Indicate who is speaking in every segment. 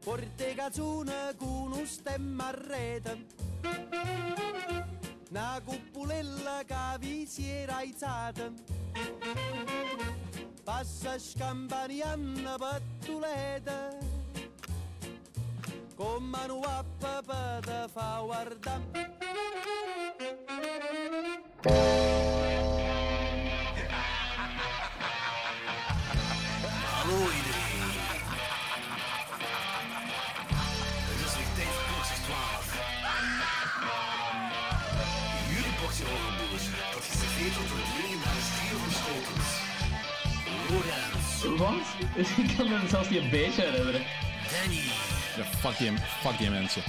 Speaker 1: forte cazzone con un stemma a rete. Una cuppulella che vi si era aizzata. Passa scampanianna pattuleta. Con mano a papà te fa guardare.
Speaker 2: Aloide. Het is weer tijd voor Boxers 12. Jullie Boxer Horenboers, dat is geveerd tot een drie naar de stier van Schotens. Lorenz,
Speaker 3: Wat? Ik kan me zelfs niet een beetje herinneren.
Speaker 2: Danny
Speaker 4: Ja, fuck die, fuck die mensen.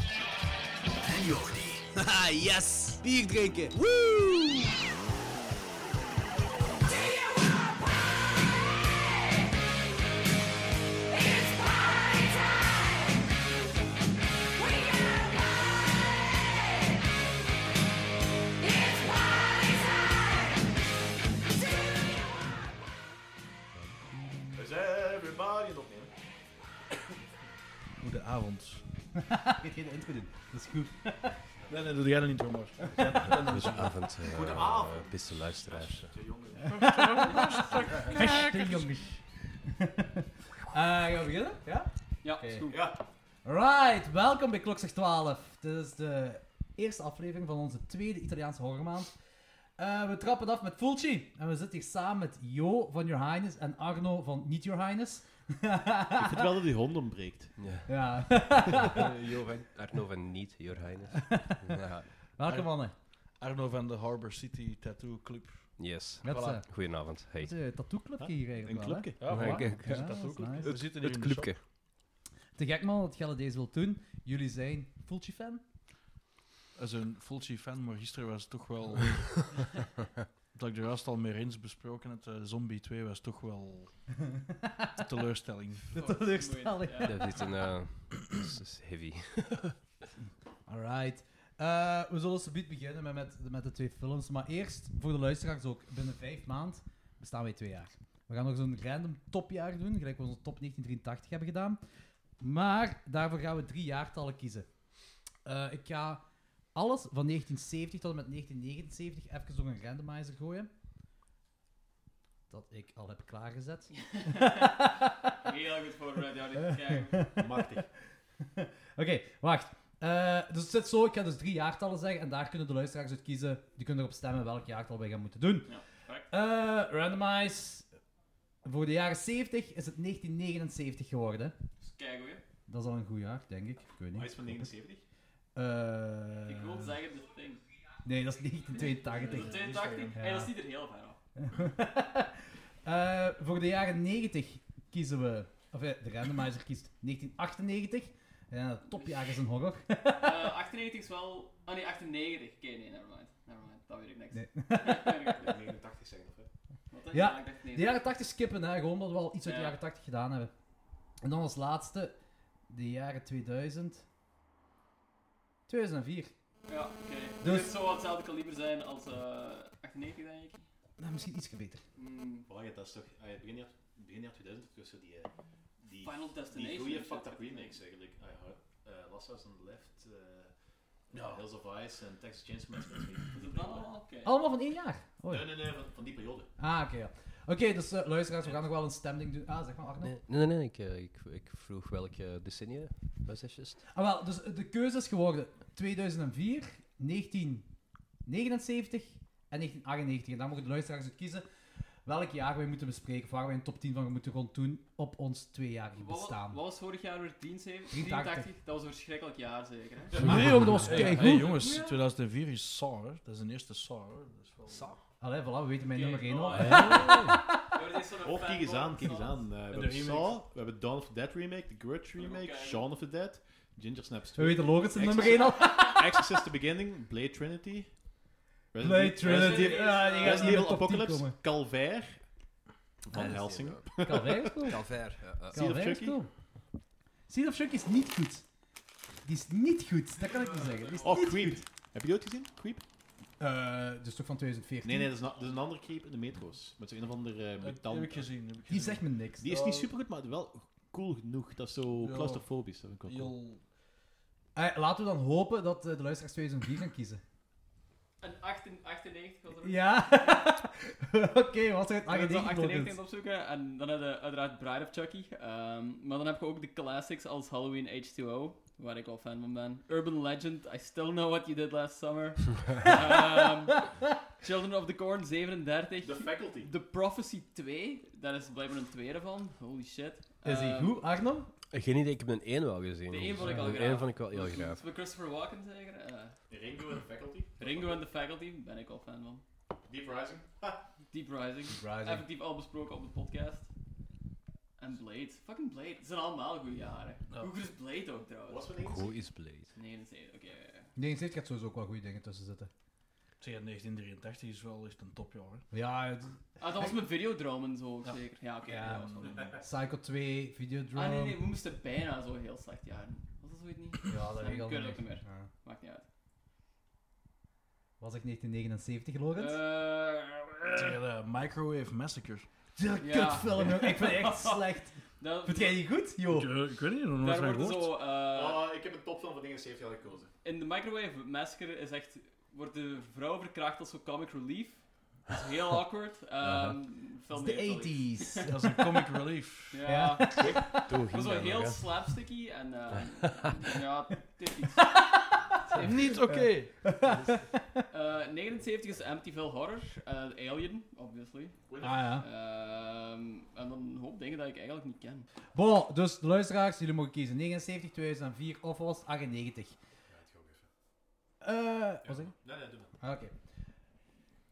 Speaker 2: en Jordi.
Speaker 1: Haha, yes! Bier drinken! Woo!
Speaker 5: Is everybody in opnemen?
Speaker 6: Goedenavond. Ik weet geen intro doen, dat is goed. Nee, nee, doe jij dan niet, Thomas.
Speaker 7: Goedenavond, eh
Speaker 5: Goedenavond.
Speaker 7: beste luisteraars.
Speaker 5: De jongen.
Speaker 6: Hashtag jongens. Eh, gaan we beginnen? Ja?
Speaker 3: Ja,
Speaker 6: Oké.
Speaker 3: is goed.
Speaker 5: Ja,
Speaker 6: Right, welkom bij Klokzeg 12. Dit is de eerste aflevering van onze tweede Italiaanse horrormaand. Eh, we trappen af met Fulci. En we zitten hier samen met Jo van Your Highness en Arno van Niet Your Highness.
Speaker 8: Ik vind wel dat die hond ontbreekt.
Speaker 7: Ja.
Speaker 6: Ja,
Speaker 7: Eh, Johan, Arno van Niet, Your Highness. ja.
Speaker 6: welkom mannen.
Speaker 9: Arno van de Harbor City Tattoo Club.
Speaker 7: Yes.
Speaker 6: Met
Speaker 9: Voilà.
Speaker 6: voilà.
Speaker 7: Goedenavond. Hey.
Speaker 6: een tattoo-clubje hier
Speaker 8: Een
Speaker 6: eigenlijk wel, hè?
Speaker 8: clubje.
Speaker 9: Ja,
Speaker 7: Ja,
Speaker 9: voilà.
Speaker 7: kijk,
Speaker 9: Is het
Speaker 6: ja,
Speaker 9: dat ook?
Speaker 6: dat is nice.
Speaker 9: We zitten hier
Speaker 7: Het
Speaker 9: in de
Speaker 7: clubje.
Speaker 6: Te gek man dat Gelle deze wilt doen. Jullie zijn Fulci-fan?
Speaker 9: shop. Als een Fulci fan, maar gisteren was het toch wel. dat ik de rest al meer eens besproken had. eh, Zombie 2 was toch wel. een teleurstelling.
Speaker 6: De teleurstelling.
Speaker 3: Ja.
Speaker 7: Dat is een... eh, dat is heavy.
Speaker 6: Alright. Eh, we zullen subiet beginnen met, met, met de twee films. Maar eerst, voor de luisteraars ook, binnen vijf maanden bestaan wij twee jaar. We gaan nog zo'n random topjaar doen, gelijk we onze top 1983 hebben gedaan. Maar daarvoor gaan we drie jaartallen kiezen. Eh, ik ga alles van 1970 tot en met 1979 even door een randomizer gooien. Dat ik al heb klaargezet.
Speaker 3: Heel goed voorbereid, ja, dit krijgen.
Speaker 5: machtig.
Speaker 6: Oké, wacht. Eh, dus het zit zo, ik ga dus drie jaartallen zeggen en daar kunnen de luisteraars uit kiezen. Die kunnen erop stemmen welk jaartal wij gaan moeten doen.
Speaker 3: Ja, perfect.
Speaker 6: Eh, randomize. Voor de jaren 70 is het 1979 geworden.
Speaker 3: Dus kijk hoor.
Speaker 6: Dat is al een goed jaar, denk ik. Ik weet niet.
Speaker 5: Hij is van 79.
Speaker 6: Eh,
Speaker 3: Ik wil zeggen de thing.
Speaker 6: Nee, dat is
Speaker 3: Dat is
Speaker 6: 1982.
Speaker 3: 82. Hey, dat is niet er heel ver af.
Speaker 6: Eh, voor de jaren 90 kiezen we... Of eh, de randomizer kiest 1998. En het topjaar is een horror.
Speaker 3: Eh, 98 is wel. Oh nee, 98. Oké, nee, nevermind. Nevermind, dat weet ik niks.
Speaker 6: Nee.
Speaker 3: Wat
Speaker 5: 89 zijn nog, hè?
Speaker 3: dan?
Speaker 6: Ja,
Speaker 3: ik dacht
Speaker 6: De
Speaker 3: 90.
Speaker 6: jaren 80 skippen, hè? gewoon omdat we al iets uit de
Speaker 3: Ja.
Speaker 6: jaren 80 gedaan hebben. En dan als laatste, de jaren 2000. 2004.
Speaker 3: Ja, oké.
Speaker 6: Dus-
Speaker 3: Dus het zou wel hetzelfde kaliber zijn als eh 98, denk ik.
Speaker 6: Nou, misschien iets beter.
Speaker 3: Mm,
Speaker 5: Voilà, dat is toch... ah, ja, begin jaar, begin jaar 2000 tussen die... eh, die
Speaker 3: Final
Speaker 5: die
Speaker 3: Destination.
Speaker 5: goede
Speaker 3: of zo.
Speaker 5: fucked up remakes, eigenlijk. Ah, ja, eh, Last House on the Left, eh, Hills of Ice en Texas Chainsaw Massacre. dat is niet van
Speaker 3: Is
Speaker 5: die
Speaker 3: het dan
Speaker 5: periode.
Speaker 3: allemaal? Oké.
Speaker 6: Allemaal van één jaar. Oei.
Speaker 5: Nee, nee, nee, van, van die periode.
Speaker 6: Ah, oké. ja. Oké, dus eh, luisteraars, we gaan nog wel een stemming doen. Ah, zeg maar Arno.
Speaker 7: Nee, nee, nee. Ik, eh, ik, ik vroeg welke decennia was dat just?
Speaker 6: Ah, wel, dus eh, de keuze is geworden 2004, 1979 en 1998. En dan mogen de luisteraars uit kiezen welk jaar wij moeten bespreken. Of waar wij een top 10 van moeten rond doen op ons tweejarig
Speaker 3: Wat, wa-
Speaker 6: bestaan.
Speaker 3: wat was vorig jaar weer 10, 7,
Speaker 6: 83.
Speaker 3: 83? Dat was een verschrikkelijk jaar zeker. Hè?
Speaker 6: Nee, jongen, dat was
Speaker 9: Hey,
Speaker 6: keigoed.
Speaker 9: hey, jongens, 2004 is Saw, hè. Dat is een eerste Saw, hè. Dat is wel...
Speaker 6: Allee, voilà, we weten mijn nummer 1
Speaker 5: oh,
Speaker 6: al.
Speaker 5: Of Oh, kijk eens aan, kijk eens aan. Eh, we
Speaker 9: de
Speaker 5: hebben
Speaker 9: remakes.
Speaker 5: Saw, we hebben Dawn of the Dead remake, The Grudge
Speaker 3: ook
Speaker 5: remake,
Speaker 3: kijken.
Speaker 5: Shaun of the Dead, Ginger Snaps
Speaker 6: We
Speaker 5: 2,
Speaker 6: weten Lorenz zijn nummer 1 al.
Speaker 5: Exorcist The Beginning, Blade Trinity, Resident
Speaker 6: Blade
Speaker 5: Evil-
Speaker 6: Trinity.
Speaker 3: Resident Evil-
Speaker 6: Ja, die gaat
Speaker 5: Resident
Speaker 6: niet in de
Speaker 5: Evil
Speaker 6: top 10
Speaker 5: Apocalypse,
Speaker 6: komen.
Speaker 5: Calvair, Van
Speaker 7: Ah,
Speaker 5: Helsing,
Speaker 6: Calvin is cool.
Speaker 7: Calvair. ja, ja.
Speaker 5: Seed of
Speaker 6: Calvin is
Speaker 5: Chucky?
Speaker 6: cool. Seed of Chucky is niet goed. Die is niet goed, dat kan ik niet zeggen. Die is
Speaker 5: Oh,
Speaker 6: niet...
Speaker 5: Creep. Heb je die ooit gezien? Creep?
Speaker 6: Eh, dus toch van 2014?
Speaker 5: Nee, nee, dat is, na- dat is een andere Creep in de metro's. Met zo'n een of andere eh,
Speaker 9: Dat
Speaker 5: mutant.
Speaker 9: heb ik gezien. Heb ik
Speaker 6: Die
Speaker 9: gezien.
Speaker 6: zegt me niks.
Speaker 5: Die is niet supergoed, maar wel
Speaker 8: cool genoeg. Dat is zo
Speaker 9: Ja.
Speaker 8: claustrofobisch. Dat vind ik wel cool.
Speaker 9: Heel...
Speaker 6: Eh, laten we dan hopen dat eh, de luisteraars 2004 gaan kiezen.
Speaker 3: Een 98 98 was er ook.
Speaker 6: Ja? Oké, wat Ah, zijn het?
Speaker 3: Ik ben zo 98
Speaker 6: 98
Speaker 3: aan
Speaker 6: tokens?
Speaker 3: het opzoeken. En dan heb je uiteraard Bride of Chucky. Ehm, maar dan heb je ook de classics als Halloween H2O, waar ik al fan van ben. Urban Legend, I Still Know What You Did Last Summer. Ehm, Children of the Corn, 37.
Speaker 5: The Faculty.
Speaker 3: The Prophecy 2, daar is blijkbaar een tweede van. Holy shit.
Speaker 6: Is hij
Speaker 7: Eh,
Speaker 3: Ehm,
Speaker 6: goed, Arno?
Speaker 7: Geen idee, ik heb een één wel gezien.
Speaker 3: De één vond ik al
Speaker 7: De
Speaker 3: graaf.
Speaker 7: één vond ik wel heel
Speaker 3: Met-
Speaker 7: graaf.
Speaker 3: Met Christopher Walken zeker. Eh,
Speaker 5: Ringo en The Faculty.
Speaker 3: Ringo en the Faculty, ben ik al fan van.
Speaker 5: Deep Rising.
Speaker 3: Deep Rising,
Speaker 6: Rising.
Speaker 3: effectief al besproken op de podcast. En Blade, fucking Blade. Het zijn allemaal goede jaren. Hoe goed is Blade ook trouwens?
Speaker 5: Was we niet?
Speaker 7: Hoe is Blade?
Speaker 3: 79, oké. ja, ja.
Speaker 6: 79 gaat sowieso ook wel goede dingen tussen zitten.
Speaker 9: Zeg, 1983 is wel echt een topjaar. hè.
Speaker 6: Ja, het-
Speaker 3: Ah, dat was met Videodrome en zo ook
Speaker 9: Ja.
Speaker 3: zeker. Ja, oké.
Speaker 6: Ja.
Speaker 3: dat was wel een-
Speaker 6: Psycho 2, Videodrome.
Speaker 3: Ah nee, nee, we moesten bijna zo heel slecht jaren. Was dat zoiets niet?
Speaker 6: Ja, dat
Speaker 3: Nee,
Speaker 6: weet ik al
Speaker 3: kun
Speaker 6: niet
Speaker 3: je ook niet
Speaker 6: Ja.
Speaker 3: Maakt niet uit.
Speaker 6: Was ik 1979, Lorenz?
Speaker 9: Zeg,
Speaker 3: Eh,
Speaker 9: de Microwave Massacre.
Speaker 6: De
Speaker 3: ja.
Speaker 6: kutfilm, joh. ik vind het echt slecht.
Speaker 3: dat-
Speaker 6: Vind jij die goed, joh?
Speaker 9: Ik, ik weet niet, nog nooit
Speaker 3: Daar
Speaker 9: van
Speaker 3: worden
Speaker 9: gehoord.
Speaker 3: zo...
Speaker 1: Oh,
Speaker 3: eh,
Speaker 5: Ah, ik heb een topfilm van 79 jaar gekozen.
Speaker 3: In de Microwave Massacre is echt, wordt de vrouw verkracht als zo'n comic relief. Dat is heel awkward. Ehm,
Speaker 6: Dat
Speaker 3: film
Speaker 6: is de
Speaker 3: heeft dat
Speaker 6: 80s.
Speaker 9: Dat is een comic relief.
Speaker 3: niet. Ja, dat
Speaker 7: Toen
Speaker 3: was
Speaker 7: ging
Speaker 3: wel
Speaker 7: dat nog,
Speaker 3: heel
Speaker 7: hè.
Speaker 3: slapsticky en ehm, ja, typisch.
Speaker 9: Niet oké.
Speaker 3: Eh 79 is Amityville Horror, eh, Alien, obviously.
Speaker 6: Ah ja.
Speaker 3: Ehm, en dan een hoop dingen dat ik eigenlijk niet ken.
Speaker 6: Bon, dus de luisteraars, jullie mogen kiezen 79, 2004 of wat was het? 98. Eh, wat zeg je?
Speaker 5: Nee, nee, doe maar.
Speaker 6: Ah, Oké.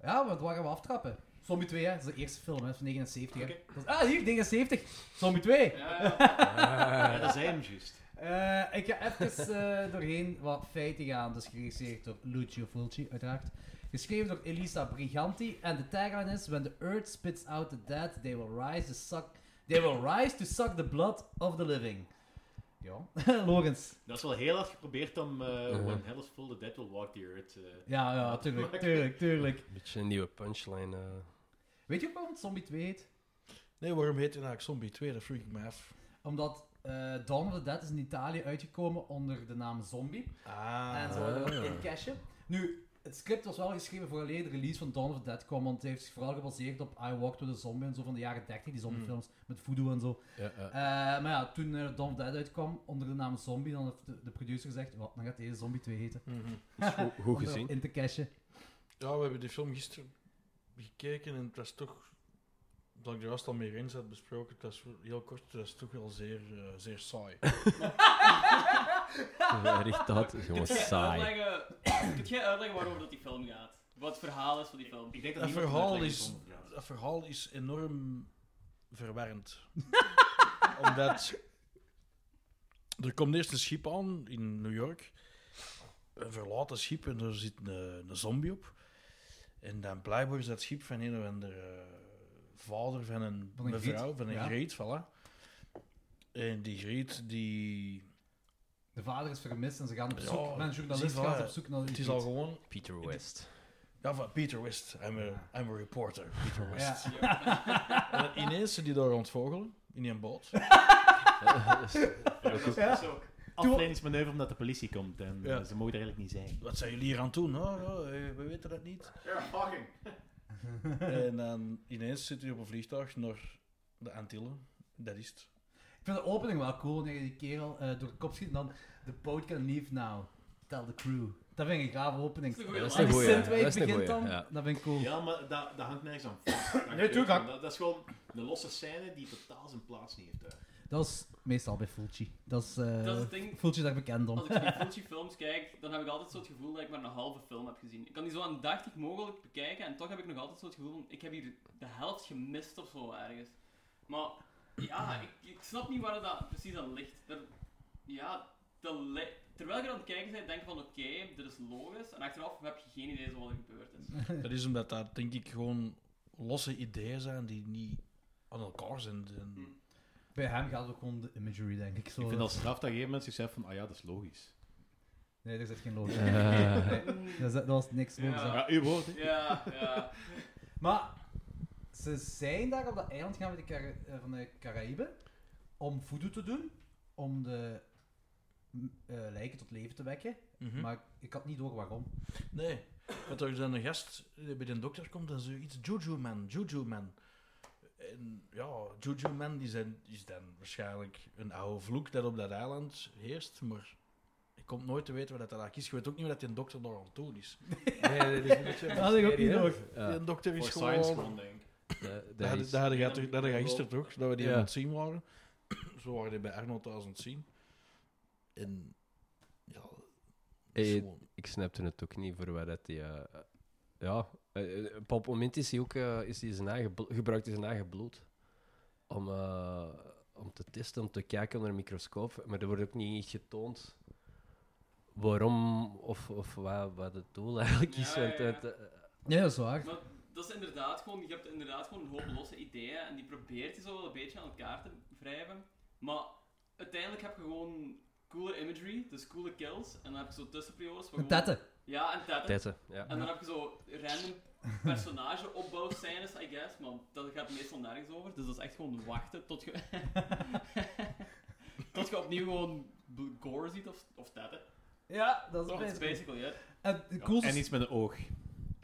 Speaker 6: Ja, want waar gaan we aftrappen? Zombie 2, hè? Dat is de eerste film, hè? Dat is van 79, hè? Dat is- ah, hier, 79. Zombie 2.
Speaker 3: Ja, ja.
Speaker 7: Ah.
Speaker 8: Ja, dat zei hem juist.
Speaker 6: Eh, ik ga even eh, doorheen wat feiten gaan. Dus geregisseerd door Lucio Fulci, uiteraard. Geschreven door Elisa Briganti. En de tagline is: When the earth spits out the dead, they will rise to suck, they will rise to suck the blood of the living. Ja, Logans.
Speaker 8: Dat is wel heel hard geprobeerd om eh
Speaker 7: Mhm.
Speaker 8: When Hell is Full, the Dead Will Walk the Earth. eh,
Speaker 6: Ja, ja, tuurlijk, tuurlijk, tuurlijk.
Speaker 7: Een beetje een nieuwe punchline. eh.
Speaker 6: Weet je ook waarom het Zombie 2 heet?
Speaker 9: Nee, waarom heet hij nou eigenlijk Zombie 2? Dat vroeg ik me af.
Speaker 6: Omdat eh, Dawn of the Dead is in Italië uitgekomen onder de naam Zombie. En ze
Speaker 7: Ah.
Speaker 6: wilden dat in cashen. Nu, het script was wel geschreven voor alleen de release van Dawn of the Dead kwam, want het heeft zich vooral gebaseerd op I Walked with a Zombie en zo van de jaren 30, die zombiefilms
Speaker 7: Mm.
Speaker 6: met voodoo en zo.
Speaker 7: Ja, ja.
Speaker 6: Eh, maar ja, toen eh, Dawn of the Dead uitkwam onder de naam Zombie, dan heeft de, de producer gezegd, wat, dan gaat deze Zombie 2 heten.
Speaker 7: Is goed- Goed
Speaker 6: Om erop
Speaker 7: Dus gezien.
Speaker 6: In te cashen.
Speaker 9: Mhm. Ja, we hebben die film gisteren gekeken en het was toch, dat ik er vast al meer in zat besproken, het was heel kort, het was toch wel zeer, eh, zeer saai.
Speaker 7: Richt dat, is gewoon
Speaker 3: Kun jij
Speaker 7: saai.
Speaker 3: uitleggen- Kun jij uitleggen waarover dat die film gaat? Wat het verhaal is van die film?
Speaker 5: Ik denk
Speaker 9: Dat
Speaker 5: dat niemand
Speaker 9: verhaal
Speaker 5: een
Speaker 9: is-
Speaker 5: uitlegging vond.
Speaker 9: Dat verhaal is enorm verwarrend. Omdat er komt eerst een schip aan in New York, een verlaten schip en er zit een, een zombie op. En dan blijkbaar is dat schip van een of andere eh, vader van een,
Speaker 6: Van een
Speaker 9: mevrouw,
Speaker 6: Griet,
Speaker 9: van een
Speaker 6: ja.
Speaker 9: Griet, voilà. En die Griet, die...
Speaker 6: De vader is vermist en ze gaan op
Speaker 9: Ja,
Speaker 6: zoek, mijn journalist
Speaker 9: zie je wel,
Speaker 6: gaat op
Speaker 9: ja.
Speaker 6: zoek naar
Speaker 9: Het is al
Speaker 6: iets.
Speaker 9: gewoon...
Speaker 7: Peter West.
Speaker 9: Ja, van Peter West. I'm a, I'm a reporter, Peter West.
Speaker 6: Ja.
Speaker 9: En ineens zit die daar rondvogelen, in een boot.
Speaker 8: ja, dat is ook afleidingsmanoeuvre omdat de politie komt en
Speaker 9: Ja.
Speaker 8: eh, ze mogen er eigenlijk niet zijn.
Speaker 9: Wat zijn jullie hier aan het doen? Oh, ja, eh, we weten dat niet.
Speaker 5: Ja, fucking.
Speaker 9: En dan ineens zit hij op een vliegtuig naar de Antillen. Dat is het.
Speaker 6: Ik vind de opening wel cool wanneer je die kerel eh, door de kop schiet en dan The boat can leave now. Tell the crew. Dat vind ik een gave opening.
Speaker 3: Dat is een
Speaker 7: Dat
Speaker 3: goeie
Speaker 7: is
Speaker 6: En
Speaker 7: een
Speaker 6: die
Speaker 7: goeie.
Speaker 6: synthwave
Speaker 7: Dat is een
Speaker 6: begint
Speaker 7: goeie.
Speaker 6: dan.
Speaker 7: ja.
Speaker 6: Dat vind ik cool.
Speaker 5: Ja, maar dat, dat hangt nergens aan.
Speaker 6: Nee, tuurlijk hangt-
Speaker 5: Dat, dat is gewoon een losse scène die totaal zijn plaats niet heeft. daar.
Speaker 6: Dat is meestal bij Fulci. Dat is, eh
Speaker 3: Dat is het ding.
Speaker 6: Fulci daar bekend om.
Speaker 3: Als ik naar Fulci films kijk, dan heb ik altijd zo het gevoel dat ik maar een halve film heb gezien. Ik kan die zo aandachtig mogelijk bekijken en toch heb ik nog altijd zo het gevoel van, ik heb hier de helft gemist of zo ergens. Maar ja, ik, ik snap niet waar dat precies aan ligt. Er- ja, dat li- terwijl je aan het kijken bent, denk je van oké, dit is logisch. En achteraf heb je geen idee zo wat er gebeurd is.
Speaker 9: Dat is omdat dat, denk ik, gewoon losse ideeën zijn die niet aan elkaar zijn. En
Speaker 6: Bij hem gaat het ook om de imagery, denk ik. Zo.
Speaker 8: Ik vind als straf dat op een gegeven moment zegt van, ah ja, dat is logisch.
Speaker 6: Nee, er zit geen logisch.
Speaker 7: Eh.
Speaker 6: Nee, dat, is- dat was niks
Speaker 3: Ja.
Speaker 6: logisch aan.
Speaker 8: Ja, uw woord, hè.
Speaker 3: Ja, ja.
Speaker 6: Maar ze zijn daar op dat eiland gaan we de Cara- eh, van de Caraïbe. om voodoo te doen, om de m, eh, lijken tot leven te wekken.
Speaker 9: Mhm.
Speaker 6: Maar ik had niet door waarom.
Speaker 9: Nee. Want er dan een gast die bij de dokter komt en zoiets Juju Man, Juju Man. En ja, Juju Man die zijn, is dan waarschijnlijk een oude vloek dat op dat eiland heerst, maar ik kom nooit te weten wat dat eigenlijk is. Je weet ook niet wat die dokter daar aan toe is.
Speaker 7: Nee, dat is een beetje een
Speaker 6: Dat had ik ook niet
Speaker 7: mysterie, hè.
Speaker 6: door.
Speaker 7: Ja,
Speaker 9: Die dokter is
Speaker 5: Voor science
Speaker 9: gewoon...
Speaker 5: gewoon, denk
Speaker 7: dat-
Speaker 5: ik.
Speaker 7: dat
Speaker 9: Dat
Speaker 7: is-
Speaker 3: dus
Speaker 9: had- dat had jij toch- dat had jij gisteren toch, dat we die
Speaker 7: Ja.
Speaker 9: aan het zien waren. Zo waren die bij Arnold thuis aan het zien. En ja, dat is
Speaker 7: Eh,
Speaker 9: gewoon-
Speaker 7: ik snapte het ook niet voor waar dat hij. eh, ja, eh, eh, op een moment is hij ook eh, is hij zijn eigen, blo- gebruikt hij zijn eigen bloed om, eh, om te testen, om te kijken onder een microscoop. Maar er wordt ook niet echt getoond waarom of, of wat, wat het doel eigenlijk is.
Speaker 3: Ja,
Speaker 7: want
Speaker 3: ja, ja.
Speaker 7: het, eh,
Speaker 6: Ja, dat is waar.
Speaker 3: Maar dat is inderdaad gewoon, je hebt inderdaad gewoon een hoop losse ideeën en die probeert je zo wel een beetje aan elkaar te wrijven. Maar uiteindelijk heb je gewoon coole imagery, dus coole kills. En dan heb je zo tussenperiodes. waar
Speaker 6: Een
Speaker 3: gewoon-
Speaker 6: tette.
Speaker 3: Ja, en tetten.
Speaker 7: tetten, ja.
Speaker 3: En dan heb je zo random personageopbouwscènes, I guess, maar dat gaat meestal nergens over. Dus dat is echt gewoon wachten tot je... tot je opnieuw gewoon bl- gore ziet of, of tetten.
Speaker 6: Ja, dat is
Speaker 3: Dat is basically it.
Speaker 6: En de coolste...
Speaker 8: En iets met een oog.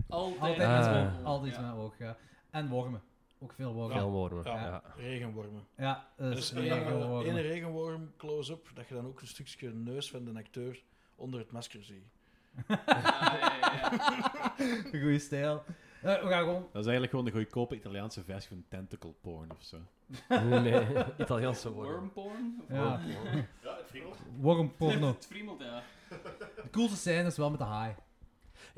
Speaker 3: Altijd
Speaker 6: Altijd
Speaker 7: Ah.
Speaker 6: iets met Altijd iets
Speaker 3: Ja.
Speaker 6: met oog, ja. En wormen. Ook veel wormen. Ja,
Speaker 7: Filmwormen,
Speaker 9: ja,
Speaker 7: ja.
Speaker 9: regenwormen.
Speaker 6: dat
Speaker 9: Er
Speaker 6: is
Speaker 9: is één regenworm,
Speaker 6: regenwormen.
Speaker 9: close-up dat je dan ook een stukje neus van de acteur onder het masker ziet.
Speaker 3: Ja, ja, ja, ja.
Speaker 6: Goeie stijl. Eh, we gaan gewoon...
Speaker 8: Dat is eigenlijk gewoon de goedkope Italiaanse versie van tentacle porn of zo.
Speaker 7: Nee, Italiaanse wormen.
Speaker 3: Wormporn? Of
Speaker 6: Ja.
Speaker 5: Ja, het vriendel.
Speaker 6: Wormporno.
Speaker 3: Het friemelt, ja.
Speaker 6: De coolste scène is wel met de haai.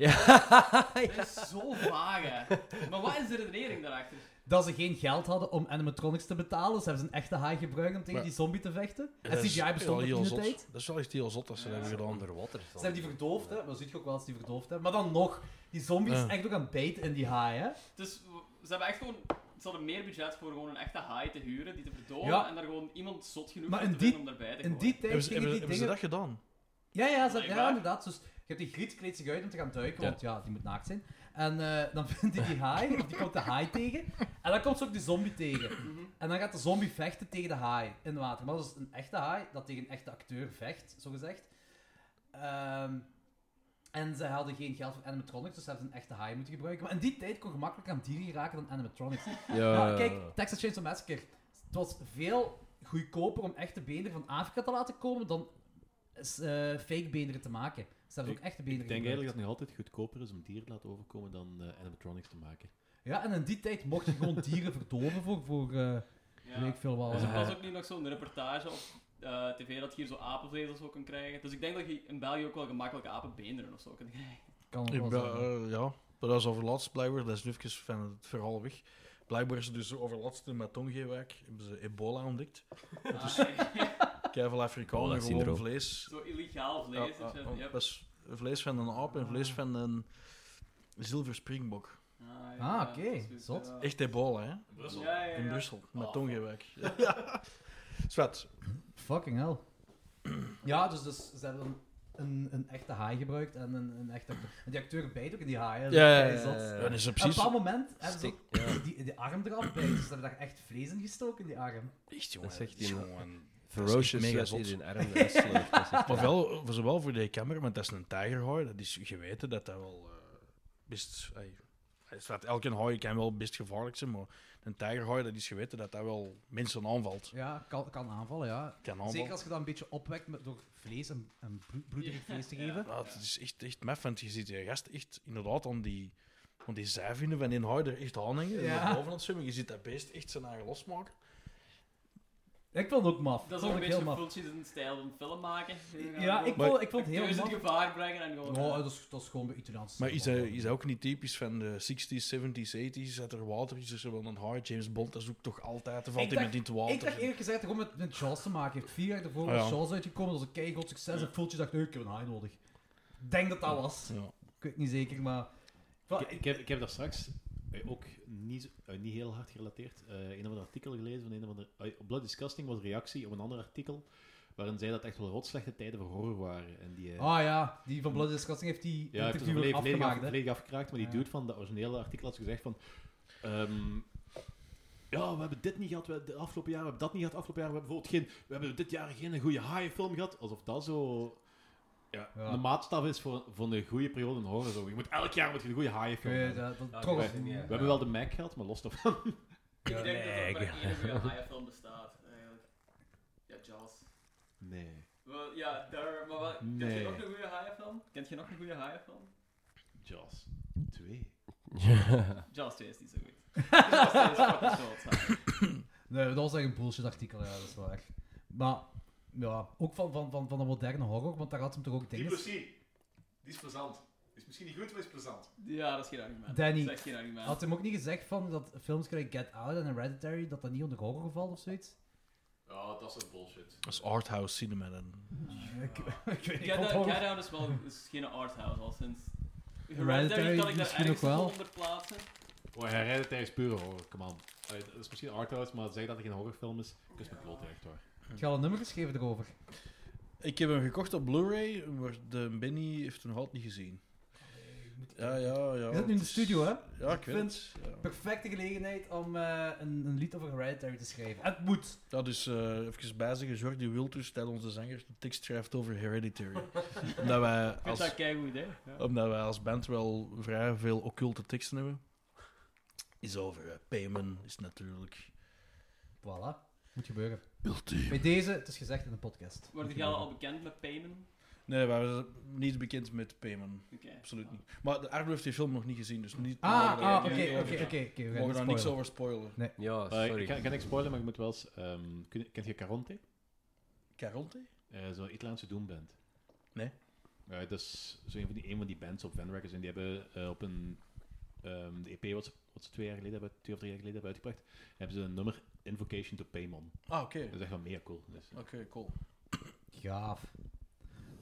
Speaker 3: Dat is zo vaag, hè. Maar wat is de redenering daarachter?
Speaker 6: Dat ze geen geld hadden om animatronics te betalen, dus hebben ze een echte haai gebruikt om tegen
Speaker 9: Maar-
Speaker 6: die zombie te vechten. En
Speaker 9: Dat is
Speaker 6: CGI
Speaker 9: wel
Speaker 6: bestond nog
Speaker 9: heel
Speaker 6: in de
Speaker 9: zot.
Speaker 6: tijd.
Speaker 9: Dat is wel echt heel zot dat ze dat hebben gedaan.
Speaker 7: Onderwater.
Speaker 6: Ze hebben die verdoofd, hè. Maar dat zie je ook wel als die verdoofd hebben. Maar dan nog, die zombie is
Speaker 9: Ja.
Speaker 6: echt ook aan het bijten in die haai, hè.
Speaker 3: Dus w- ze hebben echt gewoon... Ze hadden meer budget voor gewoon een echte haai te huren, die te verdoven,
Speaker 6: Ja.
Speaker 3: en daar gewoon iemand zot genoeg
Speaker 6: Maar
Speaker 3: voor
Speaker 6: in
Speaker 3: te
Speaker 6: die-
Speaker 3: vinden om daarbij te
Speaker 6: In
Speaker 3: komen.
Speaker 6: die
Speaker 9: Hebben
Speaker 6: tijd
Speaker 9: ze,
Speaker 6: gingen
Speaker 9: hebben,
Speaker 6: die
Speaker 9: hebben ze
Speaker 6: dingen...
Speaker 9: dat gedaan?
Speaker 6: Ja, ja, ze-
Speaker 3: Blijkbaar.
Speaker 6: ja, inderdaad. Dus je hebt die griet kleedt zich uit om te gaan duiken,
Speaker 7: Ja.
Speaker 6: want ja, die moet naakt zijn. En eh, dan vindt hij die haai, of die komt de haai tegen. En dan komt ze ook die zombie tegen. En dan gaat de zombie vechten tegen de haai in het water. Maar dat is een echte haai, dat tegen een echte acteur vecht, zogezegd. Ehm en ze hadden geen geld voor animatronics, dus ze hebben een echte haai moeten gebruiken. Maar in die tijd kon je makkelijker aan dieren raken dan animatronics.
Speaker 7: Eh,
Speaker 6: Maar Ah, kijk, Texas Chainsaw Massacre. Het was veel goedkoper om echte beenderen van Afrika te laten komen dan eh, fake beenderen te maken. Ze hebben ook echte beenderen
Speaker 8: Ik denk eigenlijk dat
Speaker 6: gebruikt.
Speaker 8: het nog altijd goedkoper is om dieren te laten overkomen dan eh, animatronics te maken.
Speaker 6: Ja, en in die tijd mocht je gewoon dieren verdoven voor, voor eh,
Speaker 3: Ja.
Speaker 6: weet ik veel wat.
Speaker 3: Dus er
Speaker 7: Ja.
Speaker 3: was ook nu nog zo'n reportage op eh, tv dat je hier zo apenvezels zo kan krijgen. Dus ik denk dat je in België ook wel gemakkelijk apenbeenderen of zo kunt krijgen.
Speaker 6: Kan ook
Speaker 9: Ja,
Speaker 6: wel zijn.
Speaker 9: eh, ja. Maar dat is overlast blijkbaar. Dat is nu even van het verhaal weg. Blijkbaar is het dus overlast in Matongeewijk. Hebben ze ebola ontdekt.
Speaker 3: Ah,
Speaker 6: dus-
Speaker 3: nee.
Speaker 9: Keivel Afrikanen, gewoon
Speaker 7: Ebola-syndroom.
Speaker 9: vlees.
Speaker 3: zo illegaal vlees en
Speaker 9: Ja,
Speaker 3: shit.
Speaker 9: ja,
Speaker 3: Yep.
Speaker 9: Dat is vlees van een aap en vlees van een zilverspringbok.
Speaker 3: Ah,
Speaker 6: Ah, oké.
Speaker 3: dat is goed,
Speaker 6: Zot.
Speaker 3: ja.
Speaker 9: Echt dus- ebola, hè?
Speaker 5: Brussel.
Speaker 3: Ja, ja,
Speaker 9: In
Speaker 3: ja.
Speaker 9: Brussel, met Tongenwijk. Ja. Zwat.
Speaker 6: Fucking hell. Ja, dus, dus ze hebben een, een, een echte haai gebruikt en een, een echte acteur. En die acteur bijt ook in die haai. hè.
Speaker 9: Ja, ja,
Speaker 6: Dat is
Speaker 7: ja,
Speaker 6: zot.
Speaker 7: ja,
Speaker 9: Dat
Speaker 7: ja.
Speaker 9: is
Speaker 6: Op Eh, een
Speaker 9: precies.
Speaker 6: bepaald moment hebben ze
Speaker 7: Stik,
Speaker 6: ook
Speaker 7: ja.
Speaker 6: die, die arm eraf bij. Dus ze hebben daar echt vlees in gestoken, die arm.
Speaker 9: Echt,
Speaker 7: Dat is echt
Speaker 9: die nou?
Speaker 7: een-
Speaker 9: jongen.
Speaker 7: Ferocious
Speaker 9: mega
Speaker 7: mega
Speaker 9: zot.
Speaker 7: in armen. Dat is slecht, dat is echt-
Speaker 9: Maar wel, voor zowel voor de camera, want dat is een tijgerhooi. Dat is geweten dat dat wel eh, best. ey, hij staat, elke hooi kan wel best gevaarlijk zijn, maar een tijgerhooi, dat is geweten dat dat wel mensen aanvalt.
Speaker 6: Ja, kan, kan aanvallen, ja.
Speaker 9: Kan aanvallen.
Speaker 6: Zeker als je dat een beetje opwekt met, door vlees en, en bloed- bloederig vlees te geven.
Speaker 9: Ja, het is echt, echt mef, want je ziet die gast echt inderdaad aan die, aan die zijvinden van die hooi er echt aan hangen. En
Speaker 6: Ja.
Speaker 9: naar boven aan het zwemmen. Je ziet dat beest echt zijn eigen losmaken.
Speaker 6: Ik vond het ook maf.
Speaker 3: Dat is
Speaker 6: Vond
Speaker 3: ook een
Speaker 6: ik heel
Speaker 3: beetje
Speaker 6: maf.
Speaker 3: Fultjes in de stijl van film maken.
Speaker 6: Ja, ik vond, ik vond het
Speaker 3: Acteurs
Speaker 6: heel
Speaker 3: in
Speaker 6: maf.
Speaker 3: gevaar brengen en gewoon...
Speaker 6: Oh, dat, is, dat is gewoon de Italiaanse
Speaker 9: Maar is
Speaker 6: stijl.
Speaker 9: dat, is dat ook niet typisch van de 60s, 70s, 80s? Dat er water is, is er wel een hard James Bond, dat is ook toch altijd, er valt
Speaker 6: dacht-
Speaker 9: iemand in het water.
Speaker 6: Ik dacht eerlijk gezegd gewoon met, met Jaws te maken. heeft vier jaar ervoor
Speaker 9: Ah, ja.
Speaker 6: was Jaws uitgekomen, dat was een keihard succes. En Fultje dacht, nee, ik heb een haai nodig. Ik denk dat dat was.
Speaker 9: Ja.
Speaker 6: Ik weet niet zeker, maar... Ah,
Speaker 8: Ik, ik, heb, ik heb daar straks eh, ook niet, zo- eh, niet heel hard gerelateerd eh, een of ander artikel gelezen van een of ander. eh, op Blood Disgusting was een reactie op een ander artikel. Waarin zei dat echt wel rotslechte tijden voor horror waren. En die, eh,
Speaker 6: Ah ja, die van Blood Disgusting heeft die
Speaker 8: ja, heeft het
Speaker 6: interviewer
Speaker 8: volledig, volledig, af,
Speaker 6: afgemaakt, hè.
Speaker 8: volledig afgekraakt. Maar die
Speaker 6: Ja.
Speaker 8: dude van dat originele artikel had zo gezegd van... ehm, ja,
Speaker 5: ja, we hebben dit niet gehad we hebben de afgelopen jaar, we hebben dat niet gehad afgelopen jaar, we hebben bijvoorbeeld geen, we hebben dit jaar geen goede high-film gehad. Alsof dat zo ja,
Speaker 6: Ja.
Speaker 5: de maatstaf is voor, voor een goede periode in horror. Zo. Je moet elk jaar moet je een goede
Speaker 6: Ik
Speaker 5: high-film
Speaker 6: weet eh,
Speaker 5: hebben.
Speaker 6: dat, dat
Speaker 7: Ja,
Speaker 6: trok
Speaker 5: ik
Speaker 6: ons
Speaker 7: weet
Speaker 6: niet.
Speaker 7: het niet,
Speaker 5: We
Speaker 6: hè.
Speaker 5: hebben wel de Mac gehad, maar los daarvan.
Speaker 3: Ik denk dat er maar één goede Haya-film bestaat, eigenlijk. Ja, Jaws.
Speaker 5: Nee.
Speaker 3: Wel, ja, daar, maar wat, kent je
Speaker 5: Nee.
Speaker 3: nog een goede Haya-film? Kent je nog een goede Haya-film?
Speaker 5: Jaws 2.
Speaker 3: Jaws 2 is niet zo goed. Jaws 2 is fucking zo
Speaker 6: Nee, dat was echt een bullshit artikel, ja, dat is waar. Maar, ja, ook van, van, van, van de moderne horror, want daar had ze hem toch ook
Speaker 10: Die
Speaker 6: dingen...
Speaker 10: plezier. Die is plezant. Die is misschien niet goed, maar die is plezant.
Speaker 3: Ja, dat is geen argument.
Speaker 6: Danny,
Speaker 3: Dat is echt geen argument.
Speaker 6: Had hem ook niet gezegd van dat films gelijk Get Out en Hereditary, dat dat niet onder horror valt of zoiets?
Speaker 11: Ja, dat is een bullshit.
Speaker 9: Dat is arthouse cinema dan.
Speaker 6: Ik, ik weet niet,
Speaker 3: Get,
Speaker 6: ik vond
Speaker 3: Out-
Speaker 6: horror-
Speaker 3: Get Out is dus wel is geen arthouse al sinds.
Speaker 6: Hereditary
Speaker 3: kan ik daar
Speaker 6: misschien
Speaker 3: ergens
Speaker 6: ook wel.
Speaker 3: onder plaatsen.
Speaker 5: Oh, hij rijdt tijdens pure horror, come on. Allee, dat is misschien arthouse, maar zeg dat het geen horrorfilm is. Kus me kloot, echt hoor.
Speaker 6: Ik ga al een nummer geschreven erover.
Speaker 9: Ik heb hem gekocht op Blu-ray, maar de Benny heeft hem nog altijd niet gezien. Ja, ja, ja.
Speaker 6: Je zit nu in de
Speaker 9: het is-
Speaker 6: studio, hè?
Speaker 9: Ja, ik weet
Speaker 6: vind-
Speaker 9: het. Ja.
Speaker 6: Perfecte gelegenheid om eh, een, een lied over Hereditary te schrijven. Het moet.
Speaker 9: Dat is eh even bijzeggen. Jordi Wiltus, stel onze zanger, de tekst schrijft over Hereditary. omdat, wij
Speaker 3: Ik vind
Speaker 9: als,
Speaker 3: dat een goed idee. Ja.
Speaker 9: omdat wij als band wel vrij veel occulte teksten hebben. Is over eh, Payment, is natuurlijk.
Speaker 6: Voilà. Moet gebeuren.
Speaker 9: Ultiem.
Speaker 6: Bij deze, het is gezegd in de podcast. Ah,
Speaker 3: Worden jullie al bekend met Payman?
Speaker 9: Nee, wij zijn niet bekend met Payment.
Speaker 3: Oké.
Speaker 9: Absoluut niet. Maar de Arno heeft die film nog niet gezien, dus niet.
Speaker 6: Ah,
Speaker 9: we mogen daar-
Speaker 6: ah, oké,
Speaker 3: oké,
Speaker 6: oké, oké,
Speaker 9: we
Speaker 6: oké. we gaan
Speaker 9: mogen
Speaker 6: niet
Speaker 9: daar niks
Speaker 6: spoilen.
Speaker 9: over spoilen.
Speaker 7: Ja,
Speaker 5: Eh,
Speaker 7: sorry.
Speaker 5: ik kan, ik kan niks spoilen, maar ik moet wel eens... ehm, kun- kent je Caronte?
Speaker 9: Caronte?
Speaker 5: Eh, Zo'n Italiaanse doomband.
Speaker 9: Nee.
Speaker 5: Ja, dat is zo een van die, een van die bands op Van Records. En die hebben eh, op een... ehm, de EP wat ze, wat ze twee jaar geleden hebben, twee of drie jaar geleden hebben uitgebracht, hebben ze een nummer Invocation to Paymon.
Speaker 9: Ah, oké.
Speaker 5: Dat is echt wel mega cool. Dus,
Speaker 9: Oké, cool.
Speaker 6: Gaaf.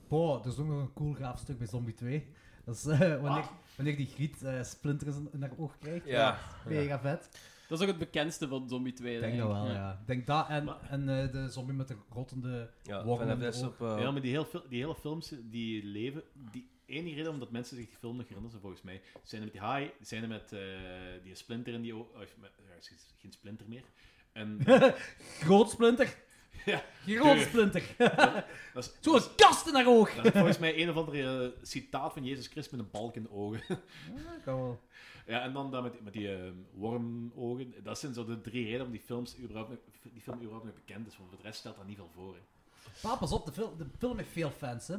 Speaker 6: Boah, er is ook nog een cool gaaf stuk bij Zombie 2. Dat is eh, wanneer, wanneer die griet eh splinters in, in haar oog krijgt.
Speaker 7: Ja.
Speaker 6: Mega vet.
Speaker 3: Dat is ook het bekendste van Zombie 2.
Speaker 6: Ik denk dat wel, ja. Ik denk dat en,
Speaker 5: Maar-
Speaker 6: en eh, de zombie met de rottende...
Speaker 7: Ja,
Speaker 6: Walking
Speaker 7: vanaf
Speaker 6: in
Speaker 7: dat
Speaker 6: the
Speaker 7: is
Speaker 6: Oak.
Speaker 7: op... eh,
Speaker 5: Ja, maar die, heel fil- die hele films die leven, die enige reden omdat mensen zich die film nog herinneren, zijn volgens mij, zijn er met die high, zijn er met eh, die splinter in die o- of met- ja, is het geen splinter meer. En
Speaker 6: Groot splinter.
Speaker 5: Ja.
Speaker 6: Groot
Speaker 5: Tuur.
Speaker 6: splinter.
Speaker 5: dat is, dat is-
Speaker 6: Zo'n kast in haar oog.
Speaker 5: dat is volgens mij een of andere eh, citaat van Jezus Christus met een balk in de ogen.
Speaker 6: Ja, kan wel.
Speaker 5: ja, en dan dat met, met die eh, wormogen. Dat zijn zo de drie redenen om die, films überhaupt, nog- die film überhaupt nog bekend is, want voor de rest stelt dat niet veel voor. hè.
Speaker 6: Pa, pas op, de film, de film heeft veel fans, hè.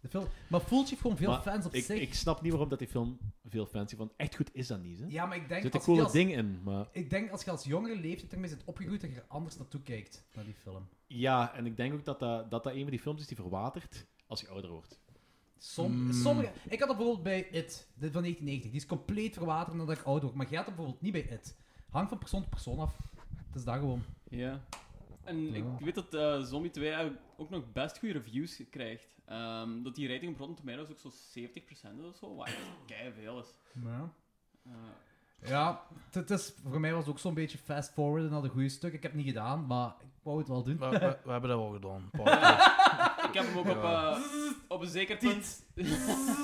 Speaker 6: De film, maar Fulci heeft gewoon veel
Speaker 5: Maar
Speaker 6: fans op
Speaker 5: Ik,
Speaker 6: zich.
Speaker 5: ik snap niet waarom dat die film veel fancy van echt goed is dat niet. Hè?
Speaker 6: ja, maar ik
Speaker 5: er
Speaker 6: denk,
Speaker 5: zitten
Speaker 6: als je
Speaker 5: coole
Speaker 6: als,
Speaker 5: dingen in, maar...
Speaker 6: ik denk als je als jongere leeftijd ermee zit opgegroeid, dat je er anders naartoe kijkt, naar die film.
Speaker 5: Ja, en ik denk ook dat dat, dat, dat een van die films is die verwatert als je ouder wordt.
Speaker 6: Som, Sommige... Ik had dat bijvoorbeeld bij It, dit van 1990. Die is compleet verwaterd nadat ik oud word. Maar jij had dat bijvoorbeeld niet bij It. Hangt van persoon tot persoon af. Het is daar gewoon.
Speaker 3: Ja. En
Speaker 6: Ja.
Speaker 3: ik weet dat eh, Zombie 2 eigenlijk ook nog best goede reviews krijgt. Ehm, dat die rating op Rotten Tomatoes ook zo 70% is of zo, wat kei veel is.
Speaker 6: Ja.
Speaker 3: Eh,
Speaker 6: Ja, het- het is, voor mij was het ook zo'n beetje fast forwarden naar de goede stuk. Ik heb het niet gedaan, maar ik wou het wel doen.
Speaker 9: Maar we, we hebben dat wel gedaan. een paar keer.
Speaker 3: ik heb hem ook op, eh, op een zeker punt...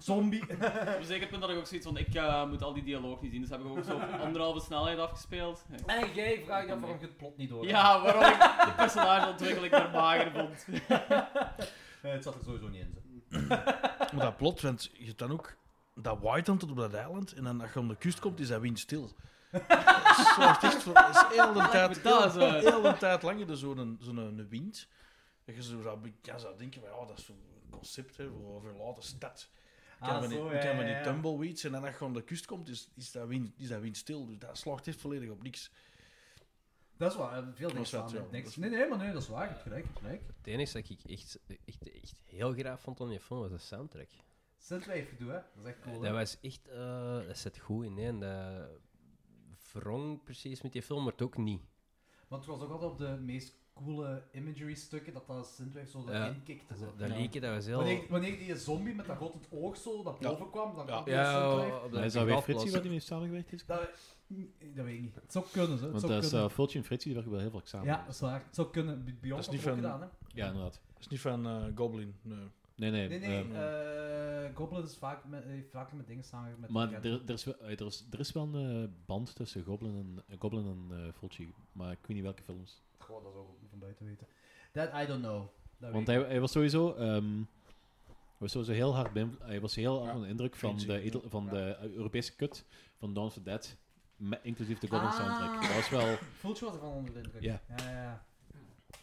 Speaker 6: Zombie.
Speaker 3: op een zeker punt had ik ook zoiets van, ik eh, moet al die dialoog niet zien. Dus heb ik hem ook zo op anderhalve snelheid afgespeeld.
Speaker 6: En jij vraagt dan waarom je het plot niet door hebt.
Speaker 3: Ja, waarom ik de personageontwikkeling maar mager vond.
Speaker 6: Eh, het zat er sowieso niet in. zo.
Speaker 9: maar dat plot, want je hebt dan ook dat white tot op dat eiland. En dan als je om de kust komt, is dat wind stil. Dat is zo echt van- dat is heel de tijd,
Speaker 3: dat
Speaker 9: heel,
Speaker 3: eens uit.
Speaker 9: heel de tijd lang heb je zo'n zo'n een wind. Dat je zo zou, be- ja, zou denken, van, ja, dat is zo'n concept hè, voor een verlaten stad. Ik
Speaker 6: Ah,
Speaker 9: ken van die,
Speaker 6: zo,
Speaker 9: ik
Speaker 6: ja,
Speaker 9: ken van
Speaker 6: ja,
Speaker 9: die
Speaker 6: ja.
Speaker 9: tumbleweeds. En dan als je om de kust komt, is, is, dat, wind, is dat wind stil. Dus dat slaagt echt volledig op niks.
Speaker 6: Dat is waar, eh, veel
Speaker 9: Dat
Speaker 6: dingen
Speaker 9: is wel
Speaker 6: staan met
Speaker 9: zo.
Speaker 6: niks.
Speaker 9: Dat is-
Speaker 6: Nee, nee, maar nee, dat is waar. Je hebt gelijk, je hebt gelijk.
Speaker 7: Het enige dat ik echt, echt, echt heel graag vond aan die film was de soundtrack.
Speaker 6: Zet wij even doen, hè. Dat is echt cool. hè.
Speaker 7: Dat was echt... eh, dat zit goed in, hè. En dat wrong precies met die film, maar het ook niet.
Speaker 6: Want het was ook altijd op de meest coole imagery stukken dat dat Synthwave zo
Speaker 7: Ja.
Speaker 6: erin kikte. zo.
Speaker 7: Dat leek je, dat was heel...
Speaker 6: Wanneer, wanneer die zombie met dat rottend oog zo dat
Speaker 9: Ja.
Speaker 6: boven kwam, dan
Speaker 9: Ja.
Speaker 6: kwam die Synthwave.
Speaker 7: Ja, oh. op
Speaker 5: is dat weer Fritsie wat die mee heeft samengewerkt? Is?
Speaker 6: Dat, mm, dat weet ik niet. Het zou kunnen, zo. Het
Speaker 5: Want
Speaker 6: zou
Speaker 5: dat is
Speaker 6: kunnen.
Speaker 5: eh, Fulci en Fritsie, die werken wel heel vaak samen.
Speaker 6: ja, dat is waar. Het zou kunnen. Beyond
Speaker 9: Dat is
Speaker 6: had
Speaker 9: niet
Speaker 6: het ook
Speaker 9: van-
Speaker 6: gedaan, hè.
Speaker 5: ja inderdaad.
Speaker 9: Dat is niet van eh, Goblin, nee.
Speaker 8: Nee, nee.
Speaker 6: Nee, nee,
Speaker 8: ehm,
Speaker 6: eh, Goblet is vaak met, heeft vaker met dingen samen met
Speaker 8: maar
Speaker 6: bekenden.
Speaker 8: er, er, is wel, eh, er, is, er is wel een eh, band tussen Goblin en, eh, Goblin en eh, Fulci, maar ik weet niet welke films.
Speaker 6: Goh, dat is ook niet van buiten weten. That I don't know. Dat
Speaker 8: Want
Speaker 6: weet
Speaker 8: hij, hij was sowieso... ehm, hij was sowieso heel hard beïnv- Hij was heel hard onder de indruk van de, edel- van de Europese kut van Dawn of the Dead, met, inclusief de Goblin
Speaker 6: Ah.
Speaker 8: soundtrack. Dat was wel...
Speaker 6: ik. Fultje was ervan onder de indruk.
Speaker 8: Ja.
Speaker 6: Ja, ja, ja.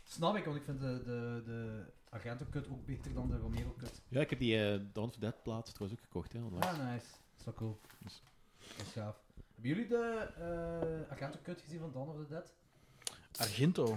Speaker 6: Snap ik, want ik vind de, de, de Argento-kut ook beter dan de Romero-kut.
Speaker 8: Ja, ik heb die eh, Dawn of the Dead plaat trouwens ook gekocht, hè, onlangs. Dus-
Speaker 6: Ah, nice. Dat is wel cool. Dat is gaaf. Hebben jullie de eh, Argento-kut gezien van Dawn of the Dead?
Speaker 9: Argento.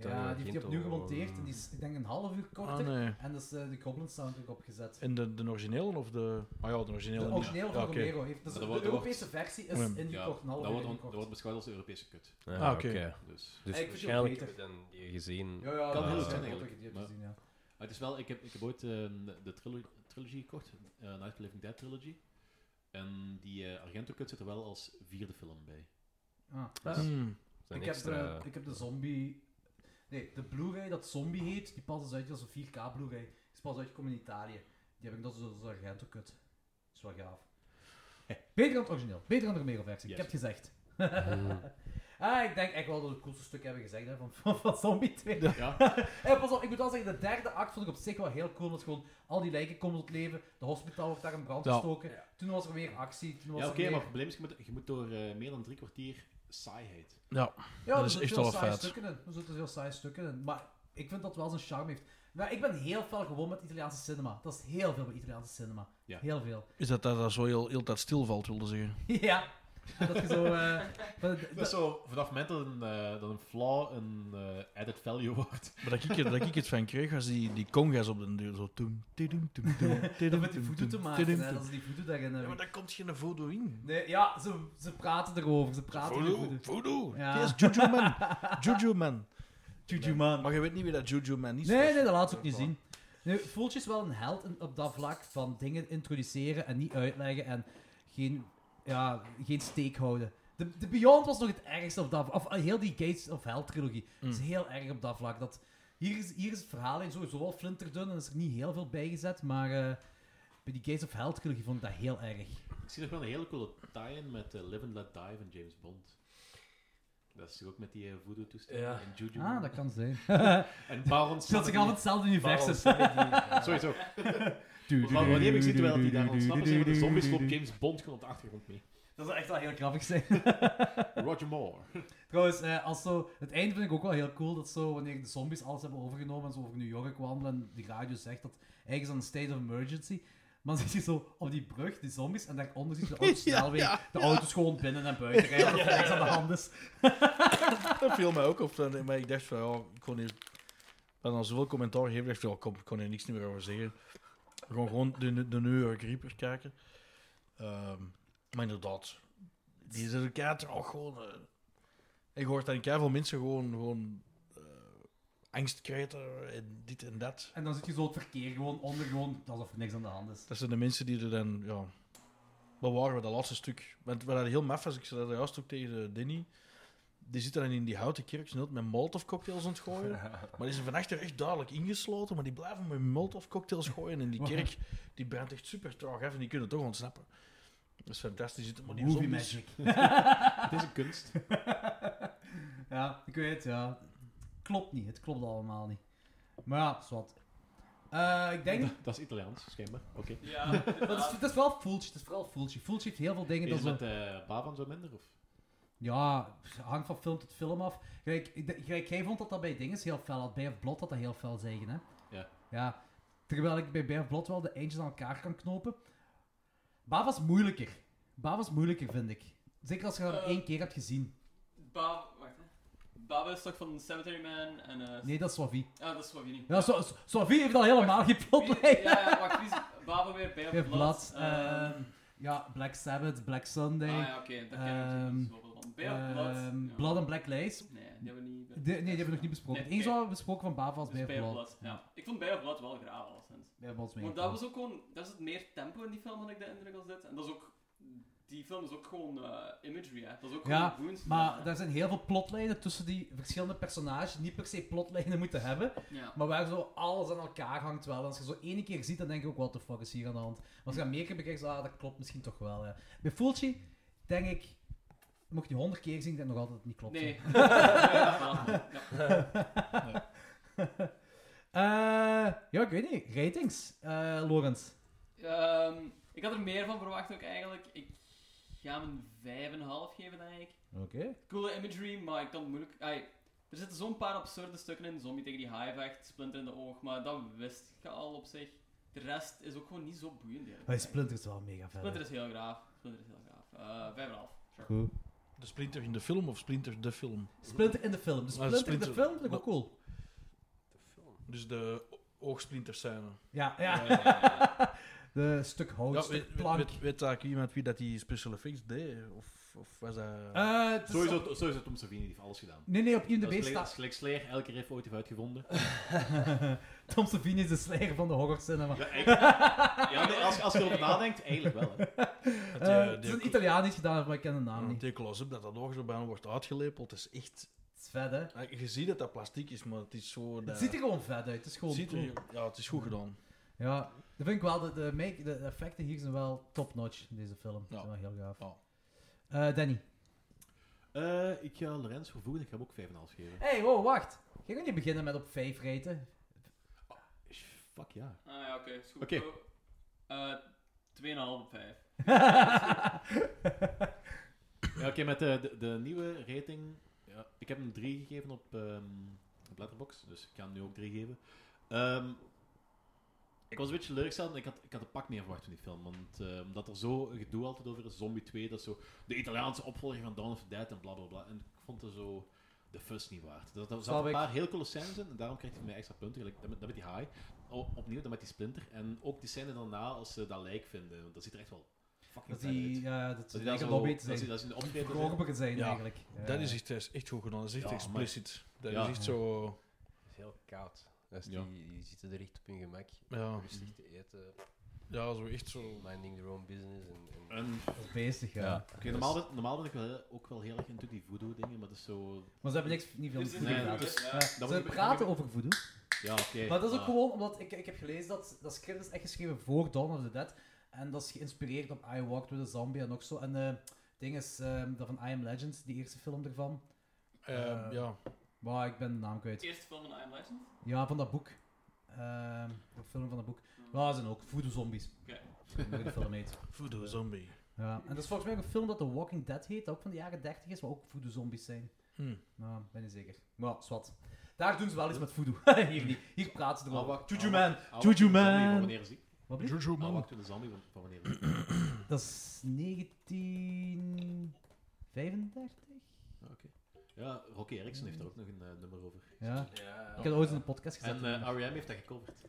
Speaker 6: ja, die heeft hij opnieuw gemonteerd en die is, ik denk, een half uur korter.
Speaker 9: eh, Ah, nee.
Speaker 6: En dat is eh, de Goblin soundtrack opgezet.
Speaker 9: En de, de originele of de... Ah ja, de originele.
Speaker 6: De origineel van
Speaker 9: Ja, oké.
Speaker 6: Romero heeft. Dus
Speaker 8: Dat
Speaker 6: de
Speaker 8: wordt- dat
Speaker 6: Europese versie is
Speaker 9: Oh Ja.
Speaker 6: ingekort, een half
Speaker 8: dat
Speaker 6: uur
Speaker 8: wordt, on- dat
Speaker 6: ingekort.
Speaker 8: wordt beschouwd als de Europese kut.
Speaker 7: Ah,
Speaker 9: oké.
Speaker 7: oké.
Speaker 8: Dus.
Speaker 7: Dus
Speaker 6: Ja, ik vind die ook
Speaker 7: waarschijnlijk
Speaker 6: beter.
Speaker 7: heb je dan die gezien.
Speaker 6: Ja, ja,
Speaker 8: Kan
Speaker 6: dat
Speaker 8: heel
Speaker 6: is
Speaker 8: goed zijn,
Speaker 6: wel
Speaker 8: eigenlijk.
Speaker 6: dat ik die heb
Speaker 8: Maar-
Speaker 6: gezien, ja.
Speaker 8: Maar het is wel, ik heb, ik heb ooit ehm, de trilo- trilogie gekocht, eh Night of the Living Dead trilogy. En die eh, Argento-kut zit er wel als vierde film bij.
Speaker 6: Ah.
Speaker 7: Ah,
Speaker 9: Hmm.
Speaker 7: zijn
Speaker 6: ik, heb
Speaker 7: extra-
Speaker 6: de, ik heb de zombie. Nee, de Blu-ray dat zombie heet, die pas is uit als een 4K Blu-ray. Die is pas uitgekomen in Italië. Die heb ik dat is als Argento kut. Dat is wel gaaf. Beter dan het origineel, beter dan de Romero versie. Ik
Speaker 8: Yes.
Speaker 6: heb het gezegd. ah, ik denk echt wel dat we het coolste stuk hebben gezegd hè, van, van, van Zombie 2.
Speaker 8: Ja.
Speaker 6: Eh, pas op, ik moet wel zeggen, de derde act vond ik op zich wel heel cool. Dat gewoon al die lijken komen tot leven, de hospitaal wordt daar in brand
Speaker 8: Ja.
Speaker 6: gestoken. Toen was er weer actie. Toen was
Speaker 8: Ja,
Speaker 6: er
Speaker 8: oké, maar
Speaker 6: weer...
Speaker 8: het probleem is, je moet, je moet door eh, meer dan drie kwartier saaiheid.
Speaker 9: Ja.
Speaker 6: Ja,
Speaker 9: Dat
Speaker 6: er
Speaker 9: is
Speaker 6: zitten
Speaker 9: echt
Speaker 6: veel
Speaker 9: wel
Speaker 6: saaie
Speaker 9: vet.
Speaker 6: Stukken in. Er zitten heel saaie stukken in. Maar ik vind dat wel zijn charme heeft. Maar ik ben heel veel gewoon met Italiaanse cinema. Dat is heel veel met Italiaanse cinema.
Speaker 8: Ja.
Speaker 6: Heel veel.
Speaker 9: Is dat dat dat zo heel, heel de tijd stilvalt, wilde zeggen.
Speaker 6: ja. Dat je zo... eh, dat- dat-
Speaker 8: Dat is zo, vanaf het moment dat een, eh, dat een flaw een eh, added value wordt.
Speaker 9: Maar dat ik, er- dat ik het van kreeg, was die, die congas op de deur. Zo... Toem, tidum, toem, toem,
Speaker 6: dat
Speaker 9: tidum,
Speaker 6: met die
Speaker 9: toem,
Speaker 6: voodoo te
Speaker 9: toem,
Speaker 6: maken.
Speaker 9: tidum,
Speaker 6: hè,
Speaker 9: toem.
Speaker 6: Dat is eh, die voodoo daarin.
Speaker 9: Ja,
Speaker 6: hebben.
Speaker 9: maar daar komt geen voodoo in.
Speaker 6: Nee, ja, ze, ze praten erover. Ze praten over
Speaker 9: Voodoo,
Speaker 6: voodoo.
Speaker 9: voodoo.
Speaker 6: Ja.
Speaker 9: Ja. is Juju Man. Juju Man.
Speaker 6: Juju man.
Speaker 9: Maar je weet niet wie dat Juju Man is.
Speaker 6: Nee, nee, dat laat ze ook niet zien. Nu, Fultje is wel een held in- op dat vlak van dingen introduceren en niet uitleggen en geen, ja, geen steek houden. De, de Beyond was nog het ergste op dat Of eh, heel die Gates of Hell trilogie is
Speaker 8: Mm.
Speaker 6: heel erg op dat vlak. Dat, hier, is, hier is het verhaal in sowieso wel flinterdun en is er niet heel veel bijgezet, maar eh, bij die Gates of Hell trilogie vond ik dat heel erg.
Speaker 8: Ik zie nog wel een hele coole tie-in met eh, Live and Let Die van James Bond. Dat is toch ook met die eh, voodoo-toestand
Speaker 7: Ja.
Speaker 8: en Juju.
Speaker 6: Ah, dat kan zijn.
Speaker 8: En Baron
Speaker 6: Het speelt zich af in
Speaker 8: Samedi.
Speaker 6: hetzelfde
Speaker 8: Baron
Speaker 6: universum.
Speaker 8: Samedi. Sowieso. Maar wanneer heb ik ziet wel dat die daar ontsnappen zijn met de zombies, loopt James Bond gewoon op de achtergrond mee.
Speaker 6: Dat zou echt wel heel grappig zijn.
Speaker 8: Roger Moore.
Speaker 6: Trouwens, eh, als zo, het einde vind ik ook wel heel cool. Dat zo, wanneer de zombies alles hebben overgenomen en ze over New York wandelen. En die radio zegt dat eigenlijk is het een state of emergency. Maar dan zit je zo op die brug, die zombies. En daaronder zit je de autosnelweg. de auto's gewoon binnen en buiten rijden. Dat er niks aan de hand is.
Speaker 9: Dat viel mij ook op. eh, Maar ik dacht van, ja, ik kon hier... En dan zoveel commentaar gegeven, dacht ik, van, ja, kom, ik kon hier niks meer over zeggen. Gewoon, gewoon de, de New York Reaper kijken. Ehm, maar inderdaad, die is een kaart ook gewoon... eh, ik hoor dan veel mensen gewoon, gewoon eh, angst kreten en dit en dat.
Speaker 6: En dan zit je zo het verkeer gewoon onder, gewoon alsof er niks aan de hand is.
Speaker 9: Dat zijn de mensen die er dan, ja... Bewaren we dat laatste stuk. Want wat dat heel maf was, ik zei dat juist ook tegen eh, Danny. Die zit dan in die houten kerk snel met molotov cocktails aan het gooien. Maar die zijn van achter echt duidelijk ingesloten. Maar die blijven met molotov cocktails gooien. En die kerk die brandt echt super traag af. En die kunnen toch ontsnappen. Dat is fantastisch. Maar die
Speaker 6: Movie
Speaker 9: zombies-
Speaker 6: magic.
Speaker 8: Het is een kunst.
Speaker 6: Ja, ik weet het, ja. Klopt niet, het klopt allemaal niet. Maar ja, zwart. Eh ik denk...
Speaker 8: Dat is Italiaans, schijnbaar. Oké.
Speaker 3: Ja,
Speaker 6: Dat is,
Speaker 3: inderdaad.
Speaker 6: het is wel Fultje, het is vooral Fultje. Fultje heeft heel veel dingen...
Speaker 8: Is
Speaker 6: dat
Speaker 8: het
Speaker 6: zo-
Speaker 8: met eh Bavan zo minder? Of?
Speaker 6: Ja, hangt van film tot film af. Gelijk, ik denk- gelijk jij vond dat dat bij dingen heel fel had. Bij of Blot had dat heel fel zeggen, hè?
Speaker 8: Ja.
Speaker 6: Ja. Terwijl ik bij Bij of Blot wel de eindjes aan elkaar kan knopen. Bava is moeilijker. Bava is moeilijker, vind ik. Zeker als je dat maar
Speaker 3: Eh.
Speaker 6: één keer hebt gezien.
Speaker 3: Bab... Wacht, hè. Baba is toch van Cemetery Man en... eh,
Speaker 6: Nee, dat is Swavi.
Speaker 3: Ah, dat is wat je niet.
Speaker 6: Ja, Swa- Swa- Swavi heeft al helemaal geen
Speaker 3: Wie-
Speaker 6: plotlijn.
Speaker 3: Ja, ja, wacht, wie is Baba weer bij
Speaker 6: Bij
Speaker 3: op
Speaker 6: of Blot.
Speaker 3: blad?
Speaker 6: ehm, ja, Black Sabbath, Black Sunday.
Speaker 3: Ah ja, oké, daar ken ik natuurlijk
Speaker 6: Ehm,
Speaker 3: niet zoveel van. Bij op blad?
Speaker 6: ehm,
Speaker 3: Ja.
Speaker 6: Blood and Black Lace.
Speaker 3: Nee, die hebben we niet...
Speaker 6: De- nee, die hebben we nog niet besproken.
Speaker 3: Nee,
Speaker 6: Eén
Speaker 3: oké.
Speaker 6: zou we besproken van Bava als
Speaker 3: Dus
Speaker 6: Bij of Blot.
Speaker 3: Blad, ja. Ik vond Bij op blad wel graag, alleszins.
Speaker 6: Bij of Blot
Speaker 3: Want
Speaker 6: is meegekomen.
Speaker 3: dat was ook gewoon... Daar zit meer tempo in die film, had ik de indruk als dit. En dat is ook die film is ook gewoon eh, imagery, hè. Dat is ook gewoon
Speaker 6: Ja,
Speaker 3: boons.
Speaker 6: Maar daar zijn heel veel plotlijnen tussen die verschillende personages. Niet per se plotlijnen moeten hebben,
Speaker 3: Ja.
Speaker 6: maar waar zo alles aan elkaar hangt wel. En als je zo één keer ziet, dan denk ik ook, what the fuck is hier aan de hand? Maar als je dat meer keer bekijkt, zo, ah, dat klopt misschien toch wel. Ja. Bij Fulci, denk ik, mocht je die honderd keer zien, ik denk nog altijd dat het niet klopt.
Speaker 3: Nee. ja, voilà. Ja.
Speaker 6: Eh, ja, ik weet niet. Ratings, eh Lorenz.
Speaker 3: Ehm, ik had er meer van verwacht ook eigenlijk. Ik ga hem een 5,5 geven, denk ik.
Speaker 6: Oké.
Speaker 3: Coole imagery, maar ik kan het moeilijk... ai, er zitten zo'n paar absurde stukken in. Zombie tegen die haai vecht, splinter in de oog, maar dat wist je al op zich. De rest is ook gewoon niet zo boeiend. eigenlijk.
Speaker 6: Maar Splinter is wel mega vet.
Speaker 3: Splinter is heel graaf. Splinter is heel graaf. Eh 5,5. Sure.
Speaker 6: Goed.
Speaker 9: De Splinter in de film of Splinter de film?
Speaker 6: Splinter in de film. De Splinter, in
Speaker 9: Ah, Splinter-
Speaker 6: de film vind ik ook cool.
Speaker 9: Dus de o- oogsplinterscène.
Speaker 6: Ja, ja. de stuk hout,
Speaker 9: Ja,
Speaker 6: stuk
Speaker 9: weet, weet,
Speaker 6: plank.
Speaker 9: weet, weet dat iemand wie dat die special effects deed? Of, of was dat...
Speaker 6: Eh, het is
Speaker 5: Sowieso,
Speaker 6: op-
Speaker 5: sowieso Tom Savini die heeft alles gedaan.
Speaker 6: Nee, nee, op
Speaker 5: Dat
Speaker 6: IMDb
Speaker 5: is gelijk- dat is
Speaker 6: staat...
Speaker 5: gelijk Slayer, elke riff ooit heeft uitgevonden.
Speaker 6: Tom Savini is de slayer van de horror cinema.
Speaker 5: Ja, ik- ja, maar als, als je erop nadenkt, eigenlijk wel. Hè.
Speaker 9: Het,
Speaker 6: Eh,
Speaker 9: eh,
Speaker 6: het is
Speaker 9: die-
Speaker 6: een Italiaan die het gedaan heeft, maar ik ken de naam niet.
Speaker 9: die close-up dat dat oog zo bijna wordt uitgelepeld, is echt... eh,
Speaker 6: Het is vet, hè?
Speaker 9: Je ziet dat dat plastic is, maar het is zo... Dat...
Speaker 6: Het ziet er gewoon vet uit. Het is gewoon
Speaker 9: ziet er-
Speaker 6: cool.
Speaker 9: Ja, het is goed gedaan.
Speaker 6: Ja, dat vind ik wel. De, de, make, de effecten hier zijn wel top-notch in deze film. Dat
Speaker 9: Ja.
Speaker 6: is wel heel gaaf.
Speaker 9: Ja.
Speaker 6: Eh, Danny.
Speaker 5: Eh, ik ga Lorenz vervoegen, ik ga hem ook 5,5 geven.
Speaker 6: hey, wow, wacht. Je kan niet beginnen met op 5 raten.
Speaker 5: Fuck ja.
Speaker 3: Ah ja, oké. is goed.
Speaker 5: Oké.
Speaker 3: Eh, 2,5 op 5.
Speaker 5: ja Oké, met de, de, de nieuwe rating. Ja, ik heb hem 3 gegeven op, ehm op Letterboxd, dus ik ga hem nu ook 3 geven. Ehm, ik was een beetje teleurgesteld en ik had, ik had een pak meer verwacht van die film. Want eh, omdat er zo een gedoe altijd over is, Zombie 2, dat is zo de Italiaanse opvolger van Dawn of the Dead en bla bla bla. En ik vond er zo de fuss niet waard. Er er
Speaker 6: Snap
Speaker 5: zaten
Speaker 6: ik.
Speaker 5: een paar heel coole scènes in en daarom kreeg hij van mij extra punten. Gelijk, dat, met, dat met die high, O- opnieuw dat met die splinter. En ook die scène daarna als ze dat lijk vinden, want dat ziet er echt wel fucking
Speaker 6: Dat
Speaker 5: vet uit.
Speaker 6: die, ja, dat
Speaker 5: Dat
Speaker 6: ze
Speaker 5: is daar
Speaker 6: een
Speaker 5: zo-
Speaker 6: lobby te
Speaker 5: Dat
Speaker 6: zijn.
Speaker 5: is, dat is in de optreden.
Speaker 6: Verkopen zijn,
Speaker 9: Ja.
Speaker 6: eigenlijk. Eh,
Speaker 9: Dat
Speaker 6: Ja.
Speaker 9: is echt, dat is echt goed gedaan. Dat is echt
Speaker 5: Ja,
Speaker 9: expliciet. Dat
Speaker 5: Ja.
Speaker 9: is echt zo...
Speaker 7: Het is heel koud. Dus
Speaker 5: Ja.
Speaker 7: die, die zitten er echt op hun gemak.
Speaker 9: Ja,
Speaker 7: Rustig te eten,
Speaker 9: ja zo echt zo...
Speaker 7: minding their own business. En, en-
Speaker 5: En,
Speaker 6: bezig, ja.
Speaker 7: Ja.
Speaker 5: oké, normaal, ben, normaal ben ik wel, ook wel heel erg into die voodoo-dingen, maar dat is zo...
Speaker 6: Maar ze hebben niks, niet
Speaker 3: Dus,
Speaker 6: veel met voodoo
Speaker 3: eh,
Speaker 5: Nee,
Speaker 6: gedaan.
Speaker 5: dat is-
Speaker 6: Ja,
Speaker 5: moet
Speaker 6: ze
Speaker 5: ik-
Speaker 6: praten over voodoo.
Speaker 5: Ja, oké. Ah,
Speaker 6: Maar dat is ook gewoon omdat ik, ik heb gelezen dat dat script is echt geschreven voor Dawn of the Dead. En dat is geïnspireerd op I Walked with a Zombie en ook zo. En eh, het ding is ehm, dat van I Am Legend, die eerste film ervan.
Speaker 9: ehm, ja.
Speaker 6: Maar ik ben de naam
Speaker 3: Het
Speaker 6: kwijt.
Speaker 3: eerste film van I Am Legend?
Speaker 6: Ja, van dat boek. Ehm de film van dat boek. Ja, ze zijn ook voodoo zombies.
Speaker 3: Oké.
Speaker 6: Hoe de film heet.
Speaker 9: Voodoo zombie.
Speaker 6: Ja. En dat is volgens mij ook een film dat The Walking Dead heet, dat ook van de jaren 30 is, waar ook voodoo zombies zijn.
Speaker 9: Hm.
Speaker 6: Nou, ben je zeker. Maar ja, zwart. Daar doen ze wel iets met voodoo. Hier niet. Hier praten ze erover. Juju Man.
Speaker 5: ah,
Speaker 6: Juju Man.
Speaker 5: Wanneer is die?
Speaker 6: Wat blieft?
Speaker 9: Jojo
Speaker 5: Ah,
Speaker 9: man.
Speaker 5: wacht, de zombie van- van wanneer is die?
Speaker 6: Dat is 1935?
Speaker 5: Ja, Rocky Erickson heeft er ook nog een eh, nummer over.
Speaker 6: Ja.
Speaker 7: ja,
Speaker 6: Ik had ooit in een podcast gezet.
Speaker 5: En eh R.E.M. heeft dat gecoverd.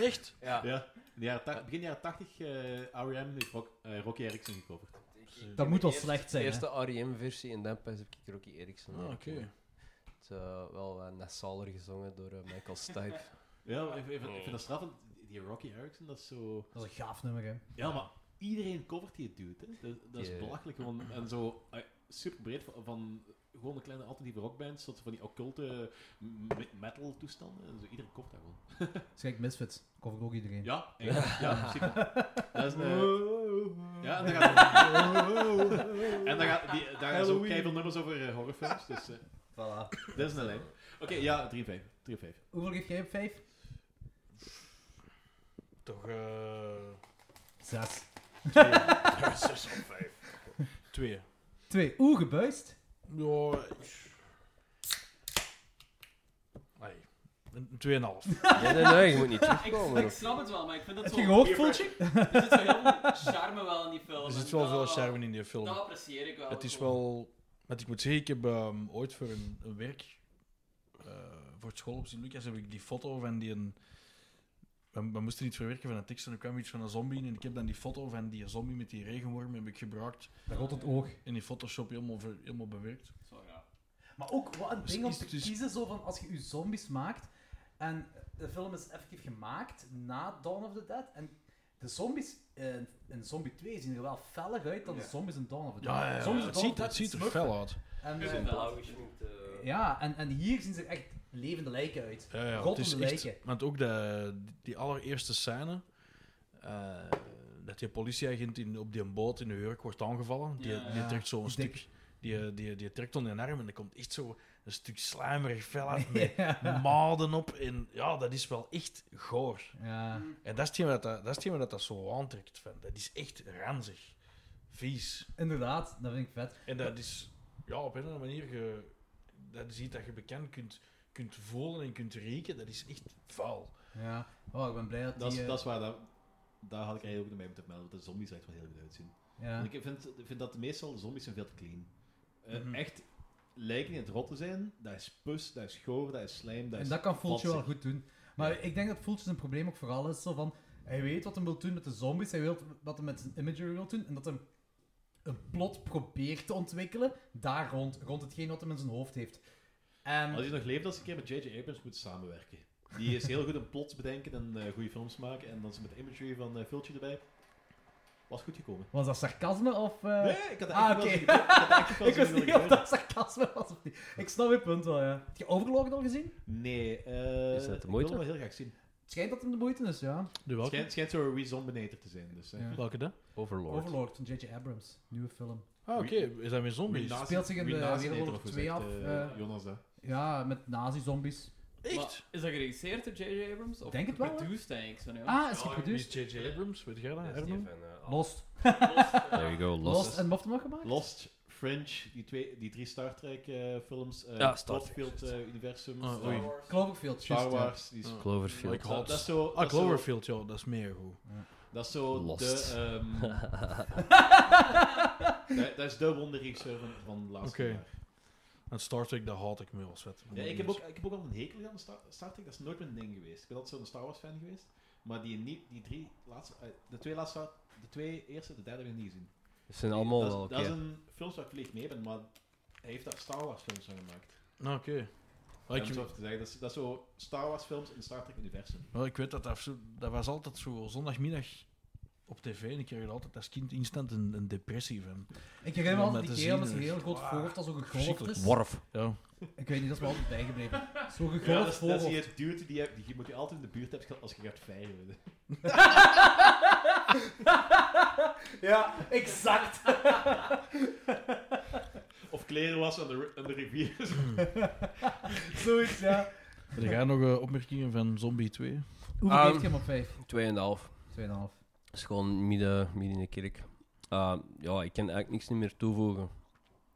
Speaker 9: Echt?
Speaker 7: ja.
Speaker 5: Ja, in de jaren tach- begin jaren 80 eh R.E.M. heeft Rock- eh, Rocky Erickson gecoverd.
Speaker 6: Dat moet wel slecht
Speaker 7: De
Speaker 6: zijn. hè?
Speaker 7: eerste REM-versie en dan pas heb ik Rocky Erickson.
Speaker 9: Ah, oké.
Speaker 7: gehoord. Het is eh, wel eh, nassaler gezongen door eh, Michael Stipe.
Speaker 5: Ja, maar ik, ik- ik vind dat straffend. Die Rocky Erickson, dat is zo...
Speaker 6: Dat is een gaaf nummer, hè?
Speaker 5: Ja, maar iedereen covert die het dude. Hè. Dat, dat is
Speaker 7: Ja.
Speaker 5: belachelijk. Gewoon, en zo eh, super breed van, van gewoon een kleine alternatieve rockbands tot van die occulte m- metal toestanden. En zo, iedereen covert dat gewoon.
Speaker 6: Schrik Misfits. Cover ook iedereen.
Speaker 5: Ja, eigenlijk. ja, in principe. Dat is, eh, ja, en dan gaat, en dan gaat die, daar gaan zo keiveel nummers over eh, horrorfilms. Dus eh,
Speaker 6: Voilà.
Speaker 5: dat is een lijn. Oké, ja, 3 5. 3 5.
Speaker 6: Hoeveel geef jij op 5?
Speaker 9: Toch... eh
Speaker 6: 6.
Speaker 9: Zes op vijf. Twee.
Speaker 6: 2. Oeh, gebuist.
Speaker 9: Ja... ik- Nee. Een een tweeënhalf.
Speaker 7: Nee, nee, nee, je moet niet
Speaker 3: Ik,
Speaker 7: terugkomen.
Speaker 3: ik snap het wel, maar ik vind dat
Speaker 6: Heb
Speaker 3: zo...
Speaker 6: je gehoord, Fultje?
Speaker 3: Er zit zo heel veel charme wel in die film.
Speaker 9: Er
Speaker 3: en
Speaker 9: zit wel
Speaker 3: dat-
Speaker 9: veel charme in die
Speaker 3: Dat
Speaker 9: film.
Speaker 3: apprecieer ik wel.
Speaker 9: Het is wel... Want ik moet zeggen, ik heb ehm, ooit voor een, een werk... eh, voor het school op Sint-Lucas heb ik die foto van die... Een, we, we moesten iets verwerken van een tekst en er kwam iets van een zombie in. En ik heb dan die foto van die zombie met die regenworm heb ik gebruikt.
Speaker 6: Dat rolt het oog.
Speaker 9: In die Photoshop helemaal, ver- helemaal bewerkt.
Speaker 3: Zo, ja.
Speaker 6: Maar ook wat een
Speaker 9: Dus
Speaker 6: ding om
Speaker 9: is-
Speaker 6: te
Speaker 9: dus-
Speaker 6: kiezen, zo van als je je zombies maakt. En de film is effectief gemaakt na Dawn of the Dead. En de zombies in, in Zombie 2 zien er wel feller uit dan de zombies in Dawn of the Dead.
Speaker 9: Ja, ja, ja.
Speaker 6: Zombies in
Speaker 9: Het
Speaker 6: Dawn of
Speaker 9: ziet,
Speaker 6: the
Speaker 9: het
Speaker 6: Dead
Speaker 9: ziet er
Speaker 6: smurfen.
Speaker 9: fel uit.
Speaker 6: En,
Speaker 3: Dus
Speaker 6: eh,
Speaker 3: inderdaad.
Speaker 6: ja, en, en hier zien ze er echt levende lijken uit.
Speaker 9: Ja, ja, het
Speaker 6: Rottende
Speaker 9: is
Speaker 6: lijken.
Speaker 9: echt, want ook de, die allereerste scène, eh, dat die politieagent in, op die boot in New York wordt aangevallen, die,
Speaker 3: Ja.
Speaker 9: die trekt zo'n
Speaker 6: Die dik.
Speaker 9: stuk, die, die, die trekt onder een arm en er komt echt zo een stuk slijmerig vel uit met
Speaker 6: Ja.
Speaker 9: maden op. En ja, dat is wel echt goor.
Speaker 6: Ja.
Speaker 9: En dat is hetgeen wat dat, dat, is hetgeen wat dat, dat zo aantrekt. Van. Dat is echt ranzig. Vies.
Speaker 6: Inderdaad, dat vind ik vet.
Speaker 9: En dat is, ja, op een of andere manier, je, dat is iets dat je bekend kunt, kunt voelen en kunt rieken. Dat is echt vuil.
Speaker 6: Ja. Oh, ik ben blij dat
Speaker 5: Dat
Speaker 6: die...
Speaker 5: is,
Speaker 6: eh,
Speaker 5: dat is waar, dat, daar had ik eigenlijk ook nog mee moeten melden, dat de zombies er echt wel heel goed uitzien.
Speaker 6: eh, ja.
Speaker 5: Want ik vind, ik vind dat meestal de zombies zijn veel te clean. Eh,
Speaker 9: Mhm.
Speaker 5: Echt lijken in het rot te zijn, dat is pus, dat is goor, dat is slijm, dat
Speaker 6: en
Speaker 5: is...
Speaker 6: dat kan Fultje wel
Speaker 5: vadsig.
Speaker 6: goed doen. Maar ik denk dat Fultje zijn probleem ook vooral is zo van... Hij weet wat hij wil doen met de zombies, hij weet wat hij met zijn imagery wil doen, en dat hij een plot probeert te ontwikkelen, daar rond, rond hetgeen wat hij in zijn hoofd heeft. En,
Speaker 5: Als je nog leeft, als je een keer met J.J. Abrams moet samenwerken. Die is heel goed in plots bedenken en eh, goede films maken. En dan is met de imagery van eh Vultje erbij. Was goed gekomen.
Speaker 6: Was dat sarcasme of... eh,
Speaker 5: Nee, ik had
Speaker 6: ah,
Speaker 5: eigenlijk
Speaker 6: oké.
Speaker 5: wel zien gebeuren. Ik had eigenlijk wel
Speaker 6: ik
Speaker 5: zien
Speaker 6: wist niet
Speaker 5: willen
Speaker 6: of dat sarcasme was of niet. Ik snap je punt wel, ja. Heb je Overlord al gezien?
Speaker 5: gebeuren. Nee, eh,
Speaker 7: Is dat de
Speaker 5: Ik
Speaker 7: moeite?
Speaker 5: wil hem wel heel graag zien.
Speaker 6: Het schijnt dat hem de moeite is, ja.
Speaker 9: De
Speaker 5: Het schijnt, schijnt zo'n rezombinator te zijn. Dus, eh.
Speaker 6: Ja.
Speaker 9: Welke dan?
Speaker 7: Overlord.
Speaker 6: Overlord van J.J. Abrams. Nieuwe film.
Speaker 9: Ah, oké. Is dat weer zombies?
Speaker 5: Renazi-
Speaker 6: speelt zich in de
Speaker 5: Renazi-
Speaker 6: Wereldoorlog
Speaker 5: hoe
Speaker 6: 2
Speaker 5: zegt,
Speaker 6: af,
Speaker 5: eh,
Speaker 6: eh.
Speaker 5: Jonas, hè.
Speaker 6: Ja, met nazi-zombies.
Speaker 9: Echt?
Speaker 3: Maar is dat geregisseerd door J.J. Abrams? Of
Speaker 6: Denk het wel, hè?
Speaker 3: Produced eigenlijk zo, ja.
Speaker 6: Ah, is
Speaker 9: Wie is
Speaker 6: geproduceerd.
Speaker 9: J.J. Abrams? Weet jij dat?
Speaker 7: Dat is die
Speaker 9: Herman?
Speaker 7: van, eh,
Speaker 6: Lost.
Speaker 7: There you go,
Speaker 6: Lost,
Speaker 7: Lost.
Speaker 6: en wat heeft hem nog gemaakt?
Speaker 5: Lost, Fringe, die, twee, die drie Star Trek eh, films. eh
Speaker 7: Ja, Star Trek,
Speaker 5: Cloverfield
Speaker 7: juist.
Speaker 5: eh, Universum,
Speaker 9: Ah,
Speaker 5: Star
Speaker 9: oei.
Speaker 5: Wars.
Speaker 6: Cloverfield.
Speaker 5: Star
Speaker 6: juist, ja.
Speaker 5: Wars, die is
Speaker 9: Ja.
Speaker 7: Cloverfield.
Speaker 9: Like
Speaker 5: Dat,
Speaker 9: Hots.
Speaker 5: Oh, dat is zo,
Speaker 9: Ah,
Speaker 5: dat is zo-
Speaker 9: Cloverfield, ja. Dat is meer goed.
Speaker 5: Dat is zo
Speaker 7: Lost.
Speaker 5: de... ehm, dat, dat is de wonderregisseur van, van de laatste
Speaker 9: Oké.
Speaker 5: jaar.
Speaker 9: En Star Trek, daar haat ik me als vet.
Speaker 5: Ja, ik, heb ook, ik heb ook al een hekel aan Star, Star Trek, dat is nooit mijn ding geweest. Ik ben altijd zo'n Star Wars fan geweest. Maar die, nie- die drie laatste... eh, de twee laatste... Star- De twee eerste, de derde heb ik niet gezien.
Speaker 7: Het zijn allemaal
Speaker 5: dat, is-
Speaker 7: wel oké.
Speaker 5: dat is een film waar ik verliefd mee ben, maar hij heeft daar Star Wars films van gemaakt.
Speaker 9: Nou, oké. Maar
Speaker 5: Om
Speaker 9: ik-
Speaker 5: het zo even te zeggen, dat is, dat is zo Star Wars films in Star Trek universum.
Speaker 9: Wel, ik weet dat dat, zo- dat was altijd zo zondagmiddag op tv en ik kreeg er altijd als kind instant een, een depressie van.
Speaker 6: Ik herinner me
Speaker 9: Om
Speaker 6: altijd
Speaker 9: dat
Speaker 6: die
Speaker 9: te
Speaker 6: kerel
Speaker 9: zien,
Speaker 6: met zijn
Speaker 9: echt.
Speaker 6: heel groot
Speaker 9: Ah,
Speaker 6: voorhoofd als ook gegolfd
Speaker 9: verschrikkelijk.
Speaker 6: is.
Speaker 7: Worf.
Speaker 9: Ja.
Speaker 6: Ik weet niet, dat is me altijd bijgebleven. Zo'n gegolfd
Speaker 5: Ja, dat is, dat is
Speaker 6: voorhoofd.
Speaker 5: die dude die, je- die moet je altijd in de buurt hebben als je gaat veilen.
Speaker 6: ja, exact.
Speaker 5: Of kleren was aan de, aan de rivier.
Speaker 6: Zoiets, ja.
Speaker 9: Heb jij nog eh, opmerkingen van Zombie 2?
Speaker 6: Hoeveel
Speaker 7: Ehm,
Speaker 6: geeft je hem op 5?
Speaker 7: 2,5.
Speaker 6: 2,5.
Speaker 7: Dat is gewoon midden, midden in de kerk. Eh, ja, ik kan eigenlijk niks niet meer toevoegen.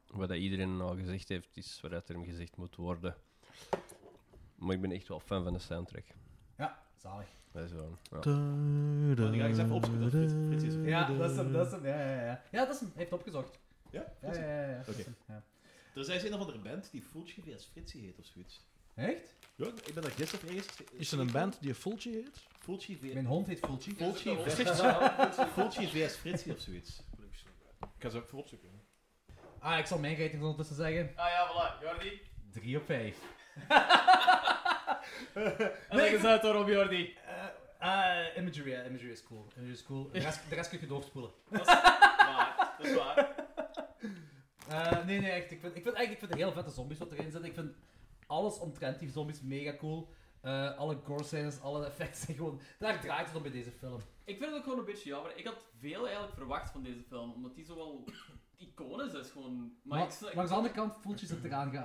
Speaker 7: Wat dat iedereen al gezegd heeft, is wat er hem gezegd moet worden. Maar ik ben echt wel fan van de soundtrack.
Speaker 6: Ja, zalig.
Speaker 7: Dat is wel. Ja.
Speaker 5: Maar Oh, die ga ik eens even opzoeken, dat Frits- Frits is-
Speaker 6: Ja, dat is hem, dat is hem. Ja, ja, ja. Ja, dat is hem. Hij heeft opgezocht.
Speaker 5: Ja?
Speaker 6: Ja, ja, ja. ja, dat is
Speaker 5: Oké.
Speaker 6: hem, ja.
Speaker 5: Er is een of andere band die Fulci via Fritsie heet of zoiets.
Speaker 6: Echt?
Speaker 5: Ja, ik ben daar gisteren ergens...
Speaker 9: Is er een band die Fultje heet?
Speaker 5: Fulci via...
Speaker 6: Mijn hond heet Fulci.
Speaker 5: Fulci
Speaker 3: Ja, dat
Speaker 5: vs. Fulci via Fritsie of zoiets. Ik ga ze even opzoeken.
Speaker 6: Ah, ik zal mijn rating ondertussen zeggen.
Speaker 3: Ah ja, voilà, Jordi.
Speaker 6: 3 op 5.
Speaker 3: En leg eens uit daarop, Jordi.
Speaker 6: Eh, ah, imagery, ja, imagery is cool. Imagery is cool. De rest, de rest kun je doorspoelen.
Speaker 3: Waar, dat is waar.
Speaker 6: Eh, nee, nee, echt. Ik vind, ik vind, eigenlijk, ik vind het heel vette zombies wat erin zit. Ik vind alles omtrent die zombies mega cool. Eh, alle gore scenes, alle effects zijn gewoon... Daar draait het om bij deze film.
Speaker 3: Ik vind het ook gewoon een beetje jammer. Ik had veel eigenlijk verwacht van deze film, omdat die zo wel iconisch is gewoon. Maar,
Speaker 6: Maar
Speaker 3: ik sna-
Speaker 6: langs de andere kant, Fultje zit eraan ge-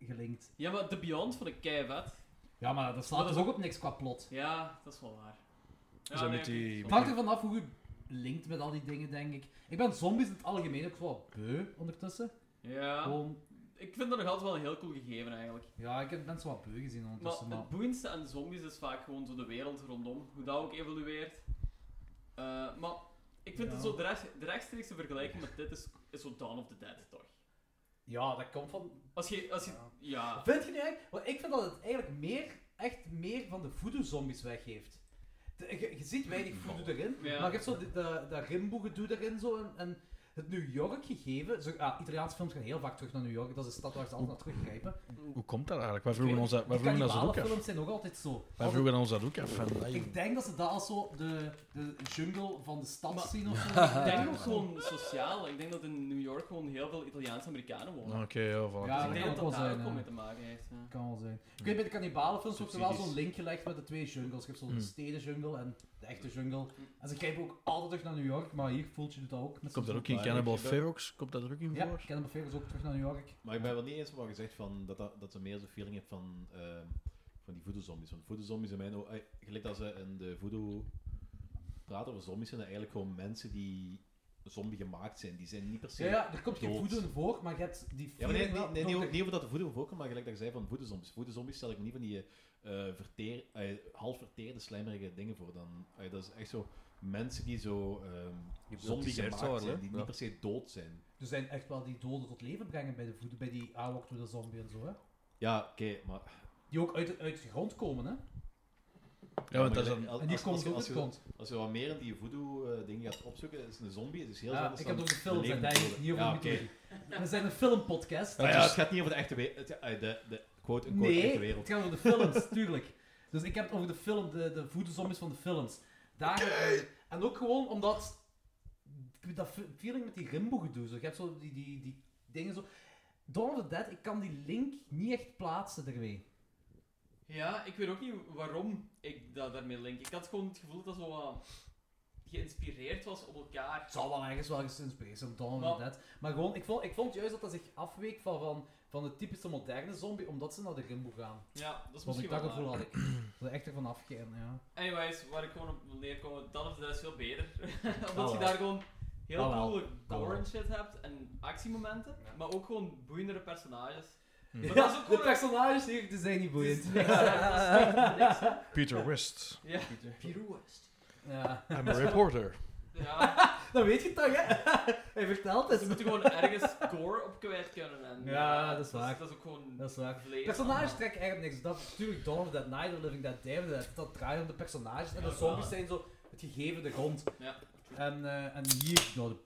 Speaker 6: eh, gelinkt.
Speaker 3: Ja, maar The Beyond vond ik kei vet.
Speaker 6: Ja, maar dat slaat dus ook op niks qua plot.
Speaker 3: Ja, dat is wel waar. Ja,
Speaker 9: Zijn met die-
Speaker 3: ik-
Speaker 6: Het hangt er vanaf hoe je linkt met al die dingen, denk ik. Ik ben zombies in het algemeen ook wel beu ondertussen.
Speaker 3: Ja,
Speaker 6: Gewoon,
Speaker 3: ik vind dat nog altijd wel een heel cool gegeven eigenlijk.
Speaker 6: ja, ik heb mensen wat beu gezien
Speaker 3: Maar
Speaker 6: ondertussen. Maar,
Speaker 3: het boeiendste aan zombies is vaak gewoon zo de wereld rondom, hoe dat ook evolueert. Eh, maar ik vind
Speaker 6: Ja.
Speaker 3: het zo de, rechts, de rechtstreekse vergelijking met dit is, is zo Dawn of the Dead, toch?
Speaker 6: Ja, dat komt van...
Speaker 3: Als je, als je,
Speaker 6: Ja.
Speaker 3: ja.
Speaker 6: Vind je nu eigenlijk... Want ik vind dat het eigenlijk meer, echt meer van de voodoo-zombies weggeeft. De- je, je ziet weinig voodoo erin,
Speaker 3: Ja.
Speaker 6: maar je hebt zo de- de- dat rimboe gedoe erin zo. En, en het New York gegeven. Zo, ah, Italiaanse films gaan heel vaak terug naar New York. Dat is de stad waar ze altijd naar teruggrijpen.
Speaker 9: Hoe komt dat eigenlijk? Wij vroegen
Speaker 6: Ik
Speaker 9: ons dat, wij
Speaker 6: Die
Speaker 9: vroegen ons dat ook af.
Speaker 6: films zijn ook altijd zo.
Speaker 9: Wij
Speaker 6: Altijd-
Speaker 9: vroegen ons dat ook af. En, ey,
Speaker 6: Ik denk dat ze dat als zo de, de jungle van de stad
Speaker 3: Maar-
Speaker 6: zien of zo.
Speaker 3: Ik denk ook
Speaker 6: nog zo.
Speaker 3: gewoon sociaal. Ik denk dat in New York gewoon heel veel Italiaans-Amerikanen wonen. Dus
Speaker 9: Oké, ja, voilà.
Speaker 6: Ja,
Speaker 3: ik
Speaker 6: dat
Speaker 3: denk dat
Speaker 6: kan ook wel
Speaker 3: dat daar
Speaker 6: zijn,
Speaker 3: ook wel
Speaker 6: ja.
Speaker 3: mee te maken heeft. ja.
Speaker 6: Kan wel zijn. Ik weet, bij de kannibalenfilms wordt er wel
Speaker 5: Subsidies.
Speaker 6: zo'n link gelegd met de twee jungles. Je hebt zo'n
Speaker 9: Hmm.
Speaker 6: stedenjungle en de echte jungle.
Speaker 5: Hmm.
Speaker 6: En ze kijken ook altijd terug naar New York, maar hier voelt je dat ook. Met
Speaker 9: Komt dat
Speaker 6: zo'n-
Speaker 9: ook in
Speaker 5: waar,
Speaker 9: Cannibal
Speaker 5: ik heb-
Speaker 9: Ferox? Komt dat er ook in
Speaker 6: Ja,
Speaker 9: voor?
Speaker 6: ik ken hem Favors ook terug naar New York.
Speaker 5: Maar ik ben wel niet eens wat gezegd van dat, dat, dat ze meer zo'n feeling heeft van, ehm, van die voodoo-zombies. Want voodoo-zombies zijn mij nou... eh, Gelijk dat ze in de voodoo praten over zombies, zijn dat eigenlijk gewoon mensen die zombie gemaakt zijn. Die zijn niet per se...
Speaker 6: Ja, ja, er komt geen
Speaker 5: dood.
Speaker 6: voodoo in voor, maar je hebt die
Speaker 5: Ja, maar nee,
Speaker 6: feeling wel
Speaker 5: nee, nee,
Speaker 6: door
Speaker 5: niet,
Speaker 6: de-
Speaker 5: over- niet over dat de voodoo voorkomt, maar gelijk dat je zei van voodoo-zombies. Voodoo-zombies stel ik me niet van die eh, verteer, eh, half verteerde, slijmerige dingen voor. Dan, eh, dat is echt zo mensen die zo ehm zombie
Speaker 7: Gehypnotiseerd
Speaker 5: gemaakt
Speaker 7: worden,
Speaker 5: zijn,
Speaker 7: hè?
Speaker 5: die
Speaker 7: Ja.
Speaker 5: niet per se dood zijn.
Speaker 6: Er zijn echt wel die doden tot leven brengen bij de voodoo, bij die Awok door de zombie en zo. Hè.
Speaker 5: Ja, oké, maar...
Speaker 6: Die ook uit, uit de grond komen, hè?
Speaker 9: Ja, want
Speaker 5: maar
Speaker 9: dat is
Speaker 5: gelijk-
Speaker 9: dan...
Speaker 5: als-
Speaker 6: En die
Speaker 5: als-
Speaker 6: komen
Speaker 5: als-
Speaker 6: ook
Speaker 5: als
Speaker 6: uit de
Speaker 5: je-
Speaker 6: grond.
Speaker 5: Als je wat meer in die voodoo-ding gaat opzoeken, is een zombie, het is dus heel
Speaker 6: Ja,
Speaker 5: anders
Speaker 6: ik heb
Speaker 5: dan
Speaker 6: het over films en
Speaker 5: levende
Speaker 6: daar is
Speaker 5: doden.
Speaker 6: niet over
Speaker 5: Ja,
Speaker 6: de
Speaker 5: oké.
Speaker 6: mythologie. We zijn een filmpodcast.
Speaker 5: Maar ja, het gaat niet over de echte wereld. Het, eh, de, de quote unquote echte
Speaker 6: Nee, het
Speaker 5: wereld.
Speaker 6: gaat over de films, tuurlijk. Dus ik heb het over de film, de, de voederzombies van de films. Daar, En ook gewoon omdat... ik weet Dat fe- feeling met die Rimbo-gedoe. zo. Je hebt zo die, die, die dingen zo... Dawn of the Dead, ik kan die link niet echt plaatsen ermee.
Speaker 3: Ja, ik weet ook niet waarom ik dat daarmee link. Ik had gewoon het gevoel dat dat zo wat geïnspireerd was op elkaar.
Speaker 6: Het zal wel ergens wel geïnspireerd zijn op Dawn of
Speaker 3: Maar-
Speaker 6: the Dead. Maar gewoon, ik vond, ik vond juist dat dat zich afweek van, van, van de typische moderne zombie, omdat ze naar de Rimbo gaan.
Speaker 3: Ja, dat is
Speaker 6: Wat
Speaker 3: misschien
Speaker 6: ik dat
Speaker 3: wel
Speaker 6: gevoel
Speaker 3: waar.
Speaker 6: had. Ik. Dat er echt ervan afgekeken, ja.
Speaker 3: Anyways, waar ik gewoon op wil neerkomen, dan of dat is veel beter. Omdat
Speaker 6: wel.
Speaker 3: je daar gewoon heel
Speaker 6: Dat wel.
Speaker 3: coole
Speaker 6: Dat
Speaker 3: gore
Speaker 6: wel.
Speaker 3: en shit hebt en actiemomenten, maar ook gewoon boeiendere personages. Maar dat is ook
Speaker 6: Ja, Mm. de
Speaker 3: gewoon...
Speaker 6: personages hier die zijn niet boeiend.
Speaker 3: niks, hè. Dat is echt niks, hè.
Speaker 9: Peter West.
Speaker 3: Ja, Peter West.
Speaker 6: Ja.
Speaker 9: I'm a reporter.
Speaker 3: Ja,
Speaker 6: Dat weet je toch, hè? Hij vertelt
Speaker 3: ze
Speaker 6: het.
Speaker 3: moeten gewoon ergens gore op kwijt kunnen. En,
Speaker 6: Ja,
Speaker 3: eh,
Speaker 6: dat is waar.
Speaker 3: Dat is ook gewoon
Speaker 6: Dat is waar.
Speaker 3: vlees.
Speaker 6: Personages trekken eigenlijk niks. Dat is natuurlijk Dawn of the Dead, Night of the Living Dead, Day of the Dead. Dat draait om de personages. En de
Speaker 3: Ja,
Speaker 6: zombies
Speaker 3: ja.
Speaker 6: zijn zo het gegeven de grond.
Speaker 3: Ja.
Speaker 6: En, eh, en hier... Nou, de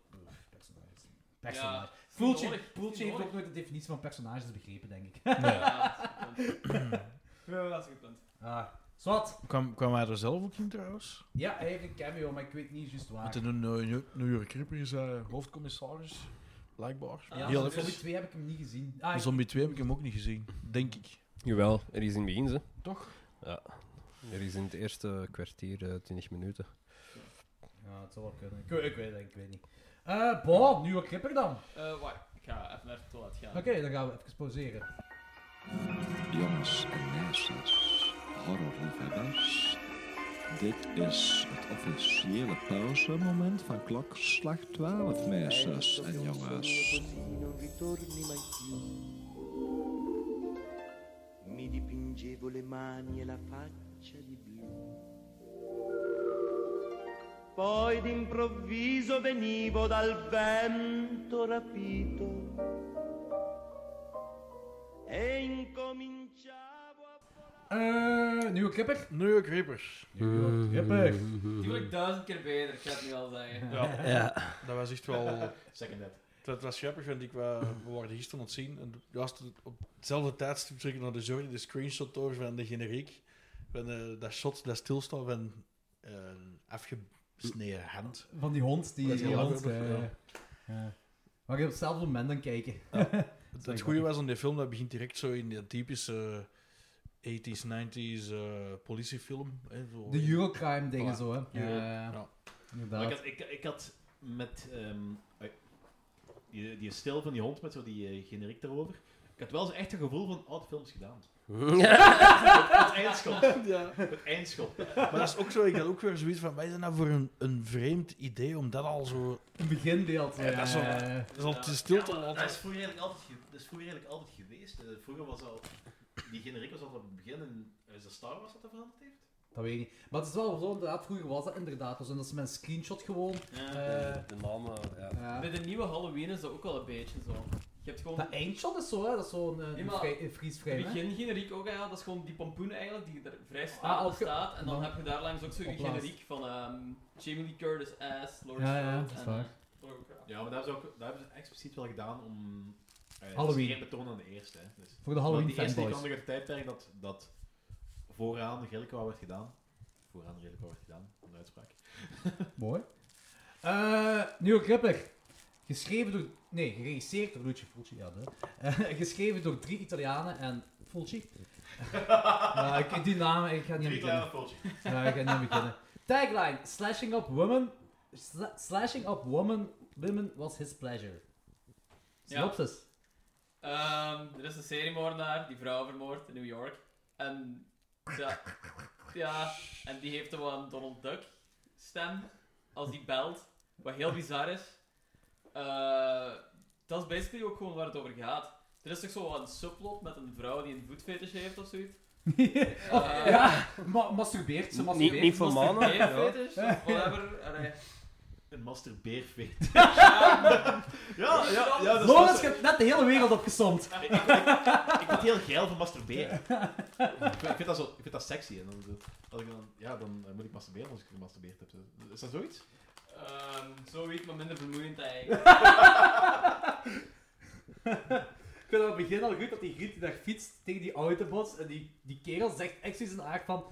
Speaker 6: personages.
Speaker 3: Ja,
Speaker 6: Personages. Poeltje,
Speaker 3: nodig.
Speaker 6: Poeltje heeft
Speaker 3: Nodig.
Speaker 6: ook nooit de definitie van personages begrepen, denk ik.
Speaker 3: Ja, dat is een goed punt. Ja, dat is een goed punt.
Speaker 6: Ah, zwart.
Speaker 9: Kwam, kwam hij er zelf ook in trouwens?
Speaker 6: Ja, hij heeft een cameo, maar ik weet niet juist waar.
Speaker 9: Want in een eh, New- New York Ripper is hij hoofdcommissaris, blijkbaar.
Speaker 3: Ah,
Speaker 9: Heel
Speaker 6: ja,
Speaker 3: dat
Speaker 9: even.
Speaker 6: Zombie 2 heb ik hem niet gezien. Ah, ik-
Speaker 9: Zombie 2 heb ik hem ook niet gezien, denk ik.
Speaker 7: Jawel, er is in het begin, ze.
Speaker 9: Toch?
Speaker 7: Ja. Er is in het eerste kwartier eh, 20 minuten.
Speaker 6: Ja, het zal wel kunnen. Ik, ik weet het, ik weet niet. Eh, boh, nieuwe clipper dan.
Speaker 3: Eh, wacht, ik ga even naar het toilet gaan.
Speaker 6: Oké, dan gaan we even pauzeren.
Speaker 2: Jongens en meisjes, horrorlief en wijs. Dit is het officiële pauzemoment van klokslag 12, meisjes en jongens.
Speaker 1: Mi dipingevo le mani e la faccia di blu. Poi d'improvviso venivo dal vento rapito e incominciavo a...
Speaker 6: Eh, nieuwe clipper.
Speaker 9: New York Ripper.
Speaker 6: Nieuwe clipper.
Speaker 3: Die wil ik duizend keer beter, ik ga het nu al zeggen.
Speaker 9: Ja,
Speaker 7: Ja.
Speaker 9: dat was echt wel...
Speaker 5: Second that.
Speaker 9: Dat was grappig, want ik wa- we waren gisteren aan het zien. En juist op hetzelfde tijdstip zag ik naar de zorg de screenshot door van de generiek. Van eh, dat shot, dat stilstaan van eh, afgesneden hand.
Speaker 6: Van die hond, die,
Speaker 9: Dat is
Speaker 6: die
Speaker 9: heel
Speaker 6: hond.
Speaker 9: grappig,
Speaker 6: eh,
Speaker 9: ja.
Speaker 6: ja. Maar je op hetzelfde moment dan kijken.
Speaker 9: Het,
Speaker 6: wel
Speaker 9: het goede
Speaker 6: grappig.
Speaker 9: was aan die film, dat begint direct zo in die typische 80s, 90s eh, politiefilm. Hè, zo.
Speaker 6: De Eurocrime dingen
Speaker 9: Voilà.
Speaker 6: zo, hè.
Speaker 9: Euro- Oh, Ah,
Speaker 6: Ja,
Speaker 9: ja.
Speaker 5: Maar ik
Speaker 6: inderdaad.
Speaker 5: had, ik, ik had met ehm, eh, die, die stijl van die hond met zo die eh, generiek daarover. Ik had wel eens echt een gevoel van oh, oude films gedaan. Het eindschot.
Speaker 9: Ja.
Speaker 5: Het eindschot.
Speaker 9: Maar dat is ook zo, ik had ook weer zoiets van, wij zijn dat nou voor een, een vreemd idee om dat al zo...
Speaker 6: Een beginbeeld.
Speaker 9: Ja, dat is wel-
Speaker 6: eh,
Speaker 9: Dat is al te stil
Speaker 5: Ja,
Speaker 9: te
Speaker 5: maar dat, is
Speaker 9: laten.
Speaker 5: vroeger eigenlijk altijd ge- dat is vroeger eigenlijk altijd geweest. Eh, vroeger was al. Die generiek was altijd op het begin. En is dat Star Wars dat dat veranderd heeft?
Speaker 6: dat weet ik niet. Maar het is wel zo, inderdaad, vroeger was dat inderdaad. Dus dat is mijn screenshot gewoon. eh,
Speaker 7: de namen, ja.
Speaker 6: ja.
Speaker 3: Bij de nieuwe Halloween is dat ook wel een beetje zo. Je hebt gewoon...
Speaker 6: Dat eindshot is zo, hè. Dat is zo'n eh,
Speaker 3: Ja, maar-
Speaker 6: vrij- eh, vriesvrij,
Speaker 3: Het
Speaker 6: hè.
Speaker 3: begin generiek ook, ja, dat is gewoon die pompoen eigenlijk, die er vrij
Speaker 6: Ah,
Speaker 3: staat
Speaker 6: opge-
Speaker 3: staat. En dan
Speaker 6: dan-
Speaker 3: heb je daar langs ook zo'n
Speaker 6: opblaast.
Speaker 3: generiek van ehm, Jamie Lee Curtis ass, Lawrence
Speaker 6: Ja, ja,
Speaker 3: Stroud
Speaker 6: dat is
Speaker 3: en
Speaker 6: waar.
Speaker 3: eh,
Speaker 5: Ja, maar dat hebben ze, ook, dat hebben ze expliciet wel gedaan om... eh,
Speaker 6: Halloween.
Speaker 5: Het is geen betoon aan de eerste, hè. Dus,
Speaker 6: Voor de
Speaker 5: want
Speaker 6: Halloween
Speaker 5: die eerste die
Speaker 6: fanboys.
Speaker 5: kwam nog uit het tijdperk dat, dat vooraan redelijk wat werd gedaan. Vooraan redelijk wat werd gedaan, een uitspraak.
Speaker 6: Mooi. Eh nieuwe Gripper. Geschreven door... Nee, geregisseerd door Lucio Fulci. Ja, dat. Eh, geschreven door drie Italianen en Fulci. Eh, ik- die naam, ik ga niet aan
Speaker 5: Drie
Speaker 6: beginnen.
Speaker 5: kleine voltjes.
Speaker 6: Ja, ik ga niet aan beginnen. Tagline, slashing up women... sla- slashing up women, women was his pleasure.
Speaker 3: Ja.
Speaker 6: Synopsis.
Speaker 3: Ehm, er is een seriemoordenaar die vrouw vermoordt in New York. En, ja, ja, en die heeft wel een Donald Duck stem als die belt. Wat heel bizar is. Eh, dat is basically ook gewoon waar het over gaat. Er is toch zo wel een subplot met een vrouw die een voetfetish heeft of zoiets.
Speaker 6: Oh, ja, ma- masturbeert. Ze
Speaker 7: Niet,
Speaker 6: masturbeert.
Speaker 7: niet voor mannen.
Speaker 3: Een
Speaker 7: Ja.
Speaker 3: fetish of whatever. Allee.
Speaker 5: Een masturbeerfeet.
Speaker 3: Ja,
Speaker 5: Ja, ja, ja. Dat
Speaker 6: Lorenz, je hebt net de hele wereld opgesomd.
Speaker 5: Ik vind het heel geil van masturberen. ik, vind, ik vind dat zo, ik vind dat sexy. En dan, zo- als ik dan, ja, dan eh, moet ik masturberen als ik gemasturbeerd heb. zo. Is dat zoiets?
Speaker 3: Ehm, zoiets, maar minder vermoeiend eigenlijk.
Speaker 6: Ik vind het aan het begin al goed dat die Griet die daar fietst tegen die autobots en die, die kerel zegt echt zoiets in de aard van,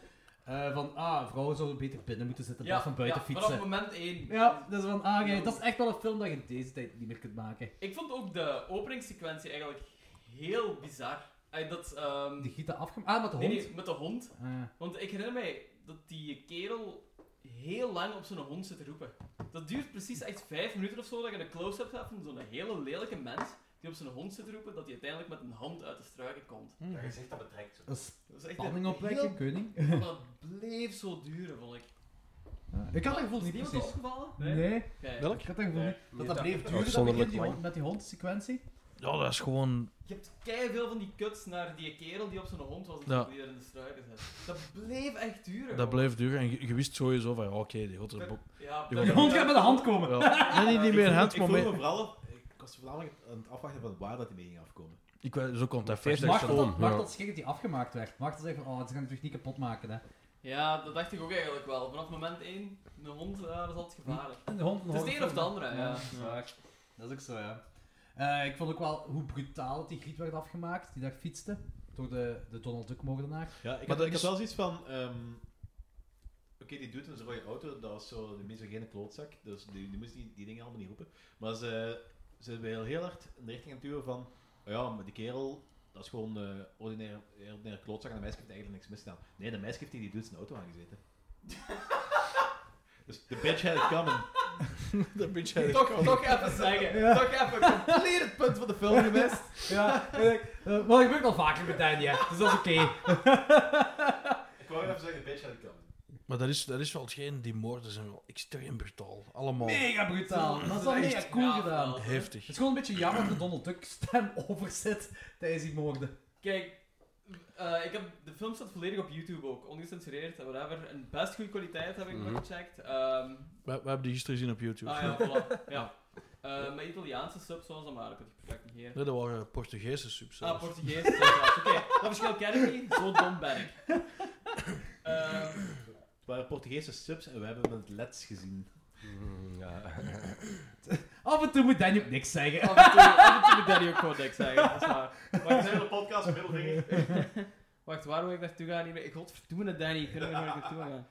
Speaker 6: eh, van ah, vrouwen zouden beter binnen moeten zitten in plaats van buiten
Speaker 3: ja,
Speaker 6: fietsen.
Speaker 3: Vanaf moment 1.
Speaker 6: Ja, dat is van, ah, oké, dat is echt wel een film dat je in deze tijd niet meer kunt maken.
Speaker 3: Ik vond ook de openingssequentie eigenlijk heel bizar. Ey, dat, ehm,
Speaker 6: Die Griet dat afgem... Ah, met de
Speaker 3: nee,
Speaker 6: hond.
Speaker 3: nee, met de hond.
Speaker 6: Ah.
Speaker 3: Want ik herinner mij dat die kerel heel lang op zijn hond zit te roepen. Dat duurt precies echt vijf minuten of zo dat je een close-up hebt van zo'n hele lelijke mens die op zijn hond zit te roepen, dat hij uiteindelijk met een hand uit de struiken komt.
Speaker 5: Ja, je zegt dat betrekt.
Speaker 6: Dat is
Speaker 3: Dat is echt
Speaker 6: Hm. spanning
Speaker 3: een
Speaker 6: opwekken,
Speaker 3: heel-
Speaker 6: koning.
Speaker 3: Maar Dat bleef zo duren, vond ik.
Speaker 6: Ja, Ik had dat gevoel
Speaker 3: Is
Speaker 6: Eh, niet
Speaker 3: iemand
Speaker 6: precies.
Speaker 3: opgevallen?
Speaker 6: Nee,
Speaker 3: Oké.
Speaker 6: ik had dat gevoel
Speaker 7: Nee.
Speaker 6: niet. Dat dat bleef duren, dat
Speaker 7: Uitzonderlijk
Speaker 6: begin, die
Speaker 7: lang.
Speaker 6: hond, met die hondsequentie.
Speaker 9: Ja, dat is gewoon...
Speaker 3: Je hebt veel van die kuts naar die kerel die op zijn hond was en
Speaker 9: Ja.
Speaker 3: die er in de struiken zit. Dat bleef echt duren.
Speaker 9: Dat
Speaker 3: gewoon.
Speaker 9: bleef duur. En je, je wist sowieso van, ja, oké, die gaat er...
Speaker 3: Dat-
Speaker 9: bo-
Speaker 3: Ja,
Speaker 9: Die
Speaker 3: dat-
Speaker 6: Die hond gaat met de hand komen.
Speaker 9: Ja. Nee, niet, niet meer hand,
Speaker 5: ik
Speaker 9: maar
Speaker 5: voel
Speaker 9: meer...
Speaker 5: me vooral... Ik was voornamelijk aan het afwachten van waar dat die mee ging afkomen.
Speaker 9: Ik weet, zo komt dat
Speaker 7: Eerst
Speaker 9: verder.
Speaker 6: Martel,
Speaker 7: dat gewoon,
Speaker 6: dat,
Speaker 7: ja.
Speaker 6: Martel schrik dat die afgemaakt werd. Martel zegt van, oh, ze gaan het terug niet kapot maken, hè.
Speaker 3: Ja, dat dacht ik ook eigenlijk wel. Vanaf moment 1, een hond, eh, dat is altijd gevaarlijk.
Speaker 6: En de hond
Speaker 3: Het is de een of de andere, ja.
Speaker 6: Dat is ook zo, ja. Eh, ik vond ook wel hoe brutaal die griet werd afgemaakt, die daar fietste, door de, de Donald Duck-moordenaar.
Speaker 5: Ja, ik,
Speaker 9: Maar
Speaker 5: had,
Speaker 9: dat
Speaker 5: ik had
Speaker 9: is-
Speaker 5: wel zoiets van... ehm, Oké, die doet een rode auto, dat was zo de misogene klootzak, dus die, die moest die, die dingen allemaal niet roepen. Maar ze, ze zijn heel, heel hard in de richting aan het duwen van, oh ja, maar die kerel, dat is gewoon eh ordinair, ordinair klootzak en de meisje heeft eigenlijk niks misdaan. Nee, de meisje heeft die, die doet zijn auto aangezeten. dus de bitch had it coming.
Speaker 9: Dat beetje eigenlijk
Speaker 3: Toch, toch even zeggen.
Speaker 6: Ja.
Speaker 3: Toch even.
Speaker 5: Compleet het punt van de film gemist.
Speaker 6: Ja, eh, maar dat gebeurt al vaker met Danny, hè. Dus dat is oké.
Speaker 5: Ik wou even zeggen, de bitch had it coming.
Speaker 9: Maar dat is, dat is wel hetgeen, die moorden zijn wel extreem brutaal. Allemaal
Speaker 6: Mega brutaal. Dat is wel mega cool
Speaker 3: Ja,
Speaker 6: gedaan.
Speaker 3: wel.
Speaker 9: heftig.
Speaker 6: Het is gewoon een beetje jammer dat de Donald Duck-stem over zit tijdens die moorden.
Speaker 3: Kijk, eh, ik heb, de film staat volledig op YouTube ook, ongecensureerd en whatever. En best goede kwaliteit heb ik nog
Speaker 7: Mhm.
Speaker 3: gecheckt. Ehm,
Speaker 9: We, we hebben die gisteren gezien op YouTube.
Speaker 3: ah ja, voilà. Ja. Eh, met Italiaanse subs was dat maar, ik heb het perfect niet hier.
Speaker 9: Nee, dat waren Portugese subs.
Speaker 3: Ah,
Speaker 9: zelfs.
Speaker 3: Portugees. subs, Oké, dat verschil ken ik niet, zo dom ben ik. Ehm,
Speaker 5: Het waren Portugese subs en we hebben het lets gezien.
Speaker 7: Mm, ja.
Speaker 6: Af en toe moet Danny ook niks zeggen.
Speaker 3: af en toe, af en toe moet Danny ook gewoon niks zeggen, dat is waar. Maar ik
Speaker 5: zijn de podcast, middelvinger.
Speaker 3: Wacht, waar wil ik naartoe gaan? Ik godverdomme het, Danny. Ik weet niet meer waar ik naartoe ga.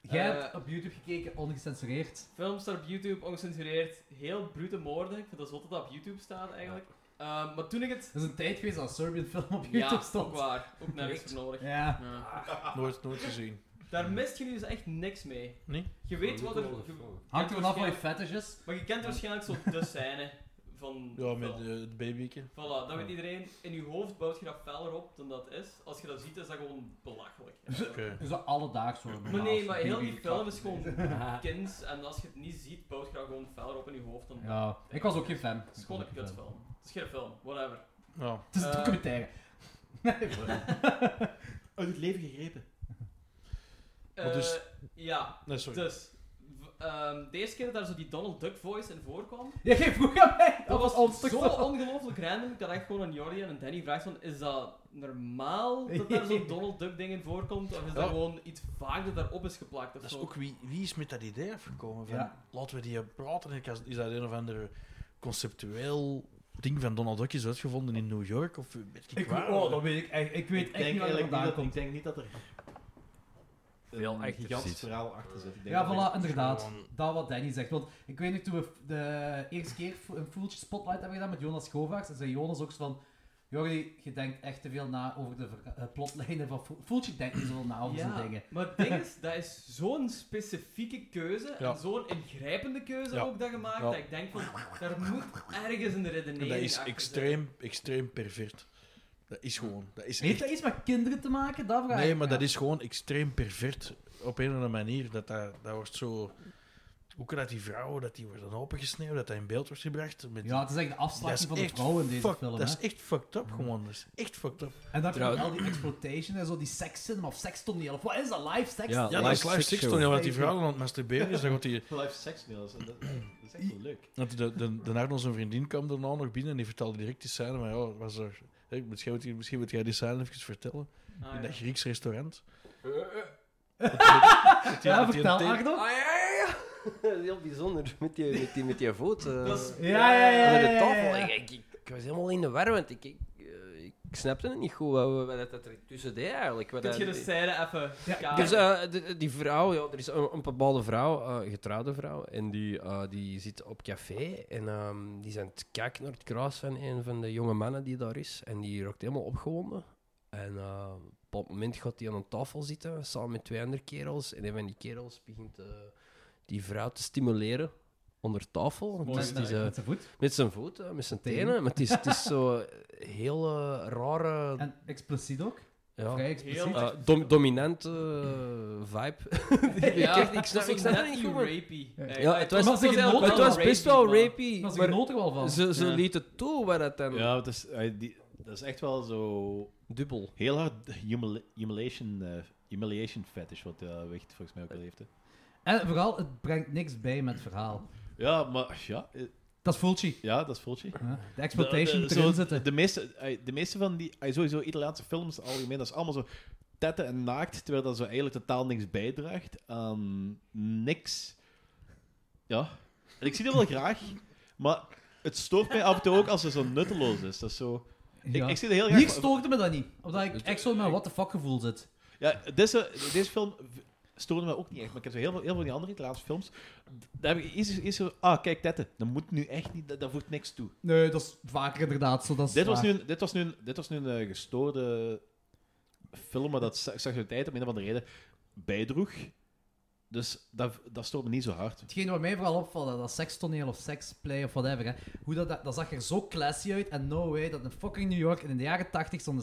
Speaker 6: Jij
Speaker 3: Eh,
Speaker 6: hebt op YouTube gekeken, ongecensureerd.
Speaker 3: Film staat op YouTube, ongecensureerd. Heel brute moorden. Ik vind dat zot dat dat op YouTube staat, eigenlijk. Ehm, maar toen ik het...
Speaker 6: Dat is een tijd geweest dat een Serbian film op YouTube
Speaker 3: Ja, ook
Speaker 6: stond.
Speaker 3: waar. Ook nergens voor nodig.
Speaker 6: Ja.
Speaker 3: Ja.
Speaker 9: Nooit, nooit gezien.
Speaker 3: Daar mist je nu dus echt niks mee.
Speaker 9: Nee?
Speaker 3: Je
Speaker 9: Oh,
Speaker 3: weet wat er... je- je
Speaker 6: Hangt er
Speaker 3: kent
Speaker 6: vanaf van je
Speaker 3: waarschijnlijk-
Speaker 6: fetish is.
Speaker 3: Maar je kent waarschijnlijk zo de scène van...
Speaker 9: Ja, met
Speaker 3: van-
Speaker 9: eh, het babyke.
Speaker 3: Voilà, dat weet iedereen. In je hoofd bouwt je dat feller op dan dat is. Als je dat ziet, is dat gewoon belachelijk.
Speaker 6: Dus dat alledaags worden.
Speaker 3: Maar nee, maar heel die
Speaker 6: die
Speaker 3: film is gewoon kinds. En als je het niet ziet, bouwt je dat gewoon feller op in je hoofd dan
Speaker 6: Ja, ik was ook geen fan.
Speaker 3: Het is gewoon een kutfilm. Het is geen film, whatever.
Speaker 9: Ja.
Speaker 6: Het is een
Speaker 3: Eh,
Speaker 6: documentaire.
Speaker 5: Uit het leven gegrepen.
Speaker 9: Maar dus-
Speaker 3: Eh, ja,
Speaker 9: Nee, sorry.
Speaker 3: dus. v- ehm, deze keer dat daar zo die Donald Duck voice in voorkwam,
Speaker 6: Ja, jij vroeg aan mij.
Speaker 3: dat was
Speaker 6: ons
Speaker 3: zo ongelooflijk random. Ik had echt gewoon aan Jordi en aan Danny vragen van, is dat normaal dat daar zo'n Donald Duck ding in voorkomt? Of is dat
Speaker 9: Ja.
Speaker 3: gewoon iets vaag dat daarop is geplakt of
Speaker 9: Dat is
Speaker 3: zo?
Speaker 9: ook wie, wie is met dat idee afgekomen? Van,
Speaker 6: Ja.
Speaker 9: Laten we die praten. Ik was- Is dat een of ander conceptueel ding van Donald Duck is uitgevonden in New York? Of weet ik
Speaker 6: Ik,
Speaker 9: waar?
Speaker 6: oh, dat weet ik echt. Ik weet
Speaker 5: Ik
Speaker 6: echt
Speaker 5: denk
Speaker 6: niet waar dat
Speaker 5: eigenlijk niet
Speaker 6: vandaan
Speaker 5: dat,
Speaker 6: komt.
Speaker 5: ik denk niet dat er
Speaker 7: Veel
Speaker 5: een
Speaker 7: achter
Speaker 5: gigantisch
Speaker 7: zit.
Speaker 5: verhaal achter zit. Ik denk
Speaker 6: Ja,
Speaker 5: dat
Speaker 6: voilà, inderdaad.
Speaker 9: gewoon-
Speaker 6: Dat wat Danny zegt. Want ik weet nog, toen we de eerste keer vo- een voeltje spotlight hebben gedaan met Jonas Schovaerts, en zei Jonas ook zo van... Jordi, je denkt echt te veel na over de ver- eh, plotlijnen van Vo- Voeltje. denkt niet zoveel na over zijn dingen.
Speaker 3: maar het ding is, dat is zo'n specifieke keuze
Speaker 9: Ja.
Speaker 3: en zo'n ingrijpende keuze
Speaker 9: Ja.
Speaker 3: ook dat gemaakt,
Speaker 9: Ja.
Speaker 3: dat ik denk van, daar moet ergens een redenering
Speaker 9: dat is
Speaker 3: achter
Speaker 9: extreem, extreem pervert. Dat is gewoon. Dat is
Speaker 6: Heeft
Speaker 9: echt-
Speaker 6: dat iets met kinderen te maken? Dat vraag
Speaker 9: nee,
Speaker 6: ik
Speaker 9: maar
Speaker 6: me
Speaker 9: dat is gewoon extreem pervert. Op een of andere manier. Dat, dat, dat wordt zo. Hoe kan dat die vrouwen, dat die worden opengesneeuwd, dat dat in beeld wordt gebracht? Met
Speaker 6: af. Ja, het is echt de afslachting van de vrouw in deze
Speaker 9: fuck-
Speaker 6: film.
Speaker 9: Dat
Speaker 6: hè.
Speaker 9: is echt fucked up gewoon. Dat is echt fucked up.
Speaker 6: En dan
Speaker 7: Trouw-
Speaker 6: komt al die exploitation en zo, die sekscinema of sekstoniel. Of wat is dat? Live sekstoniel?
Speaker 7: Ja,
Speaker 9: Ja, dat is
Speaker 7: live
Speaker 9: live
Speaker 7: sex
Speaker 9: six
Speaker 7: show.
Speaker 9: toneel, want die vrouw aan het masturberen is. Dan gaat die,
Speaker 5: live sex mails. Dat, dat is echt wel leuk.
Speaker 9: want de, de, de Arno, zijn vriendin, kwam daarna nog binnen en die vertelde direct die scène. Maar ja, was er, hè, misschien, moet je- misschien moet jij die scène even vertellen.
Speaker 3: zit. Ah,
Speaker 9: In
Speaker 3: ja.
Speaker 9: dat Grieks restaurant.
Speaker 6: Ja, vertel, Arno.
Speaker 7: Ah, ja, ja, ja. Heel bijzonder, met die, met die, met die voet. eh,
Speaker 3: Dat is-
Speaker 6: Ja, ja, ja,
Speaker 7: onder
Speaker 6: ja,
Speaker 7: de
Speaker 6: ja,
Speaker 7: tafel.
Speaker 6: ja.
Speaker 7: Ik, ik, ik was helemaal in de war, want ik, ik, eh, ik snapte het niet goed wat, wat dat- dat er tussen deed eigenlijk. Wat
Speaker 3: Kun je de
Speaker 7: dat-
Speaker 3: scène even... kaderen?
Speaker 7: Dus eh, de- die vrouw, ja, er is een, een bepaalde vrouw, eh, getrouwde vrouw, en die, eh, die zit op café en ehm, die zijn te kijken naar het kruis van een van de jonge mannen die daar is. En die raakt helemaal opgewonden. En eh, op dat moment gaat hij aan een tafel zitten, samen met twee andere kerels. En een van die kerels begint eh, die vrouw te stimuleren onder tafel.
Speaker 3: Mooi,
Speaker 7: Het
Speaker 6: Dus
Speaker 7: is- het is, eh,
Speaker 6: Met zijn voet.
Speaker 7: met zijn voeten, met zijn
Speaker 6: Tenen.
Speaker 7: tenen. Maar het is, het is zo heel eh, rare...
Speaker 6: En expliciet ook.
Speaker 7: ja.
Speaker 6: Vrij expliciet.
Speaker 7: Eh, dom- dominante eh, vibe.
Speaker 3: Ja,
Speaker 7: ik, ik snap,
Speaker 3: dat is
Speaker 7: ik snap
Speaker 3: net
Speaker 7: het niet
Speaker 3: die
Speaker 7: goed, man.
Speaker 3: rapey.
Speaker 6: Ja,
Speaker 3: Eh,
Speaker 7: Ja, het was,
Speaker 6: was
Speaker 7: het was,
Speaker 6: een
Speaker 7: eigenlijk- het
Speaker 6: nood-
Speaker 7: was best wel
Speaker 3: maar-
Speaker 7: rapey,
Speaker 6: Daar was ik
Speaker 7: maar
Speaker 6: genoten wel van.
Speaker 7: ze, ze
Speaker 3: Ja.
Speaker 7: lieten toe waar het dan
Speaker 5: Ja, het is, eh, die, dat is echt wel zo
Speaker 7: dubbel.
Speaker 5: heel hard humili- humiliation, eh, humiliation fetish, wat eh Wicht volgens mij ook al heeft. hè.
Speaker 6: En vooral, het brengt niks bij met het verhaal.
Speaker 5: Ja, maar ja, eh,
Speaker 6: Dat is Fulci.
Speaker 5: ja dat is Fulci.
Speaker 6: Ja, De exploitation moet
Speaker 5: De- de-
Speaker 6: erin
Speaker 5: Eh, zo,
Speaker 6: zitten.
Speaker 5: De meeste, eh, de meeste van die, eh, sowieso Italiaanse films algemeen, dat is allemaal zo tetten en naakt, terwijl dat zo eigenlijk totaal niks bijdraagt aan niks. Ja. En ik zie dat wel graag, maar het stoort mij af en toe ook als ze zo nutteloos is. Dat is zo... Ik,
Speaker 6: Ja.
Speaker 5: ik zie dat heel graag... Dus-
Speaker 6: Hier stoorde me dat niet. Omdat ik echt zo met een what the fuck gevoel zit.
Speaker 5: Ja, deze, deze film v- stoorde mij ook niet echt, maar ik heb zo heel veel, heel veel van die andere Italiaanse films, daar heb ik eerst, eerst zo... Ah, kijk, tetten. Dat moet nu echt niet... Dat, dat voegt niks toe.
Speaker 6: Nee, dat is vaker inderdaad zo. Dat is
Speaker 5: Dit was,
Speaker 6: waar.
Speaker 5: nu een, dit, was nu een, dit was nu een eh, gestoorde film, maar dat straks de tijd om een of andere reden bijdroeg. Dus dat, dat stoort me niet zo hard.
Speaker 6: Hetgeen wat mij vooral opvalt, hè, dat sekstoneel of seksplay of whatever, hè, hoe dat, dat, dat zag er zo classy uit. En no way dat in fucking New York in de jaren 80 zo'n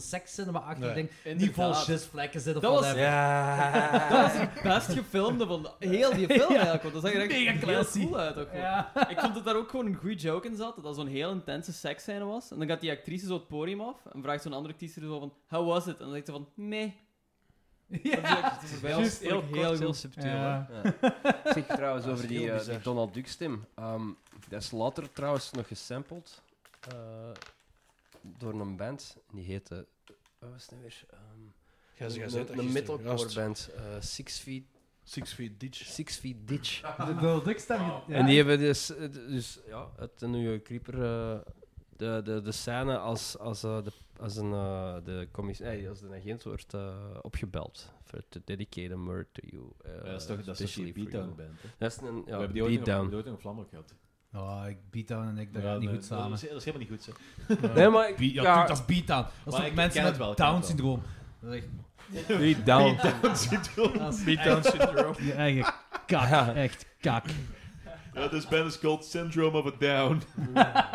Speaker 9: Nee,
Speaker 6: sekscinema-achtig ding niet vol
Speaker 3: inderdaad.
Speaker 6: shitsvlekken zit of
Speaker 3: Dat was-
Speaker 6: whatever.
Speaker 3: Dat was het best gefilmde van heel die film eigenlijk, want dat zag er echt
Speaker 6: Mega
Speaker 3: heel
Speaker 6: classy.
Speaker 3: cool uit. Ook gewoon.
Speaker 6: Ja.
Speaker 3: Ik vond dat daar ook gewoon een goede joke in zat, dat dat zo'n heel intense seksscène was. En dan gaat die actrice zo het podium af en vraagt zo'n andere actrice zo van, how was it? En dan zegt ze van, meh.
Speaker 6: Ja.
Speaker 3: Dat is- dat is voorbij.
Speaker 6: Juist,
Speaker 3: Dat vond ik heel goed.
Speaker 7: subtiel.
Speaker 6: Ja.
Speaker 7: hè. Ja. Zeg trouwens
Speaker 9: Dat is
Speaker 7: over die,
Speaker 9: heel
Speaker 7: eh,
Speaker 9: bizar.
Speaker 7: die Donald Duck stem. Ehm, dat is later trouwens nog gesampled eh, door een band. Die heette... Wat was het nou weer? Ehm,
Speaker 9: Ga ze gaan
Speaker 7: een-
Speaker 9: zitten.
Speaker 7: een metalcore band. eh, six, feet,
Speaker 9: Six Feet Ditch.
Speaker 7: six Feet Ditch.
Speaker 6: De Donald Duck stem. ja.
Speaker 7: En die hebben dus, eh, dus ja, het New York Creeper, eh, de, de, de scène als, als, eh, de, als, een, eh, de commis, nee, als de agent wordt eh, opgebeld. For to dedicate a murder to you. eh,
Speaker 5: dat is toch, dat is toch
Speaker 7: especially
Speaker 5: die
Speaker 7: for
Speaker 5: beatdown
Speaker 7: you.
Speaker 5: band, hè?
Speaker 7: Dat is een
Speaker 5: We
Speaker 7: ja,
Speaker 5: hebben die ooit nog-
Speaker 7: beatdown.
Speaker 5: die ooit nog een vlammer gehad.
Speaker 6: Oh, ik beatdown en ik, dat
Speaker 5: Ja,
Speaker 6: gaat niet
Speaker 5: nee,
Speaker 6: goed
Speaker 5: Dat
Speaker 6: samen.
Speaker 5: is, dat is helemaal niet goed, hè.
Speaker 7: Nee, maar ik-
Speaker 6: Beat- ja,
Speaker 7: ja,
Speaker 6: tuurlijk, dat is beatdown. Dat is
Speaker 5: Maar
Speaker 6: toch
Speaker 5: ik
Speaker 6: mensen
Speaker 5: ken het
Speaker 6: met
Speaker 5: wel, ik ken het wel.
Speaker 6: Down-syndroom. Dat is echt-
Speaker 7: beatdown.
Speaker 6: dat is
Speaker 9: Beatdown syndrome.
Speaker 6: echt- je eigen kak. Echt kak.
Speaker 5: Ja, this band is called Syndrome of a Down.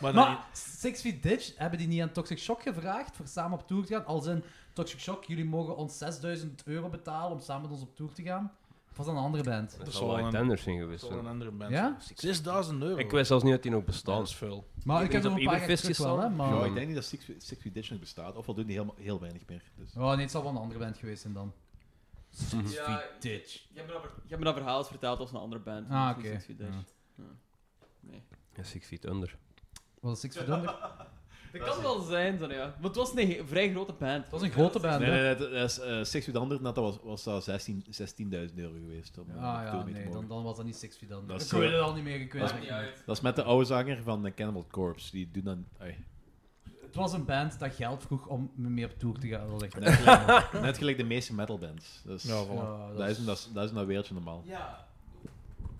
Speaker 9: Maar, dan-
Speaker 6: Maar Six Feet Ditch, hebben die niet aan Toxic Shock gevraagd voor samen op tour te gaan? Als in Toxic Shock, jullie mogen ons 6000 euro betalen om samen met ons op tour te gaan. Of was dat een andere band?
Speaker 7: Dat
Speaker 9: Dat
Speaker 7: zal
Speaker 9: zal
Speaker 7: wel
Speaker 9: een-
Speaker 7: iets anders zijn
Speaker 9: dat
Speaker 7: geweest.
Speaker 9: zal een
Speaker 7: hoor.
Speaker 9: andere band.
Speaker 6: Ja?
Speaker 9: 6000 euro.
Speaker 7: Ik wist zelfs niet dat die nog
Speaker 9: dat
Speaker 7: bestond.
Speaker 9: is veel.
Speaker 6: Maar ik heb
Speaker 7: Iedereen
Speaker 6: er
Speaker 7: op
Speaker 6: een paar
Speaker 7: iedereen
Speaker 6: keer terug wel, hè.
Speaker 7: gestaan?
Speaker 6: Maar...
Speaker 5: Ja,
Speaker 7: Ja.
Speaker 5: ik denk niet dat Six Feet, Six Feet Ditch nog bestaat, ofwel doen die helemaal, heel weinig meer. Dus.
Speaker 6: Oh nee, het zal wel een andere band geweest zijn dan.
Speaker 3: Ja,
Speaker 6: Sweet ditch.
Speaker 3: Je hebt me dat, ver- je hebt me dat verhaal eens verteld als een andere band.
Speaker 6: Ah,
Speaker 3: dus
Speaker 6: oké.
Speaker 3: Six Feet Dish.
Speaker 6: Ja.
Speaker 3: Ja. Nee.
Speaker 7: Ja, Six Feet Under.
Speaker 6: Was het Six Feet Under?
Speaker 3: Dat kan wel zijn, zo, ja. Maar het was een he- vrij grote band.
Speaker 6: Dat was een grote band,
Speaker 5: Nee,
Speaker 6: hè?
Speaker 5: nee, nee, dat is eh, Six Feet Under, net dat was, was dat 16 16.000 euro geweest. Om, eh,
Speaker 6: Ah
Speaker 5: veel
Speaker 6: ja,
Speaker 5: mee te
Speaker 6: nee,
Speaker 5: mogen.
Speaker 6: dan, dan was dat niet Six Feet Under.
Speaker 5: Dat is,
Speaker 6: ik weet
Speaker 5: eh,
Speaker 6: het al niet meer, ik weet
Speaker 5: dat
Speaker 6: het
Speaker 5: is-
Speaker 3: Maakt
Speaker 6: niet
Speaker 3: niet
Speaker 6: meer.
Speaker 3: uit.
Speaker 5: Dat is met de oude zanger van eh, Cannibal Corpse. Die doen dan... ai,
Speaker 6: Het was een band dat geld vroeg om mee op tour te gaan. Dat was echt-
Speaker 5: net, gelijk, net gelijk de meeste metalbands. Dus,
Speaker 9: Ja, voilà.
Speaker 6: Ja,
Speaker 5: dat, is, een- dat, is, dat is een wereldje normaal.
Speaker 3: Ja.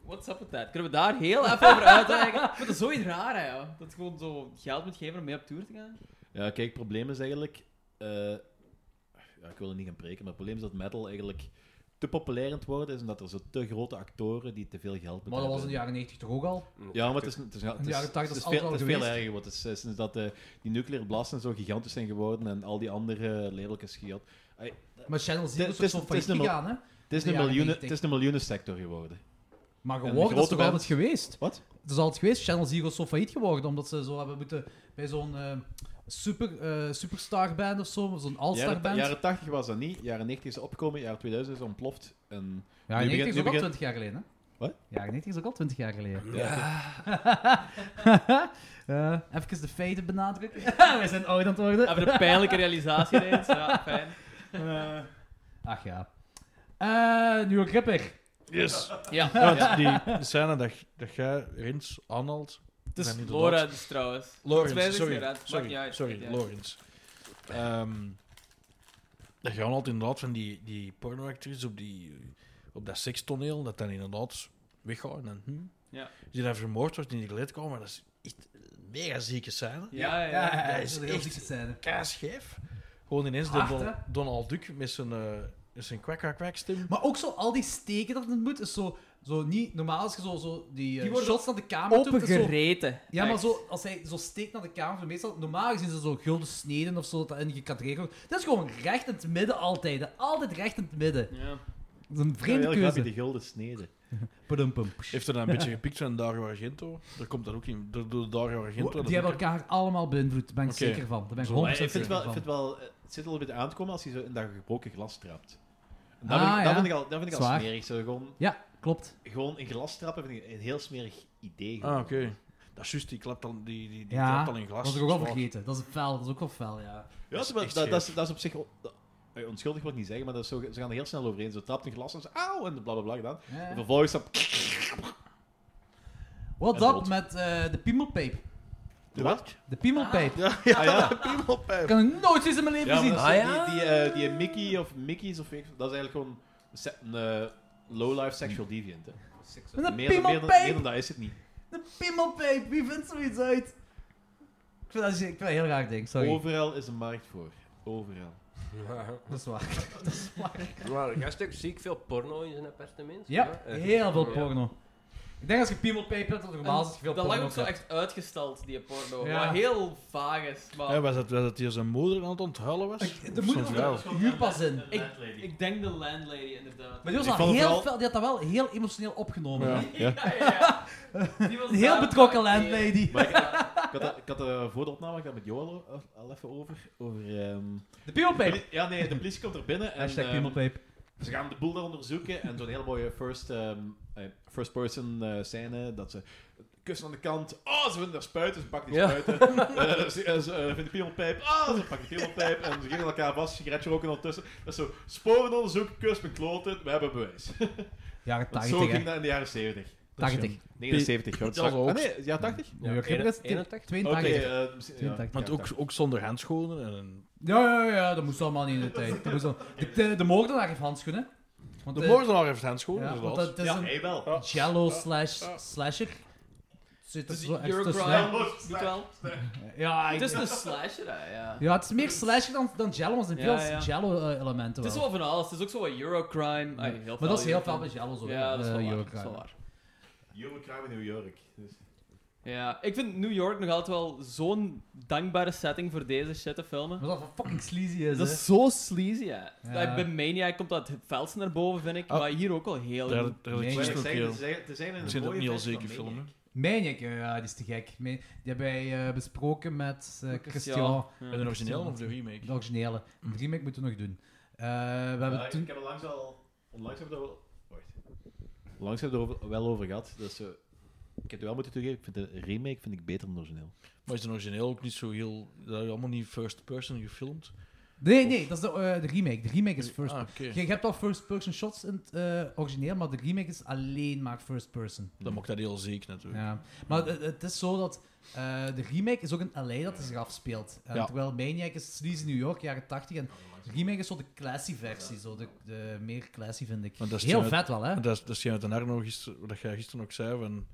Speaker 3: What's up with that? Kunnen we daar heel even over uitleggen? Ik vind dat zoiets raar, hè, joh. Dat je gewoon zo geld moet geven om mee op tour te gaan.
Speaker 5: Ja, kijk, het probleem is eigenlijk... eh, ja, ik wil er niet gaan preken, maar het probleem is dat metal eigenlijk te populair aan het worden is, omdat er zo te grote actoren die te veel geld
Speaker 6: Maar
Speaker 5: betalen.
Speaker 6: dat was in de jaren 90 toch ook al?
Speaker 5: Ja, maar het is, het is, het
Speaker 6: In de
Speaker 5: is,
Speaker 6: jaren
Speaker 5: het is,
Speaker 6: 80 is altijd
Speaker 5: veel, het
Speaker 6: al
Speaker 5: is veel
Speaker 6: geweest.
Speaker 5: erger geworden. Het is, eh, sinds dat eh, die nucleaire blasten zo gigantisch zijn geworden en al die andere lelijkjes gejat.
Speaker 6: Maar Channel
Speaker 5: Het
Speaker 6: Zero
Speaker 5: is-
Speaker 6: is ook zo
Speaker 5: het is
Speaker 6: failliet
Speaker 5: nummer-
Speaker 6: gegaan, hè?
Speaker 5: Het is,
Speaker 6: In de
Speaker 5: een
Speaker 6: jaren
Speaker 5: miljoenen,
Speaker 6: 90.
Speaker 5: het is een miljoenensector geworden.
Speaker 6: Maar
Speaker 5: de
Speaker 6: geworden, dat is
Speaker 5: grote
Speaker 6: toch
Speaker 5: band-
Speaker 6: altijd geweest?
Speaker 5: Wat?
Speaker 6: Het is altijd geweest. Channel Zero is zo failliet geworden, omdat ze zo hebben moeten... Bij zo'n eh super, eh superstarband of zo, zo'n
Speaker 5: Jaren,
Speaker 6: all-starband.
Speaker 5: jaren 80 was dat niet, jaren 90 is opgekomen, jaren 2000 is ontploft. En
Speaker 6: Ja,
Speaker 5: Nu
Speaker 6: 90
Speaker 5: begint-
Speaker 6: is
Speaker 5: nu
Speaker 6: ook al
Speaker 5: begint-
Speaker 6: 20 jaar geleden, hè?
Speaker 5: Wat?
Speaker 6: Ja, 90 is ook al 20 jaar geleden.
Speaker 5: ja,
Speaker 6: Eh, even de feiten benadrukken. Wij zijn oud aan het worden.
Speaker 3: Even een pijnlijke realisatie ineens. Ja, fijn.
Speaker 6: Eh, Ach ja. Eh New York Ripper.
Speaker 9: Yes.
Speaker 3: Ja.
Speaker 9: Ja, die scène dat, dat jij Rins aanhaalt.
Speaker 3: Het is
Speaker 9: zijn inderdaad-
Speaker 3: Lorens, Dus trouwens. Het is
Speaker 9: Lorens,
Speaker 3: vijftig
Speaker 9: sorry.
Speaker 3: jaar, het maakt niet
Speaker 9: Sorry,
Speaker 3: uit, maakt
Speaker 9: sorry
Speaker 3: niet uit.
Speaker 9: Lorens. Ehm dat gaan altijd inderdaad van die, die pornoactrice op, die, op dat sekstoneel, dat dan inderdaad weggaan en hm,
Speaker 3: Ja.
Speaker 9: die dan vermoord wordt in die kleedkamer. Dat is echt een mega zieke scène.
Speaker 3: Ja, ja, ja.
Speaker 9: dat
Speaker 6: is
Speaker 9: is
Speaker 6: een heel
Speaker 9: echt-
Speaker 6: zieke scène.
Speaker 9: Kaascheef. Gewoon ineens
Speaker 6: Hard,
Speaker 9: de Don-
Speaker 6: hè?
Speaker 9: Donald Duck met zijn, eh met zijn kwak kwak kwak stem.
Speaker 6: Maar ook zo al die steken dat het moet, is zo, zo niet... Normaal als je zo, zo die, eh,
Speaker 3: Die worden
Speaker 6: shots naar de kamer doet, is zo-
Speaker 3: Opengereten.
Speaker 6: Ja, maar
Speaker 3: Echt.
Speaker 6: zo, als hij zo steekt naar de kamer, zo meestal, normaal gezien zijn ze zo gulden sneden of zo, dat dat in gekadreerd wordt. Dat is gewoon recht in het midden altijd. hè. Altijd recht in het midden.
Speaker 3: Ja.
Speaker 6: Dat is een vreemde
Speaker 5: heel grappig,
Speaker 6: keuze.
Speaker 5: die gulden sneden.
Speaker 6: Padum-pum.
Speaker 9: Heeft er dan een beetje gepikt van Dario Argento. Daar komt dat ook in. Door, door Dario Argento. dat
Speaker 6: Die hebben
Speaker 9: ook-
Speaker 6: elkaar allemaal beïnvloed, daar ben ik
Speaker 9: Oké.
Speaker 6: zeker van. Daar ben ik 100%
Speaker 5: Maar ik
Speaker 6: zeker
Speaker 5: vind het wel, ik
Speaker 6: van.
Speaker 5: vind het wel, eh, het zit al een beetje aan te komen als je zo in dat gebroken glas trapt. En Dat,
Speaker 6: Ah,
Speaker 5: vind
Speaker 6: ja.
Speaker 5: ik, dat vind ik al, dat vind ik al
Speaker 6: Zwaar.
Speaker 5: smerig. Zo, gewoon,
Speaker 6: Ja, klopt.
Speaker 5: gewoon in glas trappen vind ik een heel smerig idee.
Speaker 9: Ah,
Speaker 5: gewoon.
Speaker 9: oké. Dat is juist, die klapt al, die, die, die
Speaker 6: Ja,
Speaker 9: klapt al in glas.
Speaker 6: Dat was ik ook al
Speaker 9: Zwaar.
Speaker 6: vergeten. Dat is fel, dat is ook wel fel, ja.
Speaker 5: Ja,
Speaker 9: Dat is
Speaker 5: dat,
Speaker 9: echt
Speaker 5: dat, dat, is, dat is op zich... on- dat- eh, onschuldig wil ik niet zeggen, maar dat is zo, ze gaan er heel snel overheen. Ze trapt een glas en ze... Auw! En bla bla bla gedaan. En
Speaker 6: Eh,
Speaker 5: vervolgens dan...
Speaker 6: What's
Speaker 5: en
Speaker 6: up
Speaker 5: dood.
Speaker 6: met eh, de piemelpijp?
Speaker 5: De wat?
Speaker 6: De piemelpijp.
Speaker 9: Ja, ja, ja.
Speaker 5: Ah, ja.
Speaker 6: Dat kan ik nooit eens in mijn leven
Speaker 5: Ja, maar
Speaker 6: zien.
Speaker 5: dat is,
Speaker 7: Ah,
Speaker 5: eh,
Speaker 7: ja.
Speaker 5: Die, die, eh, die Mickey of Mickey's of... weet ik- Dat is eigenlijk gewoon een se- een eh, low-life sexual deviant. Hè.
Speaker 6: Met een
Speaker 5: Meer, dan- meer, dan, meer dan
Speaker 6: piemelpijp!
Speaker 5: dat is het niet.
Speaker 6: Een piemelpijp, wie vindt zoiets uit? Ik vind dat, ik vind dat een heel raar ding, sorry.
Speaker 5: Overal is een markt voor. Overal.
Speaker 6: Dat is waar.
Speaker 7: Maar gastuk zie ik veel porno in zijn appartement.
Speaker 6: Ja, heel veel
Speaker 7: Ja.
Speaker 6: porno. Ik denk als je piemelpijp hebt, dat er normaal is dat je veel
Speaker 3: dat
Speaker 6: porno
Speaker 3: lag ook zo
Speaker 6: hebt.
Speaker 3: echt uitgesteld, die porno.
Speaker 6: Ja.
Speaker 3: Wat heel vaag is. Maar
Speaker 9: Ja, was, dat, was dat hier zijn moeder aan het onthuilen was?
Speaker 6: Er moet
Speaker 9: Zo'n vrouw.
Speaker 6: ook een huurpas in.
Speaker 3: ik, ik denk de landlady, inderdaad.
Speaker 6: Maar die was
Speaker 5: Ik
Speaker 6: al
Speaker 5: vond het
Speaker 6: heel
Speaker 5: wel-
Speaker 6: fel, die had dat wel heel emotioneel opgenomen.
Speaker 9: Ja.
Speaker 6: hè.
Speaker 3: Ja, ja, ja. Die was
Speaker 6: Een heel
Speaker 3: daar-
Speaker 6: betrokken landlady.
Speaker 5: Maar ik, ik had, dat- ik had eh, voor de opname ik had met Joel al, al even over. Over... ehm,
Speaker 6: De piemelpijp.
Speaker 5: poli- ja, nee, de politie komt er binnen en...
Speaker 6: Hashtag
Speaker 5: ehm,
Speaker 6: piemelpijp.
Speaker 5: Ze gaan de boel daar onderzoeken en zo'n hele mooie first, ehm, eh, first person eh, scène. Dat ze kussen aan de kant. Oh, ze vinden daar spuiten. Ze pakken die
Speaker 7: Ja.
Speaker 5: spuiten. Eh, ze eh, ze eh, vinden piemelpijp. Oh, ze pakken die piemelpijp. En ze gingen elkaar vast. Sigaretje roken ondertussen. Dat is zo. Sporenonderzoek, kus met kloten. We hebben bewijs.
Speaker 6: Jaren
Speaker 5: Want zo
Speaker 6: 80, hè.
Speaker 5: ging dat in de jaren 70.
Speaker 6: 80.
Speaker 5: 79, groot
Speaker 9: Dat is ook-
Speaker 5: Ah, nee, ja, 80?
Speaker 6: New York
Speaker 7: Ja,
Speaker 6: Ripper is
Speaker 7: 81?
Speaker 6: 82.
Speaker 5: Oké, eh, misschien- ja.
Speaker 6: 82.
Speaker 9: Want ook, ook zonder handschoenen. En...
Speaker 6: Ja, ja, ja, dat moest allemaal niet in de tijd. Dat moest al... de, de, de moordenaar heeft handschoenen. Want,
Speaker 9: De
Speaker 6: eh,
Speaker 9: moordenaar heeft handschoenen,
Speaker 6: Ja, want
Speaker 9: inderdaad.
Speaker 6: dat het is
Speaker 5: Ja,
Speaker 6: een
Speaker 5: hij wel.
Speaker 6: jello slash slasher. Zit er
Speaker 3: Dus
Speaker 6: zo echt
Speaker 3: Euro
Speaker 6: tussen,
Speaker 3: Crime.
Speaker 6: hè?
Speaker 3: Doet wel.
Speaker 6: Ja, ik-
Speaker 3: Het is dus- een slasher, hè, ja.
Speaker 6: ja, het is meer slasher dan, dan jello, want er zijn
Speaker 3: Ja,
Speaker 6: veel
Speaker 3: ja.
Speaker 6: jello-elementen
Speaker 3: Het is
Speaker 6: wel.
Speaker 3: wel van alles. Het is ook zo wat Eurocrime. Ah, heel
Speaker 6: Maar dat is heel
Speaker 3: Eurocrime.
Speaker 6: veel bij jello zo.
Speaker 3: Ja, dat is
Speaker 6: eh,
Speaker 3: wel waar,
Speaker 6: Eurocrime.
Speaker 3: dat is wel waar.
Speaker 5: Eurocrime in New York. Dus.
Speaker 3: Ja, ik vind New York nog altijd wel zo'n dankbare setting voor deze shit te filmen.
Speaker 6: Maar dat wat fucking sleazy is,
Speaker 3: Dat
Speaker 6: hè.
Speaker 3: is zo sleazy, hè.
Speaker 6: Ja. Oh.
Speaker 3: Bij- Bij Maniac komt dat het veldste naar boven, vind ik.
Speaker 9: Ah.
Speaker 3: Maar hier ook al heel
Speaker 9: Daar,
Speaker 3: goed.
Speaker 9: daar had ik
Speaker 6: Nee,
Speaker 5: Maar
Speaker 9: gisteren
Speaker 5: ik
Speaker 9: ook
Speaker 5: zeg,
Speaker 9: heel...
Speaker 5: het is eigenlijk- het is eigenlijk
Speaker 9: Ik
Speaker 5: een
Speaker 9: zit ook
Speaker 5: mooie
Speaker 9: niet al
Speaker 5: versie
Speaker 9: zeker
Speaker 5: van Maniac.
Speaker 9: filmen.
Speaker 6: Maniac, eh, ja, die is te gek. Meen- Die hebben wij eh, besproken met eh, Christian.
Speaker 3: Ja.
Speaker 9: De origineel of de remake?
Speaker 6: De originele. De remake moeten we nog doen. Eh, we hebben
Speaker 5: Ja,
Speaker 6: toen...
Speaker 5: Ik heb al langs al onlangs hebben we daar wel... Wacht. Onlangs hebben we er over- wel over gehad. Dus, eh, ik heb het wel moeten toegeven. Ik vind de remake vind ik beter dan de origineel.
Speaker 9: Maar is het origineel ook niet zo heel... Dat is allemaal niet first person gefilmd.
Speaker 6: Nee, nee, dat is de, eh, de remake. De remake is first
Speaker 9: Ah,
Speaker 6: person.
Speaker 9: oké.
Speaker 6: Je, je hebt al first person shots in het eh, origineel, maar de remake is alleen maar first person.
Speaker 9: Dan mag dat heel ziek natuurlijk.
Speaker 6: Ja. Maar het, het is zo dat eh, de remake is ook in LA dat het zich afspeelt. Eh,
Speaker 9: Ja.
Speaker 6: Terwijl Maniac is sleazy New York, jaren 80. En de remake is zo de classy versie, zo de, de meer classy vind ik.
Speaker 9: Want dat is
Speaker 6: Heel
Speaker 9: de-
Speaker 6: vet wel, hè?
Speaker 9: En Dat is, dat is uit de nog gisteren, wat jij gisteren ook zei. Van,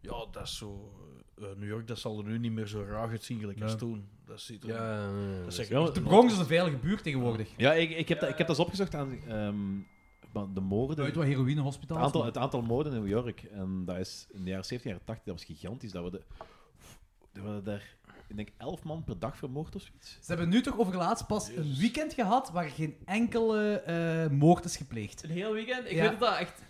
Speaker 9: ja, dat is zo... eh, New York, dat zal er nu niet meer zo raar uitzien gelijk als
Speaker 6: Ja.
Speaker 9: toen. Dat ziet er...
Speaker 7: Ja, eh,
Speaker 9: dat zeg ik.
Speaker 5: Ja,
Speaker 6: De Bronx is een veilige buurt tegenwoordig.
Speaker 5: Ja, ik, ik, heb, dat, ik heb dat eens opgezocht aan ehm, maar de moorden.
Speaker 6: Uit wat
Speaker 5: Het
Speaker 6: heroïnehospitaal. is,
Speaker 5: aantal,
Speaker 6: maar-
Speaker 5: het aantal moorden in New York. En dat is in de jaren 70, jaren 80, dat was gigantisch. Dat we, de, dat we daar, ik denk, elf man per dag vermoord of zoiets.
Speaker 6: Ze hebben nu toch overlaatst pas een weekend gehad waar geen enkele eh, moord is gepleegd.
Speaker 3: Een heel weekend. Ik
Speaker 6: Ja.
Speaker 3: weet dat dat echt,